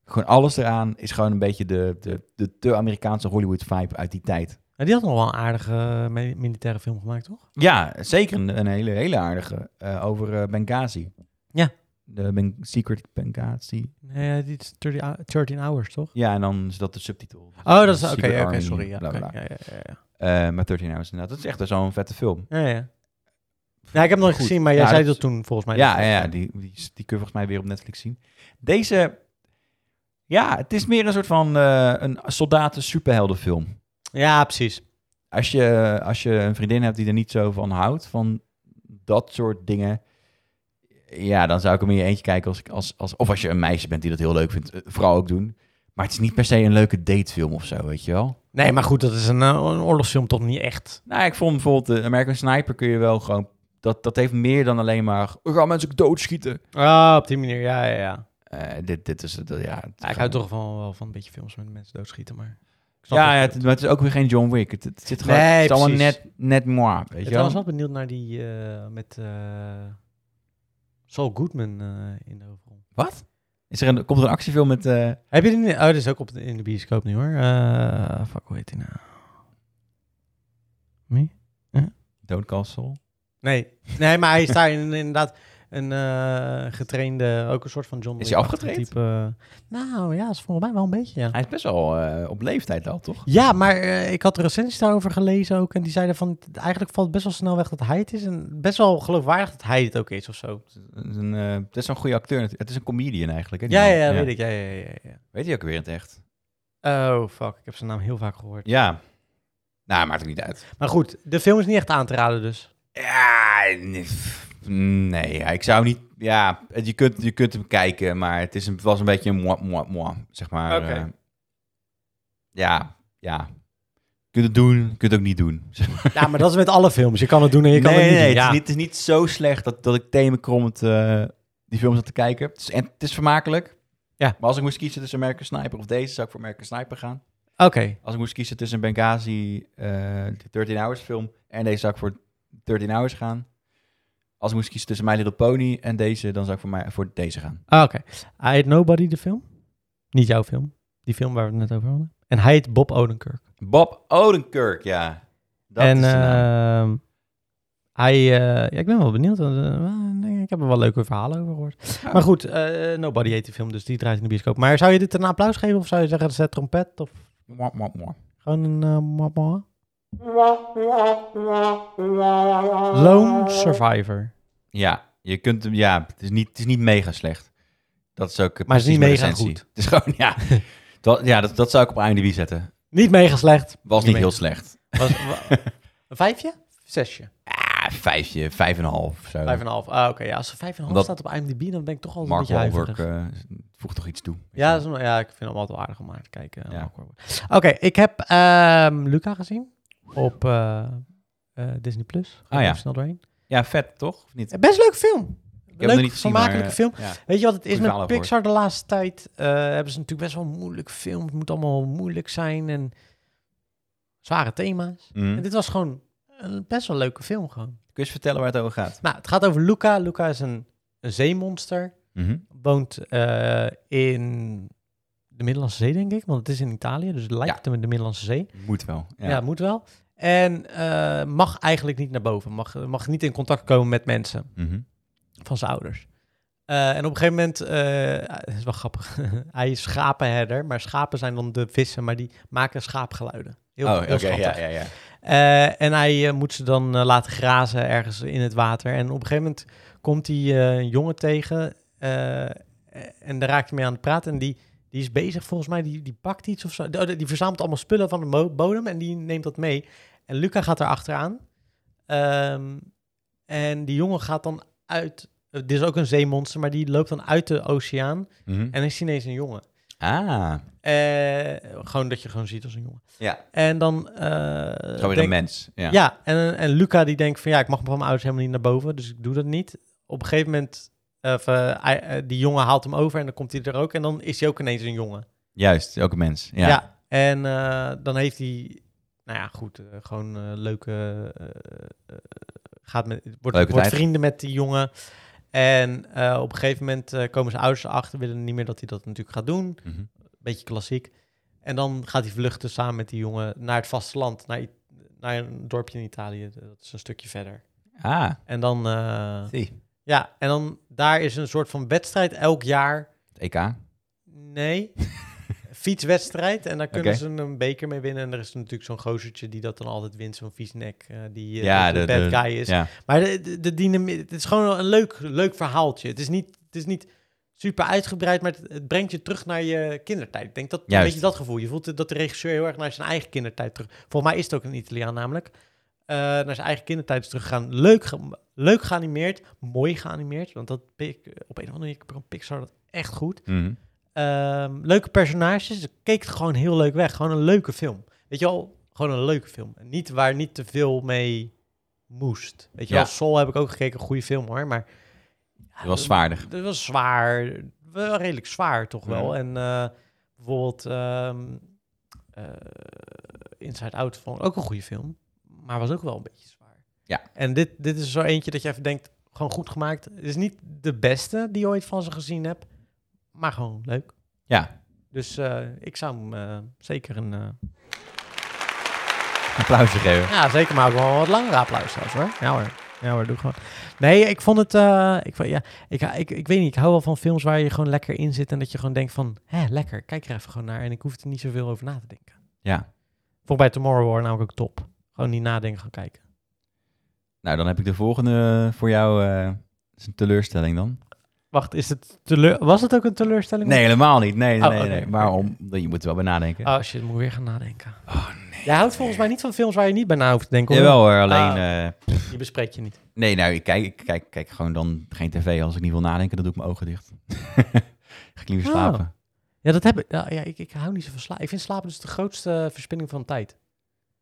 S2: Gewoon alles eraan is gewoon een beetje de, de, de te Amerikaanse Hollywood-vibe uit die tijd.
S3: Ja, die had nog wel een aardige eh, mi- militaire film gemaakt, toch?
S2: Ja, zeker een, een hele, hele aardige eh, over eh, Benghazi.
S3: Ja.
S2: De Ben- Secret Benghazi.
S3: Nee, eh, die is 30 hou- 13 Hours, toch?
S2: Ja, en dan is dat de subtitel.
S3: Oh, dat is... Oké,
S2: Secret
S3: oké,
S2: Army,
S3: sorry. Ja,
S2: bla,
S3: oké,
S2: bla,
S3: ja, ja, ja, ja.
S2: bla. Eh, maar 13 Hours inderdaad. Dat is echt zo'n vette film.
S3: Ja, ja. Ja, ik heb hem nog
S2: Goed.
S3: gezien, maar jij
S2: Ja,
S3: zei
S2: dat-
S3: dat toen volgens mij.
S2: Ja, ja, ja, die, die, is- die kun je volgens mij weer op Netflix zien. Deze... Ja, het is meer een soort van eh, een soldaten-superheldenfilm.
S3: Ja, precies.
S2: als je, als je een vriendin hebt die er niet zo van houdt, van dat soort dingen. Ja, dan zou ik hem in je eentje kijken. Als, ik- als, als, of als je een meisje bent die dat heel leuk vindt, eh, vooral ook doen. Maar het is niet per se een leuke datefilm of zo, weet je wel.
S3: Nee, maar goed, dat is een, eh, een oorlogsfilm toch niet echt.
S2: Nou, ik vond bijvoorbeeld de American Sniper kun je wel gewoon... Dat, dat heeft meer dan alleen maar... We gaan mensen ook doodschieten.
S3: Ah, op die manier, ja, ja, ja.
S2: Eh, dit, dit is... het, eh, ja, het is
S3: Ja, ik hou
S2: gewoon-
S3: toch van, wel van een beetje films met mensen doodschieten, maar... ik snap
S2: Ja,
S3: wat
S2: ja
S3: je
S2: het,
S3: bedoelt.
S2: maar het is ook weer geen John Wick. Het, het zit gewoon...
S3: Nee,
S2: het is allemaal
S3: precies.
S2: net, net moi, weet
S3: Ik
S2: je
S3: ben
S2: wel.
S3: wel benieuwd naar die eh, met eh, Saul Goodman eh, in de hoofdrol.
S2: Is er een, komt er een actiefilm met... eh,
S3: Heb je die? niet- Oh, dat is ook op de, in de bioscoop nu hoor. Eh, fuck, hoe heet die nou? Wie?
S2: Don't Castle?
S3: Nee, nee, maar hij is daar in- inderdaad een eh, getrainde, ook een soort van John.
S2: Is
S3: Wick
S2: hij
S3: achtige
S2: afgetraind?
S3: Type. Nou ja, is volgens mij wel een beetje ja.
S2: Hij is best wel eh, op leeftijd al, toch?
S3: Ja, maar eh, ik had recensies daarover gelezen ook. En die zeiden van, eigenlijk valt best wel snel weg dat hij het is. En best wel geloofwaardig dat hij het ook is of zo.
S2: Het is een, eh, het is zo'n goede acteur. natuurlijk. Het is een comedian eigenlijk. Hè, die
S3: Ja, ja,
S2: man.
S3: ja, weet ik. Ja, ja, ja, ja.
S2: Weet hij ook weer in het echt?
S3: Oh, fuck. Ik heb zijn naam heel vaak gehoord.
S2: Ja. Nou, maakt ook niet uit.
S3: Maar goed, de film is niet echt aan te raden dus.
S2: Ja, nee, pff, nee, ja, ik zou niet... Ja, het- je kunt, je kunt hem kijken, maar het is een, was een beetje een moi, moi, moi, zeg maar.
S3: Oké.
S2: eh, ja, ja. kunt het doen, kunt het ook niet doen. Zeg maar.
S3: Ja, maar dat is met alle films. Je kan het doen en je kan
S2: nee,
S3: het niet
S2: nee,
S3: doen.
S2: het,
S3: Ja.
S2: is niet, het is niet zo slecht dat, dat ik themenkrommend eh die film zat te kijken. Het is, en het is vermakelijk.
S3: Ja.
S2: Maar als ik moest kiezen tussen American Sniper of deze, zou ik voor American Sniper gaan.
S3: Oké.
S2: Als ik moest kiezen tussen Benghazi, eh, de 13 Hours film, en deze zou ik voor 13 Hours gaan. Als ik moest kiezen tussen My Little Pony en deze, dan zou ik voor, mij, voor deze gaan.
S3: Ah, Oké. Hij heet Nobody, de film. Niet jouw film. Die film waar we het net over hadden. En hij heet Bob Odenkirk.
S2: Bob Odenkirk, ja. Dat
S3: en
S2: is de naam.
S3: ehm, hij... eh, ja, ik ben wel benieuwd. want, eh, ik heb er wel leuke verhalen over gehoord.
S2: Ja.
S3: Maar goed, eh, Nobody heet die film, dus die draait in de bioscoop. Maar zou je dit een applaus geven of zou je zeggen, zet trompet? Of
S2: Mwah, mwah, mwah.
S3: gewoon een... eh, mwah, mwah? Lone Survivor.
S2: Ja, je kunt hem, ja, het is niet, het is niet mega slecht. Dat is ook eh,
S3: Maar het is niet
S2: precies
S3: mega
S2: mijn recensie. Het is gewoon, ja, dat, ja dat, dat zou ik op IMDb zetten.
S3: Niet mega slecht. Niet
S2: Was niet
S3: mega.
S2: heel slecht.
S3: Was, wa- een vijfje? Zesje?
S2: Ah, vijfje, vijf en een half. Zo.
S3: Vijf en een half. Ah, oké. Ja, als er vijf en een half
S2: Omdat-
S3: staat op IMDb, dan ben ik toch altijd
S2: Mark
S3: een beetje
S2: Wahlberg
S3: huiverig.
S2: eh, voegt toch iets toe.
S3: Ja, dat is een- ja, ik vind hem altijd wel aardig om naar te kijken. eh,
S2: Ja.
S3: Mark Wahlberg. Oké, ik heb ehm, Luca gezien op eh, eh, Disney+. Plus.
S2: Ah, ja.
S3: Snel doorheen.
S2: ja, vet toch? Of niet? Ik
S3: Best leuke film.
S2: heb hem nog
S3: Leuk,
S2: niet gezien, maar,
S3: vermakelijke
S2: eh,
S3: film.
S2: ja.
S3: Weet je wat het is
S2: Goeie
S3: met
S2: verhalen
S3: Pixar de laatste tijd? eh, hebben ze natuurlijk best wel een moeilijk film. Het moet allemaal moeilijk zijn en zware thema's.
S2: Mhm.
S3: En dit was gewoon een best wel leuke film gewoon.
S2: Kun je eens vertellen waar het over gaat?
S3: Nou, het gaat over Luca. Luca is een, een zeemonster.
S2: Mhm.
S3: Woont eh, in de Middellandse Zee, denk ik. Want het is in Italië, dus het lijkt
S2: Ja.
S3: hem in de Middellandse Zee.
S2: Moet wel. Ja.
S3: Ja, moet wel. En eh, mag eigenlijk niet naar boven. Mag, mag niet in contact komen met mensen
S2: Mhm.
S3: van zijn ouders. Eh, en op een gegeven moment, eh, het is wel grappig, hij is schapenherder, maar schapen zijn dan de vissen, maar die maken schaapgeluiden. Heel,
S2: oh,
S3: heel
S2: oké,
S3: schattig.
S2: ja, ja, ja.
S3: Eh, en hij eh, moet ze dan eh, laten grazen ergens in het water. En op een gegeven moment komt hij eh, een jongen tegen eh, en daar raakt hij mee aan het praten. En die, die is bezig volgens mij, die, die pakt iets of zo. Oh, Die, die verzamelt allemaal spullen van de mo- bodem en die neemt dat mee. En Luca gaat daar achteraan. Ehm, en die jongen gaat dan uit, eh, dit is ook een zeemonster, maar die loopt dan uit de oceaan
S2: Mhm.
S3: en is ineens een jongen.
S2: Ah,
S3: Eh, gewoon dat je gewoon ziet als een jongen.
S2: ja.
S3: En dan... eh,
S2: Zo weer
S3: denk-
S2: een mens. Ja.
S3: ja, en, en Luca die denkt van ja, ik mag van mijn ouders helemaal niet naar boven, dus ik doe dat niet. Op een gegeven moment, of, eh, hij- eh, die jongen haalt hem over en dan komt hij er ook en dan is hij ook ineens een jongen.
S2: Juist, ook een mens. Ja.
S3: en eh, dan heeft hij, nou ja, goed, eh, gewoon eh, leuke, eh, eh, gaat met, wordt,
S2: Leuke
S3: wordt
S2: tijd.
S3: vrienden met die jongen. En eh, op een gegeven moment eh, komen zijn ouders erachter, willen niet meer dat hij dat natuurlijk gaat doen.
S2: Mhm.
S3: Beetje klassiek. En dan gaat hij vluchten samen met die jongen naar het vasteland, naar, I- naar een dorpje in Italië. eh, Dat is een stukje verder.
S2: Ah,
S3: En dan, eh,
S2: zie.
S3: ja, en dan daar is een soort van wedstrijd elk jaar.
S2: Het E EK. Oké.
S3: Nee, fietswedstrijd. En daar kunnen
S2: Oké.
S3: ze een beker mee winnen. En er is natuurlijk zo'n gozertje die dat dan altijd wint, zo'n viesnek eh, die eh,
S2: Ja,
S3: de, de
S2: de- de-
S3: bad guy is.
S2: Ja.
S3: Maar de, de, de dynamiek, het is gewoon een leuk, leuk verhaaltje. Het is, niet, het is niet super uitgebreid, maar het, het brengt je terug naar je kindertijd. Ik denk dat een
S2: Juist.
S3: beetje dat gevoel. Je voelt het- dat de regisseur heel erg naar zijn eigen kindertijd terug. Volgens mij is het ook een Italiaan namelijk. eh, naar zijn eigen kindertijd is teruggegaan. Leuk, ge- leuk geanimeerd, mooi geanimeerd. Want dat pik- op een of andere manier kan Pixar dat echt goed.
S2: Mhm.
S3: Ehm, leuke personages. Ik keek het gewoon heel leuk weg. Gewoon een leuke film. Weet je wel, gewoon een leuke film. En Niet waar niet te veel mee moest. Weet je
S2: Ja.
S3: wel, Soul heb ik ook gekeken. Goede film hoor, maar...
S2: Het was zwaardig.
S3: Het was zwaar. Wel redelijk zwaar toch wel. En eh, bijvoorbeeld ehm, eh, Inside Out vond ik ook een goede film. Maar was ook wel een beetje zwaar.
S2: Ja.
S3: En dit, dit is zo eentje dat je even denkt, gewoon goed gemaakt. Het is niet de beste die je ooit van ze gezien hebt. Maar gewoon leuk.
S2: Ja.
S3: Dus eh, ik zou hem eh, zeker een... eh,
S2: Applausje geven.
S3: ja, zeker, maar ook wel wat langer applaus zelfs hoor. Ja hoor. Ja hoor, doe gewoon. Nee, ik vond het... eh, ik, vond- ja, ik, ik, ik weet niet, ik hou wel van films waar je gewoon lekker in zit... en dat je gewoon denkt van, hè, lekker, kijk er even gewoon naar... en ik hoef er niet zoveel over na te denken.
S2: Ja.
S3: Volgens bij Tomorrow War namelijk ook top. Gewoon niet nadenken, gaan kijken.
S2: Nou, dan heb ik de volgende eh, voor jou. eh, is een teleurstelling dan?
S3: Wacht, is het teleur... was het ook een teleurstelling?
S2: Nee, helemaal niet. Nee, nee,
S3: Oh,
S2: nee.
S3: oké,
S2: nee.
S3: oké.
S2: Maar om, je moet er wel bij nadenken.
S3: Oh shit, moet ik weer gaan nadenken.
S2: Oh, nee.
S3: Jij houdt volgens mij niet van films waar je niet bij na hoeft te denken. hoor.
S2: Jawel hoor, alleen...
S3: Ah.
S2: eh,
S3: Die bespreek je niet.
S2: nee, nou, ik kijk, ik kijk, kijk gewoon dan geen tv. Als ik niet wil nadenken, dan doe ik mijn ogen dicht. Ga ik liever
S3: Oh.
S2: slapen.
S3: Ja, dat heb ik. Ja, ja, ik, ik hou niet zo van slapen. Ik vind slapen dus de grootste verspilling van eh, tijd.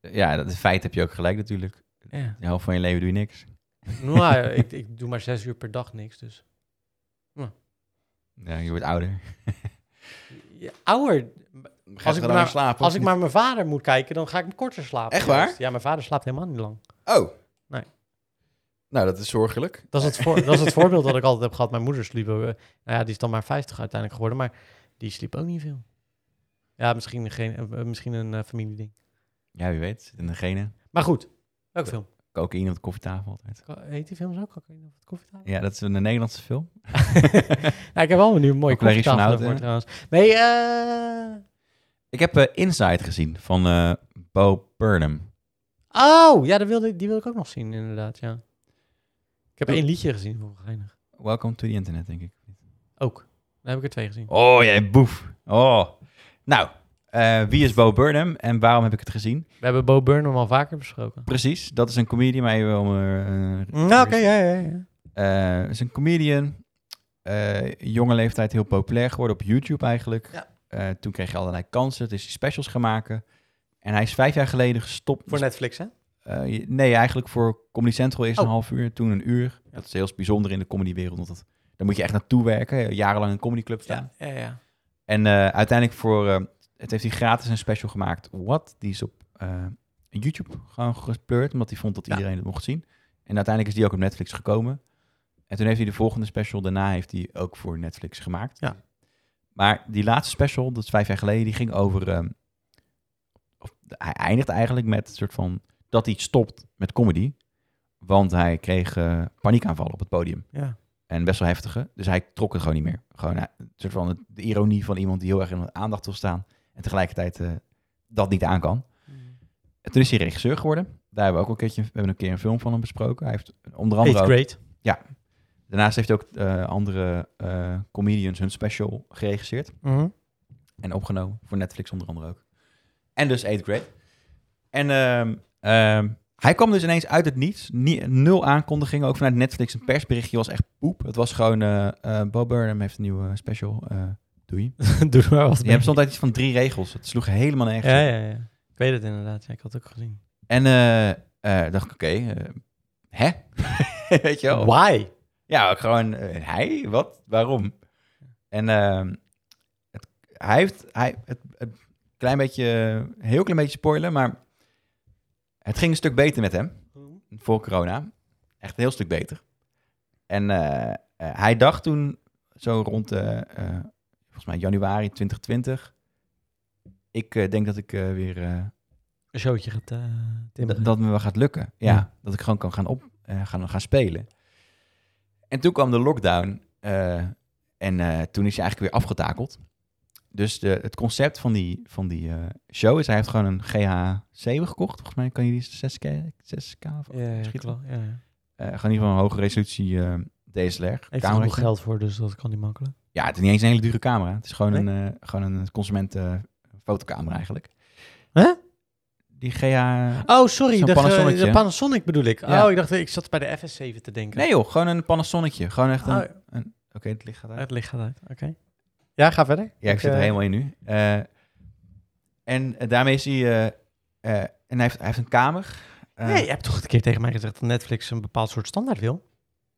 S2: Ja, dat in feite heb je ook gelijk natuurlijk.
S3: Ja.
S2: De helft van je leven doe je niks.
S3: Nou, ik, ik doe maar zes uur per dag niks, dus.
S2: Ja, je wordt ouder.
S3: Ja, ouder.
S2: Ga
S3: ik
S2: je
S3: maar-
S2: langer slapen?
S3: Als
S2: of
S3: ik
S2: niet?
S3: maar mijn vader moet kijken, dan ga ik korter slapen.
S2: Echt waar?
S3: Ja, mijn vader slaapt helemaal niet lang.
S2: Oh.
S3: Nee.
S2: Nou, dat is zorgelijk.
S3: Dat is het, voor, dat is het voorbeeld dat ik altijd heb gehad. Mijn moeder sliep, eh, nou ja, die is dan maar 50 uiteindelijk geworden, maar die sliep ook niet veel. Ja, misschien, geen, eh, misschien een eh, familieding.
S2: Ja, wie weet. In degene.
S3: Maar goed, welke film?
S2: Cocaïne op de koffietafel altijd.
S3: Ka- Heet die film zo? Cocaïne of het koffietafel?
S2: Ja, dat is een eh, Nederlandse film.
S3: nou, ik heb wel nu een mooie
S2: Ook Larry's van
S3: koffietafel
S2: Houten,
S3: ervoor trouwens. Nee, eh...
S2: Ik heb eh, Inside gezien van eh Bo Burnham.
S3: Oh, ja, dat wilde, die wil ik ook nog zien, inderdaad, ja. Ik heb één liedje gezien, voor geinig.
S2: Welcome to the internet, denk ik.
S3: Ook. Dan heb ik er twee gezien.
S2: Oh, jij boef. Oh. Nou, eh, wie is Bo Burnham en waarom heb ik het gezien?
S3: We hebben Bo Burnham al vaker besproken.
S2: Precies, dat is een comedian, maar even om... eh,
S3: Mm, ja, ja, ja.
S2: Eh, is een comedian. eh, jonge leeftijd heel populair geworden op YouTube eigenlijk.
S3: Ja.
S2: Eh, toen kreeg hij allerlei kansen. Dus hij specials gaan maken. En hij is vijf jaar geleden gestopt.
S3: Voor Netflix, hè?
S2: Eh, je- nee, eigenlijk voor Comedy Central is
S3: Oh.
S2: een half uur, toen een uur. Dat is heel bijzonder in de comedywereld. Want dat, daar moet je echt naartoe werken. Jarenlang in een comedyclub staan.
S3: Ja, ja, ja.
S2: En eh, uiteindelijk voor... eh, het heeft hij gratis een special gemaakt. What? Die is op eh, YouTube gewoon gespleurd. Omdat hij vond dat
S3: Ja.
S2: iedereen het mocht zien. En uiteindelijk is die ook op Netflix gekomen. En toen heeft hij de volgende special daarna heeft hij ook voor Netflix gemaakt.
S3: Ja.
S2: Maar die laatste special, dat is vijf jaar geleden, die ging over... ehm, of, hij eindigt eigenlijk met een soort van... Dat hij stopt met comedy. Want hij kreeg eh, paniekaanvallen op het podium.
S3: Ja.
S2: En best wel heftige. Dus hij trok het gewoon niet meer. Gewoon eh, een soort van het- de ironie van iemand die heel erg in de aandacht wil staan. En tegelijkertijd eh, dat niet aan kan. En toen is hij regisseur geworden. Daar hebben we ook al een keertje, we hebben een keer een film van hem besproken. Hij heeft eh, onder andere
S3: Eighth
S2: ook-
S3: grade.
S2: daarnaast heeft hij ook eh, andere eh, comedians hun special geregisseerd.
S3: Mhm.
S2: En opgenomen. Voor Netflix onder andere ook. En dus 8 grade. En ehm, ehm, hij kwam dus ineens uit het niets. Ni- nul aankondigingen. Ook vanuit Netflix. Een persberichtje was echt poep. Het was gewoon... eh eh, Bob Burnham heeft een nieuwe special. eh doei.
S3: Doe er maar wat
S2: Je hebt stond uit iets van drie regels. Het sloeg helemaal nergens op.
S3: Ja, ja, ja. Ik weet het inderdaad. Ja, ik had het ook gezien.
S2: En eh, eh, dacht ik, oké, eh, hè? Weet je wel?
S3: Why?
S2: Ja, ook gewoon, eh, hij? Wat? Waarom? En ehm, het, hij heeft, hij, het, het klein beetje, eh, heel klein beetje spoilen, maar het ging een stuk beter met hem voor corona. Echt een heel stuk beter. En eh, eh, hij dacht toen, zo rond, eh, eh, volgens mij januari 2020, ik eh, denk dat ik eh, weer... eh,
S3: Een showtje gaat eh
S2: dat,
S3: timmeren.
S2: dat me wel gaat lukken. Ja,
S3: Ja.
S2: dat ik gewoon kan gaan, op, eh, gaan, gaan spelen. En toen kwam de lockdown eh, en eh, toen is hij eigenlijk weer afgetakeld. Dus de, het concept van die, van die eh, show is, hij heeft gewoon een GH7 gekocht. Volgens mij kan je die 6K, 6K of
S3: ja, ja,
S2: schiet
S3: schiet wel. Ja, ja.
S2: eh, gewoon in ieder geval een hoge resolutie eh, DSLR.
S3: Heeft er
S2: cameraatje.
S3: nog geld voor, dus dat kan niet makkelijk.
S2: Ja, het is niet eens een hele dure camera. Het is gewoon een, eh gewoon een consumentenfotocamera eigenlijk.
S3: Huh?
S2: Die GH...
S3: Oh, sorry.
S2: Zo'n
S3: De, ge-
S2: Panasonicje.
S3: de Panasonic bedoel ik.
S2: Ja.
S3: Oh, ik dacht, ik zat bij de FS7 te denken.
S2: Nee joh, gewoon een Panasonicje. Gewoon echt een...
S3: Oh,
S2: Oké, het licht gaat uit.
S3: het licht gaat uit. Oké. Ja, ga verder.
S2: Ja, ik zit er
S3: eh,
S2: helemaal in nu. Eh, en eh, daarmee is hij... eh, eh, en hij heeft, hij heeft een kamer. Eh,
S3: nee, je hebt toch een keer tegen mij gezegd dat Netflix een bepaald soort standaard wil?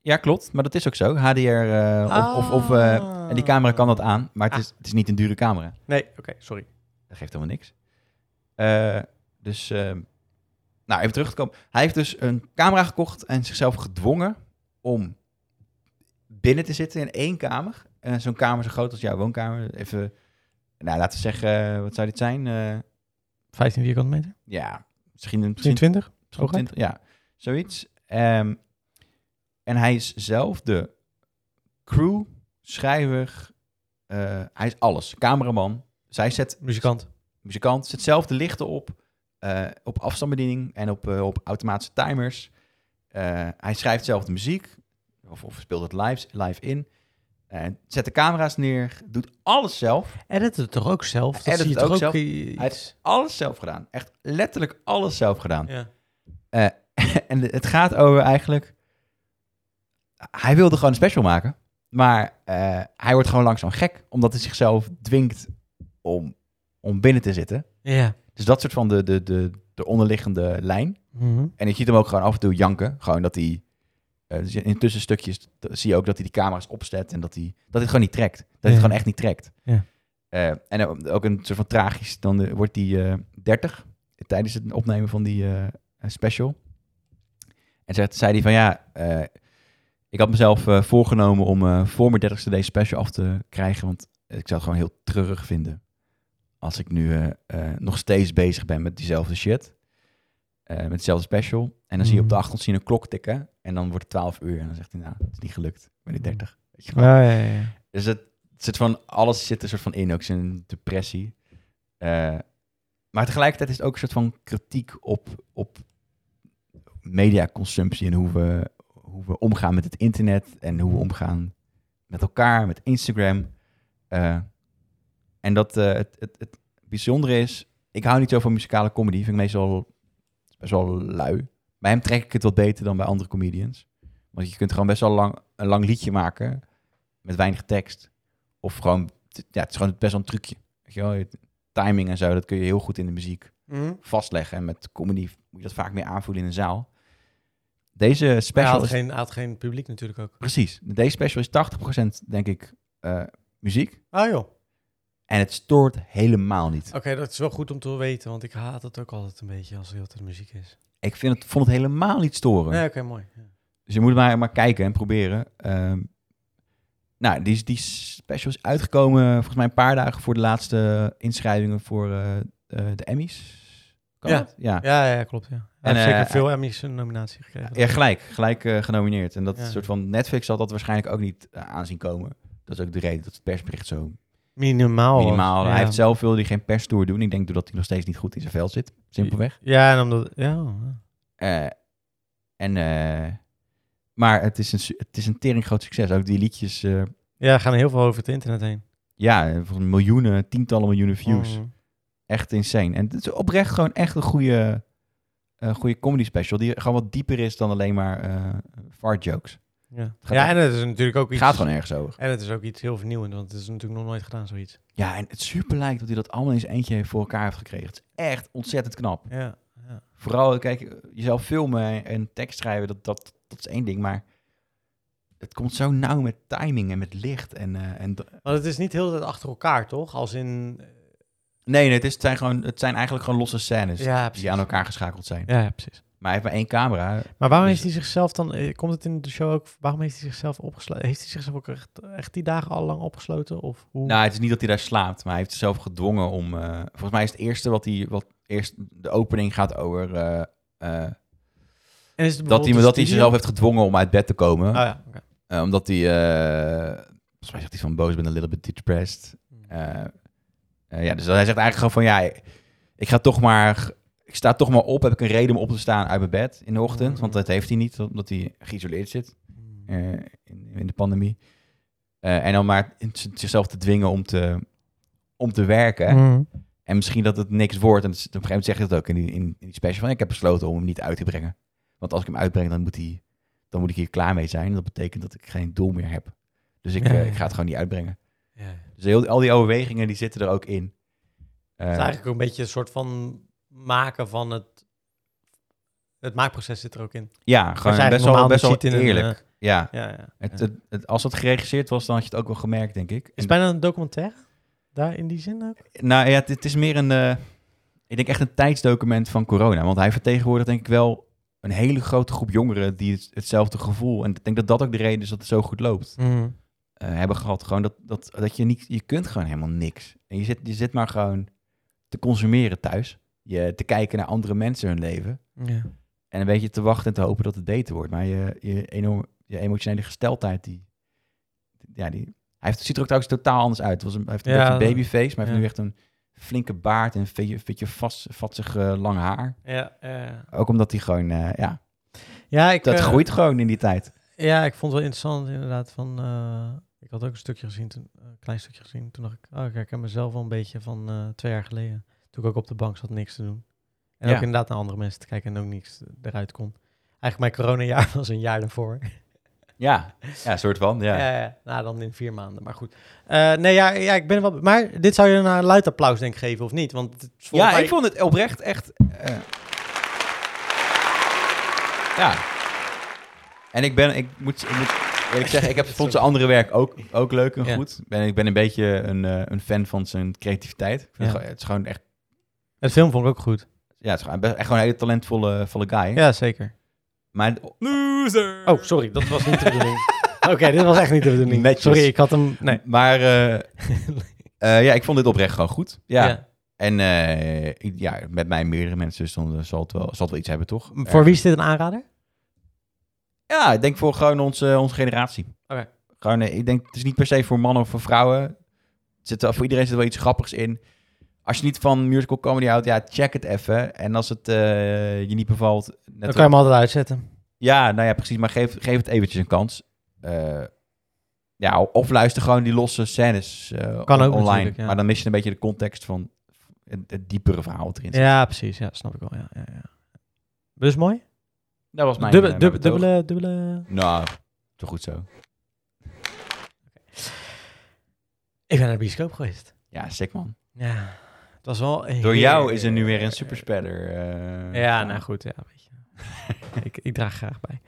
S2: Ja, klopt. Maar dat is ook zo. HDR eh, of... of, of eh, en die camera kan dat aan. Maar het,
S3: Oh. Ah.
S2: is, het is niet een dure camera.
S3: Nee, oké, sorry.
S2: Dat geeft helemaal niks. Eh, dus... eh, nou, even terug te komen. Hij heeft dus een camera gekocht en zichzelf gedwongen om binnen te zitten in één kamer. En zo'n kamer zo groot als jouw woonkamer. Even, nou, laten we zeggen, eh, wat zou dit zijn? Eh,
S3: 15 vierkante meter?
S2: ja, misschien, een- misschien
S3: 20?
S2: Misschien
S3: Hooguit?
S2: 20, ja, zoiets. Ehm, en hij is zelf de crew, schrijver, eh, hij is alles. Cameraman. Zij zet
S3: Muzikant.
S2: muzikant, zet zelf de lichten op, eh, op afstandsbediening en op, eh, op automatische timers. Eh, hij schrijft zelf de muziek, of, of speelt het live, live in. Eh, zet de camera's neer, doet alles zelf.
S3: Edit het toch ook zelf? Dat
S2: Edit
S3: zie je
S2: het
S3: toch ook
S2: ook zelf.
S3: i-
S2: Hij heeft
S3: iets?
S2: alles zelf gedaan. Echt letterlijk alles zelf gedaan.
S3: Ja.
S2: en het gaat over eigenlijk. Hij wilde gewoon een special maken. Maar eh, hij wordt gewoon langzaam gek. Omdat hij zichzelf dwingt om, om binnen te zitten.
S3: ja.
S2: Dus dat soort van de, de, de de onderliggende lijn.
S3: Mhm.
S2: En ik zie hem ook gewoon af en toe janken. Gewoon dat hij... eh, dus in tussenstukjes t- zie je ook dat hij die camera's opzet en dat hij, dat hij het gewoon niet trekt. Dat
S3: Ja.
S2: hij het gewoon echt niet trekt.
S3: Ja.
S2: Eh, en ook- ook een soort van tragisch, dan eh, wordt hij eh 30 tijdens het opnemen van die eh, special. En zegt, zei hij van ja, eh, ik had mezelf eh, voorgenomen om eh, voor mijn 30ste deze special af te krijgen, want ik zou het gewoon heel treurig vinden als ik nu eh, eh, nog steeds bezig ben met diezelfde shit. eh, met hetzelfde special. En dan zie je op
S3: Mhm.
S2: de achtergrond zien een klok tikken. En dan wordt het 12 uur. En dan zegt hij, nou, het is niet gelukt. Ik ben nu 30. Weet je wel.
S3: Ja, ja, ja.
S2: Dus het zit van alles zit er soort van in, ook zijn depressie. Eh, maar tegelijkertijd is het ook een soort van kritiek op, op mediaconsumptie en hoe we, hoe we omgaan met het internet en hoe we omgaan met elkaar, met Instagram. Eh, en dat eh, het, het, het bijzondere is, ik hou niet zo van muzikale comedy, vind ik meestal best wel lui. Bij hem trek ik het wat beter dan bij andere comedians. Want je kunt gewoon best wel lang, een lang liedje maken met weinig tekst. Of gewoon, t- ja, het is gewoon best wel een trucje. Weet je wel? Je- Timing en zo, dat kun je heel goed in de muziek
S3: Mhm.
S2: vastleggen. En met comedy moet je dat vaak meer aanvoelen in een zaal. Deze
S3: Hij
S2: special
S3: had,
S2: is...
S3: geen, hij had geen publiek natuurlijk ook.
S2: Precies. Deze special is 80% denk ik eh, muziek.
S3: Ah joh. Oké,
S2: En het stoort helemaal niet.
S3: dat is wel goed om te weten, want ik haat dat ook altijd een beetje als er heel veel muziek is.
S2: Ik vind het, vond het helemaal niet storen.
S3: Nee, oké, mooi. Ja.
S2: Dus je moet maar, maar kijken en proberen. Ehm, nou, die, is- die special is uitgekomen eh, volgens mij een paar dagen voor de laatste inschrijvingen voor eh, eh, de Emmys. Kan
S3: Ja.
S2: dat? ja.
S3: Ja, ja, ja, klopt. Ja. Hij
S2: En,
S3: heeft
S2: eh,
S3: zeker veel Emmys een nominatie gekregen.
S2: Ja, gelijk. Gelijk eh, genomineerd. En dat
S3: Ja.
S2: soort van Netflix zal dat waarschijnlijk ook niet eh, aanzien komen. Dat is ook de reden dat het persbericht zo
S3: Minimaal. was.
S2: minimaal.
S3: Ja.
S2: Hij heeft zelf wilde hij geen perstour doen. Ik denk doordat hij nog steeds niet goed in zijn veld zit. Simpelweg.
S3: Ja, en omdat... Ja.
S2: Eh, en, eh, maar het is, een, su- het is een tering groot succes. Ook die liedjes, eh,
S3: ja, er gaan heel veel over het internet heen.
S2: ja, volgens mij miljoenen, tientallen miljoenen views.
S3: Mm.
S2: Echt insane. En het is oprecht gewoon echt een goede, eh goede comedy special. Die gewoon wat dieper is dan alleen maar eh fart jokes.
S3: Ja,
S2: gaat
S3: ja
S2: ook-
S3: en het is natuurlijk ook
S2: Het
S3: iets...
S2: gaat gewoon ergens over.
S3: En het is ook iets heel vernieuwend, want het is natuurlijk nog nooit gedaan, zoiets.
S2: Ja, en het super lijkt dat hij dat allemaal eens eentje heeft voor elkaar heeft gekregen. Het is echt ontzettend knap.
S3: Ja, ja.
S2: Vooral, kijk, jezelf filmen en tekst schrijven, dat, dat, dat is één ding. Maar het komt zo nauw met timing en met licht. En, eh, en d-
S3: Want het is niet heel de tijd achter elkaar, toch? Als in...
S2: nee, nee het, is, het, zijn gewoon, het zijn eigenlijk gewoon losse scènes
S3: Ja, precies.
S2: die aan elkaar geschakeld zijn.
S3: Ja, ja, precies.
S2: Maar hij heeft maar één camera.
S3: Maar waarom
S2: Dus-
S3: heeft hij zichzelf dan... eh, Komt het in de show ook... Waarom heeft hij zichzelf opgesloten? Heeft hij zichzelf ook echt, echt die dagen al lang opgesloten? Of hoe?
S2: Nou, het is niet dat hij daar slaapt, maar hij heeft zichzelf gedwongen om... eh, volgens mij is het eerste wat hij... Wat eerst de opening gaat over... eh, eh,
S3: en is het
S2: dat hij,
S3: bijvoorbeeld
S2: dat
S3: een
S2: hij
S3: studio?
S2: zichzelf heeft gedwongen om uit bed te komen.
S3: Oh ja, oké.
S2: Eh, omdat hij, eh, volgens mij zegt hij van boos, ben een little bit depressed. Eh, eh, ja, dus hij zegt eigenlijk gewoon van ja, ik ga toch maar, ik sta toch maar op. Heb ik een reden om op te staan uit mijn bed in de ochtend? Want dat heeft hij niet, omdat hij geïsoleerd zit
S3: Mm.
S2: eh, in, in de pandemie. Eh, en dan maar z- zichzelf te dwingen om te, om te werken.
S3: Mm.
S2: En misschien dat het niks wordt. En het is- op een gegeven moment zeg je dat ook in die, in, in die special. Van, ik heb besloten om hem niet uit te brengen. Want als ik hem uitbreng, dan moet, hij, dan moet ik hier klaar mee zijn. En dat betekent dat ik geen doel meer heb. Dus ik,
S3: Ja,
S2: eh,
S3: ja.
S2: ik ga het gewoon niet uitbrengen.
S3: Ja, ja.
S2: Dus heel, al die overwegingen, die zitten er ook in. Eh,
S3: Het is eigenlijk ook een beetje een soort van maken van het... Het maakproces zit er ook in.
S2: ja,
S3: Wat je
S2: gewoon
S3: eigenlijk
S2: best wel,
S3: normaal
S2: best wel
S3: niet ziet in een,
S2: eerlijk.
S3: eh,
S2: ja.
S3: ja, ja.
S2: Het,
S3: ja.
S2: het, het- als dat geregisseerd was, dan had je het ook wel gemerkt, denk ik.
S3: Is
S2: En-
S3: het bijna een documentaire? Daar in die zin ook?
S2: Nou ja, het, het is meer een, eh, ik denk echt een tijdsdocument van corona. Want hij vertegenwoordigt denk ik wel een hele grote groep jongeren die het- hetzelfde gevoel, en ik denk dat dat ook de reden is dat het zo goed loopt, eh, hebben gehad. Gewoon dat, dat, dat je niet, je kunt gewoon helemaal niks. En je zit, je zit maar gewoon te consumeren thuis. Je, te kijken naar andere mensen hun leven.
S3: Ja.
S2: En een beetje te wachten en te hopen dat het beter wordt. Maar je, je, enorm, je emotionele gesteldheid, die, ja, die, hij heeft, ziet er ook trouwens totaal anders uit. Het Was een, hij heeft een
S3: Ja,
S2: beetje een babyface, maar hij heeft
S3: ja.
S2: nu echt een flinke baard en een beetje, beetje vast, vatsig eh, lang haar.
S3: Ja, ja.
S2: Ook omdat hij gewoon, eh, ja,
S3: ja, ik,
S2: dat
S3: eh,
S2: groeit gewoon in die tijd.
S3: Ja, ik vond het wel interessant inderdaad. Van, eh, ik had ook een stukje gezien, toen, een klein stukje gezien. Toen dacht ik, oh, ik herken mezelf wel een beetje van eh, twee jaar geleden. Toen ik ook op de bank zat niks te doen. En
S2: Ja.
S3: ook inderdaad naar andere mensen te kijken en ook niks eruit kon. Eigenlijk mijn coronajaar was een jaar daarvoor.
S2: Ja, ja, soort van, ja.
S3: Ja, ja. Nou, dan in vier maanden, maar goed. Eh, nee, ja, ja, ik ben wel... Maar dit zou je een eh, luid applaus denk ik geven, of niet? Want het is volgens
S2: Ja,
S3: mij-
S2: ik vond het oprecht echt... eh, Ja. En ik ben, ik moet, ik moet eerlijk zeggen, ik heb, vond zijn andere werk ook, ook leuk en
S3: Ja.
S2: goed. Ben, ik ben een beetje een, eh, een fan van zijn creativiteit. Ik vind
S3: Ja.
S2: het, gewoon- het is gewoon echt,
S3: Het film vond ik ook goed.
S2: ja, het is gewoon, best- echt gewoon een hele talentvolle eh, volle guy.
S3: Ja, zeker.
S2: Maar
S4: Loser!
S3: Oh, sorry, dat was niet de bedoeling. Oké, dit was echt niet de bedoeling.
S2: Netjes.
S3: Sorry, ik had hem... Nee.
S2: Maar eh, eh, ja, ik vond dit oprecht gewoon goed. Ja.
S3: Ja.
S2: En eh, ik- ja, met mij en meerdere mensen dus dan eh, zal het wel, zal het wel iets hebben, toch?
S3: Voor wie is dit een aanrader?
S2: Ja, ik denk voor gewoon onze, onze generatie.
S3: Oké.
S2: Gewoon, eh, ik denk, het is niet per se voor mannen of voor vrouwen. Er Zit, wel- voor iedereen zit wel iets grappigs in. Als je niet van musical comedy houdt, ja, check het even. En als het eh, je niet bevalt... Net
S3: Dan kan je hem altijd uitzetten.
S2: Ja, nou ja, precies. Maar geef, geef het eventjes een kans. Eh, ja, of luister gewoon die losse scènes eh,
S3: Kan
S2: on-
S3: ook
S2: online.
S3: natuurlijk, ja.
S2: Maar dan mis je een beetje de context van het, het diepere verhaal wat erin zit.
S3: Ja, precies. Ja, snap ik wel. Ja, ja, ja. Dus mooi.
S2: Dat was mijn,
S3: Dubbele,
S2: eh,
S3: dubbele,
S2: mijn betoog.
S3: dubbele, dubbele...
S2: Nou, toch goed zo.
S3: Ik ben naar de bioscoop geweest.
S2: Ja, sick man.
S3: Ja, het was wel...
S2: Door jou is er nu weer een superspeller. eh,
S3: Ja,
S2: van.
S3: nou goed, ja, weet je. ik, ik draag graag bij.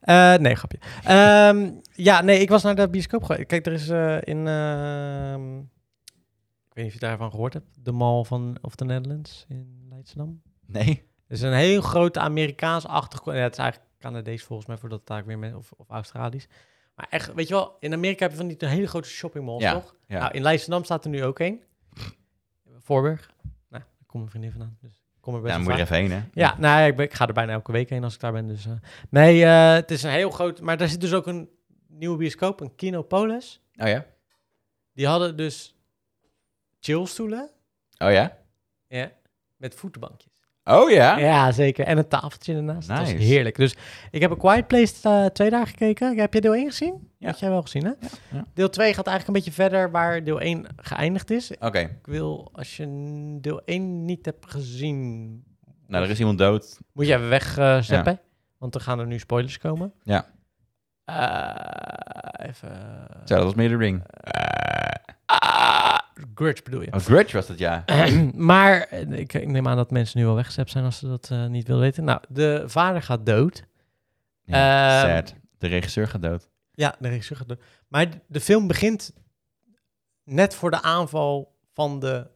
S3: Eh, nee, grapje. Ehm, ja, nee, ik was naar de bioscoop gegaan. Kijk, er is eh, in... ehm, ik weet niet of je daarvan gehoord hebt. De Mall van, of the Netherlands in Leidschendam.
S2: Nee?
S3: Het is een heel grote Amerikaans-achtig... Ja, het is eigenlijk Canadees volgens mij, voordat het daar weer... Met, of, of Australisch. Maar echt, weet je wel, in Amerika heb je van die hele grote shoppingmalls,
S2: Ja,
S3: toch?
S2: ja.
S3: Nou, in Leidschendam staat er nu ook één. Voorburg. Nou, daar komt mijn vriendin vandaan. Dus ik kom er best
S2: Ja,
S3: wel
S2: Nou, moet je
S3: vaak.
S2: er even heen, hè?
S3: Ja, nou ja, ik, ben- ik ga er bijna elke week heen als ik daar ben. Dus, eh. nee, eh, het is een heel groot... Maar daar zit dus ook een nieuwe bioscoop, een Kinopolis.
S2: Oh ja?
S3: Die hadden dus chillstoelen
S2: Oh ja?
S3: ja, met voetenbankjes.
S2: Oh ja?
S3: Ja, zeker. En een tafeltje ernaast. Dat
S2: Nice.
S3: was heerlijk. Dus ik heb een Quiet Place eh, twee dagen gekeken. Heb je deel 1 gezien?
S2: Ja.
S3: Had jij wel gezien, hè?
S2: ja.
S3: Deel 2 gaat eigenlijk een beetje verder waar deel 1 geëindigd is.
S2: Oké.
S3: Ik wil, als je deel 1 niet hebt gezien,
S2: Nou, er is iemand dood.
S3: Moet je even wegzeppen. Want er gaan er nu spoilers komen.
S2: Ja.
S3: Eh, even.
S2: Zo, dat was meer de ring.
S3: Ah, grudge bedoel je.
S2: Eh, Oh, Grudge was dat, ja.
S3: maar eh, ik, ik neem aan dat mensen nu al weggezept zijn als ze dat eh, niet willen weten. Nou, de vader gaat dood.
S2: Ja,
S3: Ehm,
S2: sad. De regisseur gaat dood.
S3: Ja, de regisseur gaat dood. Maar d- de film begint net voor de aanval van de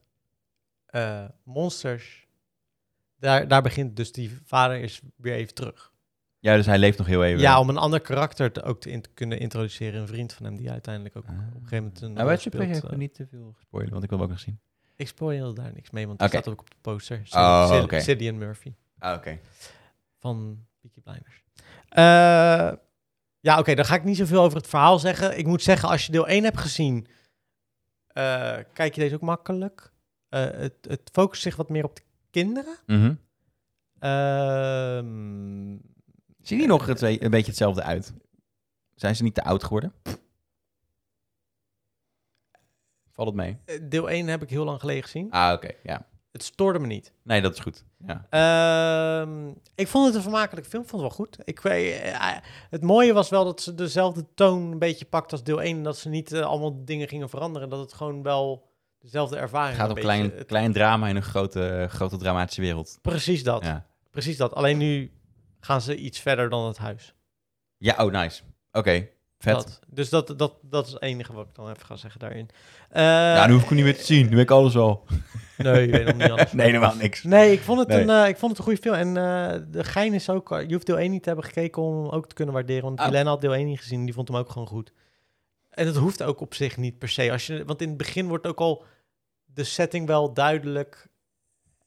S3: eh, monsters. Daar, daar begint dus die vader is weer even terug.
S2: Ja, dus hij leeft nog heel even.
S3: Ja, om een ander karakter te, ook te, in- te kunnen introduceren. Een vriend van hem die uiteindelijk ook
S2: Ah.
S3: op een gegeven moment een
S2: Nou,
S3: rol
S2: weet je,
S3: speelt,
S2: ik
S3: eh.
S2: niet te veel spoilen, want ik wil hem ook nog zien.
S3: Ik spoil daar niks mee, want dat
S2: Oké.
S3: staat ook op de poster. Sid-
S2: Oh,
S3: Sid-
S2: oké.
S3: Cillian Murphy
S2: Ah, oké.
S3: van Peaky Blinders. Eh, ja, oké, dan ga ik niet zoveel over het verhaal zeggen. Ik moet zeggen, als je deel 1 hebt gezien, eh, kijk je deze ook makkelijk. Eh, het, het focust zich wat meer op de kinderen.
S2: Mhm.
S3: Ehm,
S2: Zien die nog het, een beetje hetzelfde uit? Zijn ze niet te oud geworden? Valt het mee?
S3: deel 1 heb ik heel lang geleden gezien.
S2: Ah, oké. Ja.
S3: Het stoorde me niet.
S2: Nee, dat is goed. Ja.
S3: Ehm, ik vond het een vermakelijk film. Ik vond het wel goed. Ik, weet- eh, het mooie was wel dat ze dezelfde toon een beetje pakt als deel 1. En dat ze niet eh, allemaal dingen gingen veranderen. Dat het gewoon wel dezelfde ervaring
S2: Het gaat
S3: een
S2: om klein,
S3: beetje- het-
S2: klein drama in een grote, grote dramatische wereld.
S3: Precies dat.
S2: Ja.
S3: Precies dat. Alleen nu gaan ze iets verder dan het huis.
S2: Ja, oh, nice. Oké, vet.
S3: Dat. Dus dat, dat, dat is het enige wat ik dan even ga zeggen daarin. Eh,
S2: ja, nu hoef ik hem niet meer te zien. Nu weet ik alles al.
S3: Nee, je weet nog niet alles.
S2: nee, helemaal niks.
S3: Nee, ik vond het,
S2: Nee.
S3: Een, eh, ik vond het een goede film. En eh, de gein is ook... Je hoeft deel 1 niet te hebben gekeken om hem ook te kunnen waarderen. Want
S2: Oh.
S3: Helena had deel 1 niet gezien. Die vond hem ook gewoon goed. En dat hoeft ook op zich niet per se. Als je, want in het begin wordt ook al de setting wel duidelijk.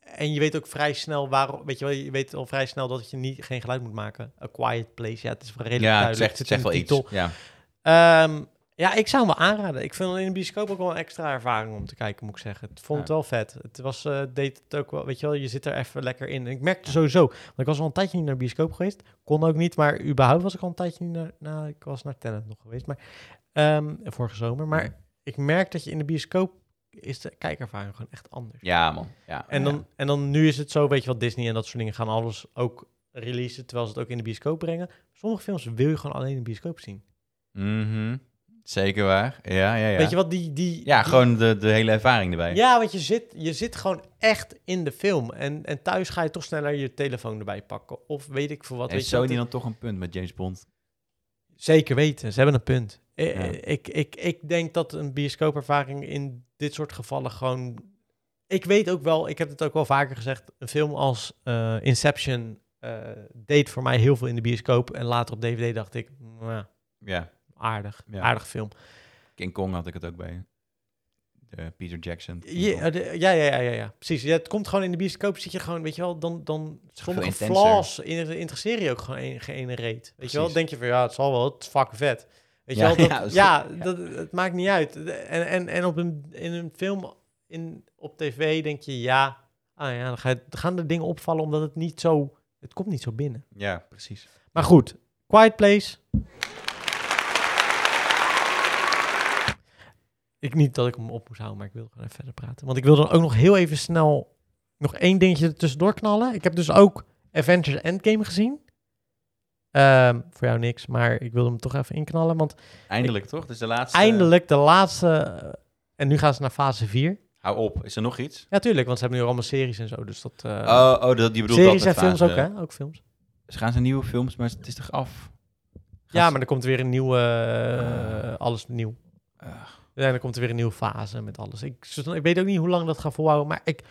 S3: En je weet ook vrij snel waarom... Weet je wel, je weet al vrij snel dat je niet, geen geluid moet maken. A Quiet Place. Ja, het is wel redelijk
S2: Ja,
S3: duidelijk.
S2: het zegt, het
S3: zit in
S2: zegt wel
S3: de
S2: iets.
S3: titel.
S2: Ja.
S3: Ehm, ja, ik zou hem wel aanraden. Ik vind het in de bioscoop ook wel een extra ervaring om te kijken, moet ik zeggen. Ik vond het
S2: Ja.
S3: wel vet. Het was, eh, deed het ook wel, weet je wel, je zit er even lekker in. En ik merkte sowieso, want ik was al een tijdje niet naar de bioscoop geweest. Kon ook niet, maar überhaupt was ik al een tijdje niet naar, nou, ik was naar Tenet nog geweest, maar ehm, vorige zomer. Maar ik merk dat je in de bioscoop, is de kijkervaring gewoon echt anders.
S2: ja, man. Oh, Ja.
S3: En dan, en dan nu is het zo, weet je wat, Disney en dat soort dingen gaan alles ook releasen, terwijl ze het ook in de bioscoop brengen. Sommige films wil je gewoon alleen in de bioscoop zien.
S2: Mhm. Zeker waar. Ja, ja, ja.
S3: Weet je wat, die... die
S2: Ja,
S3: die-
S2: gewoon de, de hele ervaring erbij.
S3: Ja, want je zit, je zit gewoon echt in de film. En, en thuis ga je toch sneller je telefoon erbij pakken. Of weet ik veel wat.
S2: Heeft
S3: weet je wat
S2: Sony
S3: het-
S2: dan toch een punt met James Bond?
S3: Zeker weten, ze hebben een punt. I-
S2: Ja.
S3: Ik, ik, ik denk dat een bioscoopervaring in dit soort gevallen gewoon... Ik weet ook wel, ik heb het ook wel vaker gezegd... een film als eh, Inception eh, deed voor mij heel veel in de bioscoop. En later op DVD dacht ik, "Mwah,
S2: Ja,
S3: aardig,
S2: Ja.
S3: aardig film.
S2: King Kong had ik het ook bij. De Peter Jackson. King
S3: Ja,
S2: Kong.
S3: eh, de- ja, ja, ja, ja, ja, precies. Ja, het komt gewoon in de bioscoop, zit je gewoon, weet je wel, dan, dan sommige
S2: intenser.
S3: flaws in, interesseren je ook gewoon een, geen ene reet. Weet je wel,
S2: Precies.
S3: denk je van, ja, het zal wel, het is fucking vet. Weet
S2: Ja,
S3: je wel, dat,
S2: ja,
S3: ja,
S2: dat is- ja.
S3: Dat, het maakt niet uit. De- En, en, en op een, in een film in, op tv denk je, ja, ah ja, dan ga je- dan gaan de dingen opvallen omdat het niet zo, het komt niet zo binnen.
S2: Ja, precies.
S3: Maar goed, Quiet Place. Ik niet dat ik hem op moest houden, maar ik wil gewoon even verder praten. Want ik wil dan ook nog heel even snel nog één dingetje er tussendoor knallen. Ik heb dus ook Avengers Endgame gezien. Ehm, voor jou niks, maar ik wilde hem toch even inknallen. Want
S2: Eindelijk toch? Dus de
S3: eh,
S2: laatste.
S3: eindelijk de laatste... eh, en nu gaan ze naar fase 4.
S2: Hou op. Is er nog iets?
S3: Ja, tuurlijk, want ze hebben nu allemaal series en zo. Dus dat... eh,
S2: oh, oh, dat, je bedoelt
S3: series en
S2: dat met
S3: films ook,
S2: fase-
S3: hè? Ook films.
S2: Ze gaan zijn nieuwe films, maar het is toch af?
S3: Ja, maar er komt weer een nieuwe... eh, alles nieuw.
S2: Ah.
S3: Ja, dan komt er weer een nieuwe fase met alles. Ik, dus dan- ik weet ook niet hoe lang dat gaat volhouden. Maar ik,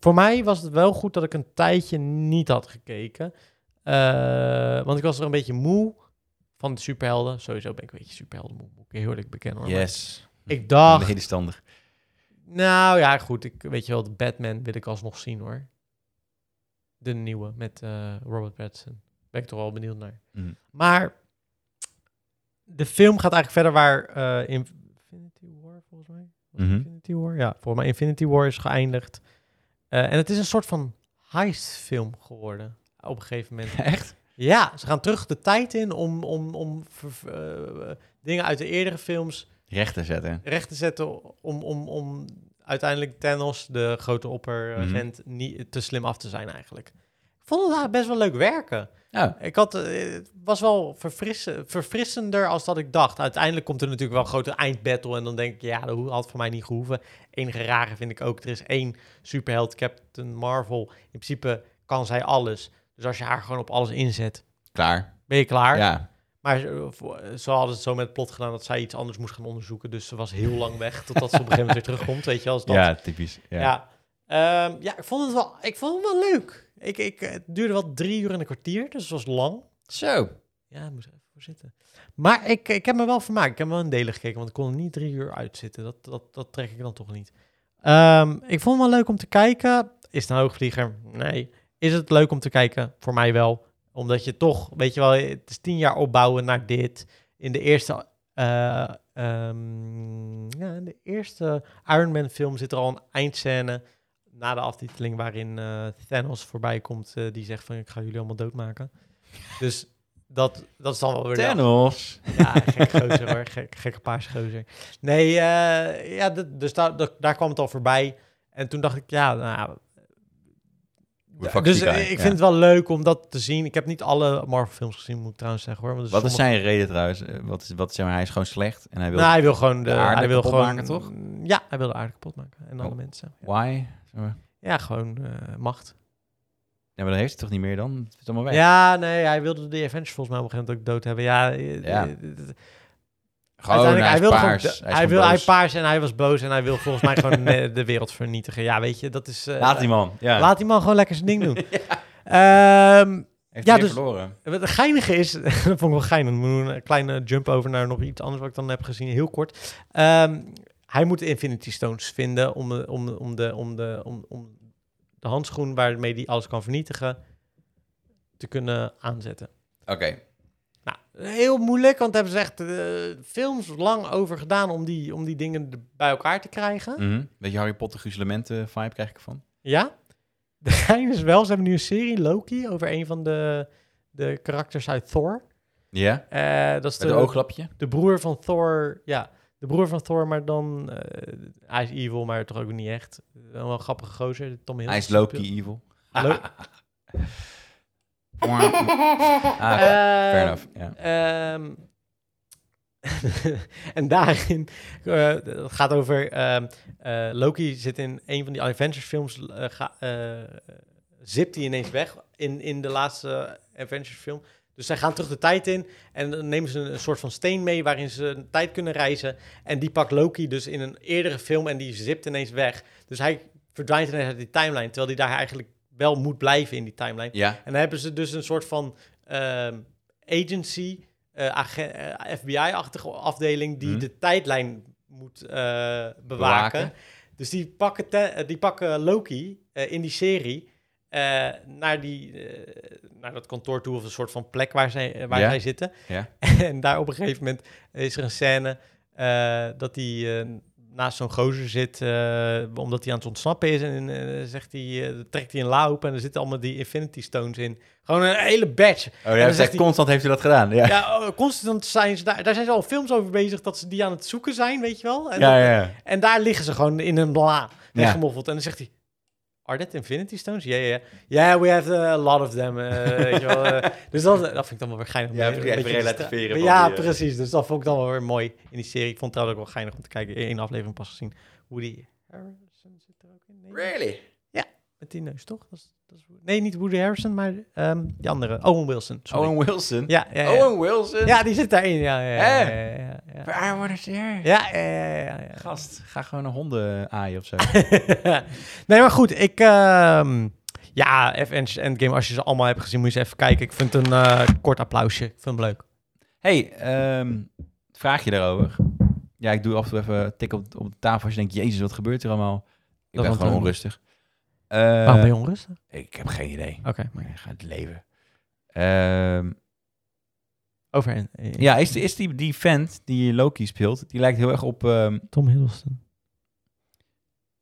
S3: voor mij was het wel goed dat ik een tijdje niet had gekeken. Eh, want ik was er een beetje moe van de superhelden. Sowieso ben ik een beetje superhelden moe. Moet ik heel eerlijk bekennen.
S2: Oh,
S3: hoor.
S2: yes.
S3: Ik dacht,
S2: Medestander.
S3: nou ja, goed. Ik weet je wel, de Batman wil ik alsnog zien hoor. De nieuwe met eh, Robert Pattinson. Ben ik toch wel benieuwd naar.
S2: Mm.
S3: Maar de film gaat eigenlijk verder waar eh, Infinity War volgens mij. Was het
S2: Mhm.
S3: Infinity War? Ja, volgens mij Infinity War is geëindigd. Eh, en het is een soort van heistfilm geworden op een gegeven moment.
S2: Echt?
S3: ja, ze gaan terug de tijd in om, om, om ver- ver- eh, dingen uit de eerdere films
S2: Recht te zetten.
S3: recht te zetten om, om, om uiteindelijk Thanos, de grote opperagent, niet te slim af te zijn eigenlijk. Ik vond het eigenlijk best wel leuk werken.
S2: Ja.
S3: Ik had, eh, het was wel verfrissen, verfrissender als dat ik dacht. Uiteindelijk komt er natuurlijk wel een grote eindbattle en dan denk ik, ja, dat hoe- had voor mij niet gehoeven. Enige rare vind ik ook, er is één superheld, Captain Marvel. In principe kan zij alles. Dus als je haar gewoon op alles inzet,
S2: Klaar.
S3: ben je klaar.
S2: Ja.
S3: Maar ze voor- eh, ze hadden het zo met het plot gedaan dat zij iets anders moest gaan onderzoeken. Dus ze was heel lang weg totdat ze op een gegeven moment weer terugkomt. Weet je, als dat.
S2: Ja, typisch. Ja.
S3: ja. Ehm, ja, ik vond het wel, ik vond het wel leuk. Ik, ik, het duurde wel drie uur en een kwartier, dus het was lang.
S2: Zo.
S3: Ja, ik moest er even voor zitten. Maar ik, ik heb me wel vermaakt. Ik heb wel een delen gekeken, want ik kon er niet drie uur uitzitten. Dat, dat, dat trek ik dan toch niet. Ehm, ik vond het wel leuk om te kijken. Is het een hoogvlieger? Nee. Is het leuk om te kijken? Voor mij wel. Omdat je toch, weet je wel, het is tien jaar opbouwen naar dit. In de eerste, eh, ehm, ja, in de eerste Iron Man film zit er al een eindscène na de aftiteling waarin eh, Thanos voorbij komt. eh, die zegt van, ik ga jullie allemaal doodmaken. Dus dat, dat is dan wel weer... de-
S2: Thanos.
S3: ja, gek gozer hoor. Gek, gekke paars gozer. Nee, eh, ja, d- dus daar daar- daar kwam het al voorbij. En toen dacht ik, ja, nou... ja,
S2: the fuck
S3: dus
S2: die guy?
S3: eh, ik
S2: Ja.
S3: vind het wel leuk om dat te zien. Ik heb niet alle Marvel films gezien, moet ik trouwens zeggen hoor. Want dus er
S2: Wat is
S3: sommige-
S2: zijn reden trouwens? Eh, Wat is, wat, zeg maar, hij is gewoon slecht en hij wil...
S3: Nou, hij wil gewoon de,
S2: de aarde
S3: hij wil
S2: kapot
S3: gewoon,
S2: maken, toch?
S3: Ja, hij wil de aarde kapot maken. En alle
S2: Oh.
S3: mensen.
S2: Why? Zeg maar.
S3: Ja, gewoon eh, macht.
S2: Ja, maar dan heeft hij het toch niet meer dan? Het is allemaal weg.
S3: Ja, nee, hij wilde de Avengers volgens mij op een gegeven moment ook dood hebben. Ja, eh,
S2: Ja.
S3: eh,
S2: Gewoon, hij,
S3: Uiteindelijk,
S2: is
S3: wilde
S2: paars.
S3: gewoon-
S2: hij is
S3: hij,
S2: gewoon
S3: wil, hij
S2: boos.
S3: paars en hij was boos en hij wil volgens mij gewoon eh, de wereld vernietigen. Ja, weet je, dat is... eh,
S2: Laat die man. Ja.
S3: laat die man gewoon lekker zijn ding doen. Ehm,
S2: Heeft
S3: Ja,
S2: hij weer
S3: dus-
S2: verloren.
S3: het geinige is, dat vond ik wel geinig, moet ik doen, een kleine jump over naar nog iets anders wat ik dan heb gezien, heel kort. Ehm, hij moet de Infinity Stones vinden om de, om, de- om, de, om, de, om, om de handschoen waarmee hij alles kan vernietigen te kunnen aanzetten.
S2: Oké.
S3: Nou, heel moeilijk, want daar hebben ze echt eh, films lang over gedaan om die, om die dingen er bij elkaar te krijgen.
S2: Mhm. Beetje Harry Potter gruzelementen vibe krijg ik ervan.
S3: Ja? De gein is wel, ze hebben nu een serie, Loki, over een van de, de karakters uit Thor.
S2: Ja.
S3: Eh, dat is de,
S2: Met een ooglapje.
S3: de broer van Thor, ja. De broer van Thor, maar dan... eh, hij is evil, maar toch ook niet echt. Wel een grappige gozer, Tom Hiddleston
S2: Hij is Loki evil.
S3: speelt- Lo-
S2: ah,
S3: Eh,
S2: fair enough. Ja.
S3: Ehm, en daarin eh, het gaat over ehm, eh, Loki zit in een van die Avengers films eh, ga- eh, zipt hij ineens weg in, in de laatste Avengers film. Dus zij gaan terug de tijd in en dan nemen ze een, een soort van steen mee waarin ze een tijd kunnen reizen. En die pakt Loki dus in een eerdere film en die zipt ineens weg. Dus hij verdwijnt ineens uit die timeline, terwijl hij daar eigenlijk wel moet blijven in die timeline.
S2: Ja.
S3: En dan hebben ze dus een soort van ehm, agency, eh, agen- eh, FBI-achtige afdeling die
S2: Mhm.
S3: de tijdlijn moet eh, bewaken.
S2: Bewaken.
S3: Dus die pakken, te- eh, die pakken Loki eh, in die serie eh, naar, die, eh, naar dat kantoor toe of een soort van plek waar zij, eh, waar
S2: Ja.
S3: zij zitten.
S2: Ja.
S3: en daar op een gegeven moment is er een scène eh, dat hij eh, naast zo'n gozer zit, eh, omdat hij aan het ontsnappen is. En eh, zegt hij, eh, trekt hij een la open en er zitten allemaal die Infinity Stones in. Gewoon een hele batch.
S2: Oh,
S3: dan
S2: ja,
S3: zegt
S2: zegt,
S3: hij-
S2: constant heeft u dat gedaan. Ja, ja,
S3: Ja, oh, constant zijn ze daar, daar zijn ze al films over bezig dat ze die aan het zoeken zijn, weet je wel. En,
S2: ja.
S3: dat-
S2: ja.
S3: en daar liggen ze gewoon in een bla,
S2: Ja.
S3: weggemoffeld. En dan zegt hij, are that Infinity Stones? Ja, ja, ja. Yeah, we have eh, a lot of them. eh, weet je wel. eh. dus dat, dat vind ik dan wel weer geinig. om
S2: Ja,
S3: een
S2: even
S3: beetje te
S2: relativeren
S3: stra-
S2: van
S3: Ja,
S2: die, eh.
S3: precies. Dus dat vond ik dan wel weer mooi in die serie. Ik vond het trouwens ook wel geinig om te kijken. Eén aflevering pas gezien. Woody Harrison zit er ook in. Nee,
S2: Really?
S3: Met die neus, toch? Dat is, dat is, nee, niet Woody Harrison, maar ehm, die andere. Owen Wilson. Sorry.
S2: Owen Wilson?
S3: Ja, ja, ja.
S2: Owen Wilson?
S3: Ja, die zit daarin. Ja, ja, ja.
S2: Hè?
S3: ja, ja, ja.
S2: Waar worden ze hier?
S3: Ja, ja, ja, ja, ja.
S2: Gast, ga gewoon een honden aaien of zo.
S3: nee, maar goed, ik... ehm, ja, Avengers Endgame, als je ze allemaal hebt gezien, moet je eens even kijken. Ik vind het een eh, kort applausje. Ik vind hem leuk.
S2: hey, ehm, vraag je daarover? Ja, ik doe af en toe even een tik op, op de tafel als je denkt, jezus, wat gebeurt er allemaal? Ik
S3: Dat
S2: ben
S3: want,
S2: gewoon
S3: eh,
S2: onrustig. Eh,
S3: Waarom Oh, ben je onrustig?
S2: Ik heb geen idee.
S3: Oké,
S2: Maar ik ga het leven. Ehm,
S3: over en, eh,
S2: ja, is, is die, die vent die Loki speelt, die lijkt heel erg op... ehm,
S3: Tom Hiddleston.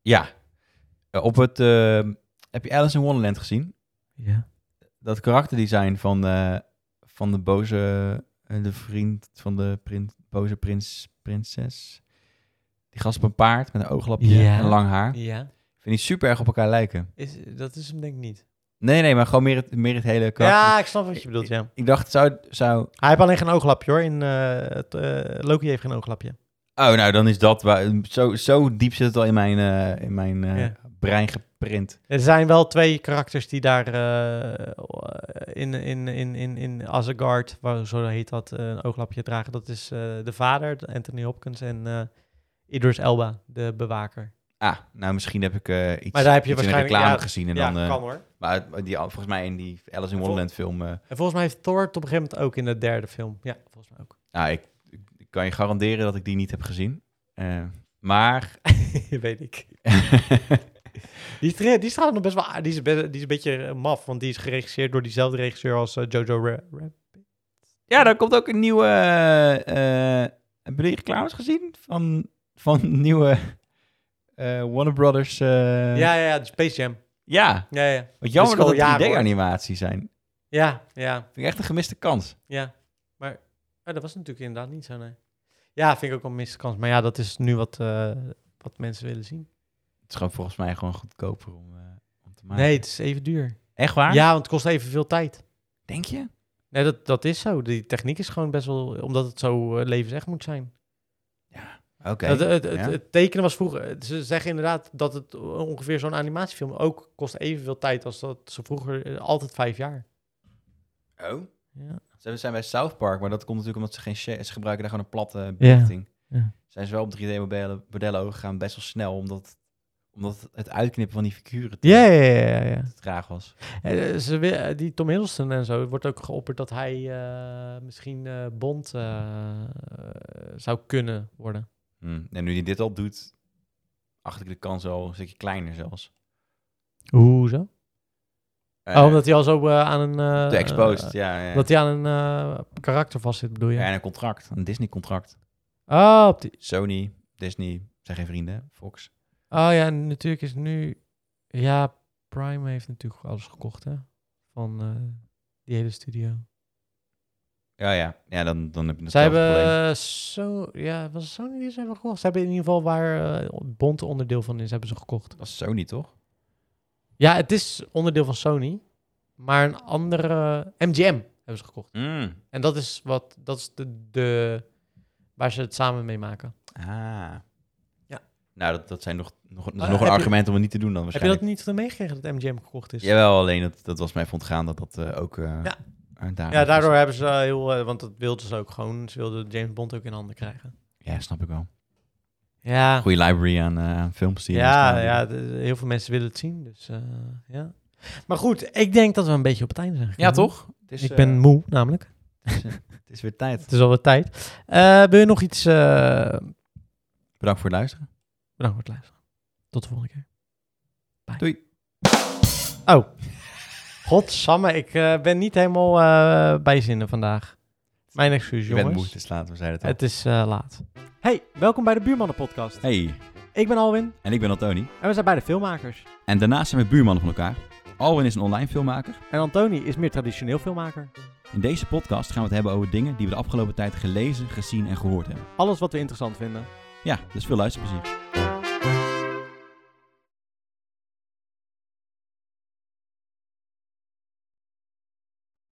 S2: ja, eh, op het... ehm, heb je Alice in Wonderland gezien?
S3: Ja.
S2: Dat karakterdesign van, eh, van de boze... eh, de vriend van de prin, boze prins, prinses. Die gast op een paard met een ooglapje
S3: Ja.
S2: en lang haar.
S3: Ja,
S2: Vind die super erg op elkaar lijken.
S3: is, dat is hem denk ik niet.
S2: Nee, nee, maar gewoon meer het, meer het hele karakter.
S3: Ja, ik snap wat je bedoelt, ja.
S2: Ik dacht, zou, zou...
S3: Hij heeft alleen geen ooglapje, hoor. In, eh, het, eh, Loki heeft geen ooglapje.
S2: Oh, nou, dan is dat... Waar, zo, zo diep zit het al in mijn, eh, in mijn eh,
S3: Ja.
S2: brein geprint.
S3: Er zijn wel twee karakters die daar eh, in, in, in, in, in Asgard, waar, zo heet dat, eh, een ooglapje dragen. Dat is eh, de vader, Anthony Hopkins, en eh, Idris Elba, de bewaker.
S2: Ah, nou misschien heb ik eh, iets,
S3: Maar daar heb je
S2: iets in de
S3: waarschijnlijk-
S2: reclame
S3: ja,
S2: gezien. En
S3: ja,
S2: dan, eh,
S3: kan hoor.
S2: maar die, volgens mij in die Alice in Wonderland film... eh,
S3: En volgens mij heeft Thor het op een gegeven moment ook in de derde film. Ja, volgens mij ook.
S2: nou, ik, ik kan je garanderen dat ik die niet heb gezien. Eh, maar...
S3: Weet ik. Die, is- die staat nog best wel aard- die is, best- die is een beetje eh, maf, want die is geregisseerd door diezelfde regisseur als eh, Jojo Ra- Ra-
S2: ja, daar komt ook een nieuwe... eh, eh, hebben jullie reclames gezien? Van, van nieuwe eh, Warner Brothers... eh,
S3: Ja, ja, ja, de Space Jam.
S2: ja,
S3: Ja, ja.
S2: wat jammer
S3: Dat
S2: dat
S3: is al
S2: het
S3: jaren, hoor.
S2: 3D-animaties zijn.
S3: Ja, ja.
S2: Vind ik echt een gemiste kans.
S3: Ja, maar ah, dat was natuurlijk inderdaad niet zo, nee. Ja, vind ik ook wel een miste kans. Maar ja, dat is nu wat, eh, wat mensen willen zien.
S2: Het is gewoon volgens mij gewoon goedkoper om, eh, om te maken.
S3: Nee, het is even duur.
S2: Echt waar?
S3: Ja, want het kost evenveel tijd.
S2: Denk je?
S3: Nee, dat, dat is zo. Die techniek is gewoon best wel... Omdat het zo eh, levensecht moet zijn.
S2: Oké.
S3: Dat, het, het,
S2: ja.
S3: het tekenen was vroeger... eh, Ze zeggen inderdaad dat het ongeveer zo'n animatiefilm ook kost evenveel tijd als dat ze vroeger... eh, altijd vijf jaar.
S2: Oh.
S3: Ja.
S2: Ze zijn bij South Park, maar dat komt natuurlijk omdat ze geen sha- ze gebruiken daar gewoon een platte
S3: Ja,
S2: belichting.
S3: ja.
S2: Zijn ze wel op 3D-modellen modellen overgegaan best wel snel, omdat, omdat het uitknippen van die figuren te,
S3: Ja, ja, ja, ja, ja.
S2: te traag was.
S3: Eh, ze, wi- eh, die Tom Hiddleston en zo, er wordt ook geopperd dat hij eh, misschien eh, Bond eh, eh, zou kunnen worden.
S2: Hm. En nu hij dit al doet, acht ik de kans al een stukje kleiner zelfs.
S3: Hoezo?
S2: Eh,
S3: oh, omdat hij al zo eh, aan een... eh,
S2: te exposed,
S3: eh,
S2: ja. ja.
S3: dat hij aan een eh, karakter vast zit, bedoel je?
S2: Ja, en een contract, een Disney-contract.
S3: Oh, op die-
S2: Sony, Disney, zijn geen vrienden, hè? Fox.
S3: oh ja, en natuurlijk is nu... Ja, Prime heeft natuurlijk alles gekocht, hè? Van eh, die hele studio.
S2: Ja, ja. Ja, dan, dan heb je
S3: Ze
S2: hetzelfde probleem.
S3: hebben eh, zo... Ja, was het Sony die ze hebben gekocht? Ze hebben in ieder geval waar eh, Bond onderdeel van is, hebben ze gekocht.
S2: Dat was Sony, toch?
S3: Ja, het is onderdeel van Sony, maar een andere MGM hebben ze gekocht.
S2: Mm.
S3: En dat is wat dat is de, de Waar ze het samen mee maken.
S2: Ah.
S1: Ja.
S2: Nou, dat, dat zijn nog, nog, dat is
S3: Maar
S2: nog een
S3: heb je-
S2: argument om het niet te doen dan
S3: Heb je dat
S2: waarschijnlijk.
S3: niet meegekregen dat MGM gekocht is?
S2: Jawel, alleen dat, dat was mij van ontgaan dat dat eh, ook... eh,
S3: Ja.
S2: een dader
S3: Ja,
S2: was.
S3: daardoor hebben ze eh, heel... eh, want dat wilden ze ook gewoon. Ze wilden James Bond ook in handen krijgen.
S2: Ja, snap ik wel.
S3: Ja,
S2: Goede library aan eh, aan films die...
S3: ja,
S2: er
S3: ja
S2: staan.
S3: de- de- heel veel mensen willen het zien. Dus eh, ja. Maar goed, ik denk dat we een beetje op het einde zijn
S2: ja,
S3: gekomen.
S2: toch? Het is,
S3: ik
S2: eh,
S3: ben moe, namelijk.
S2: het is weer tijd.
S3: Het is alweer tijd. Eh, wil je nog iets... eh,
S2: Bedankt voor het luisteren.
S3: Bedankt voor het luisteren. Tot de volgende keer. Bye.
S2: Doei.
S3: Oh. Godsamme, ik eh, ben niet helemaal eh, bij zinnen vandaag. Mijn excuus,
S2: Je bent moe,
S3: jongens.
S2: het is laat, we zeiden het al.
S3: Het is eh, laat.
S1: Hey, welkom bij de Buurmannen Podcast.
S2: Hey,
S1: Ik ben Alwin
S2: en ik ben Antoni.
S1: en we zijn beide filmmakers.
S2: En daarnaast zijn we buurmannen van elkaar. Alwin is een online filmmaker.
S1: En Antoni is meer traditioneel filmmaker.
S2: In deze podcast gaan we het hebben over dingen die we de afgelopen tijd gelezen, gezien en gehoord hebben.
S1: Alles wat we interessant vinden.
S2: Ja, dus veel luisterplezier.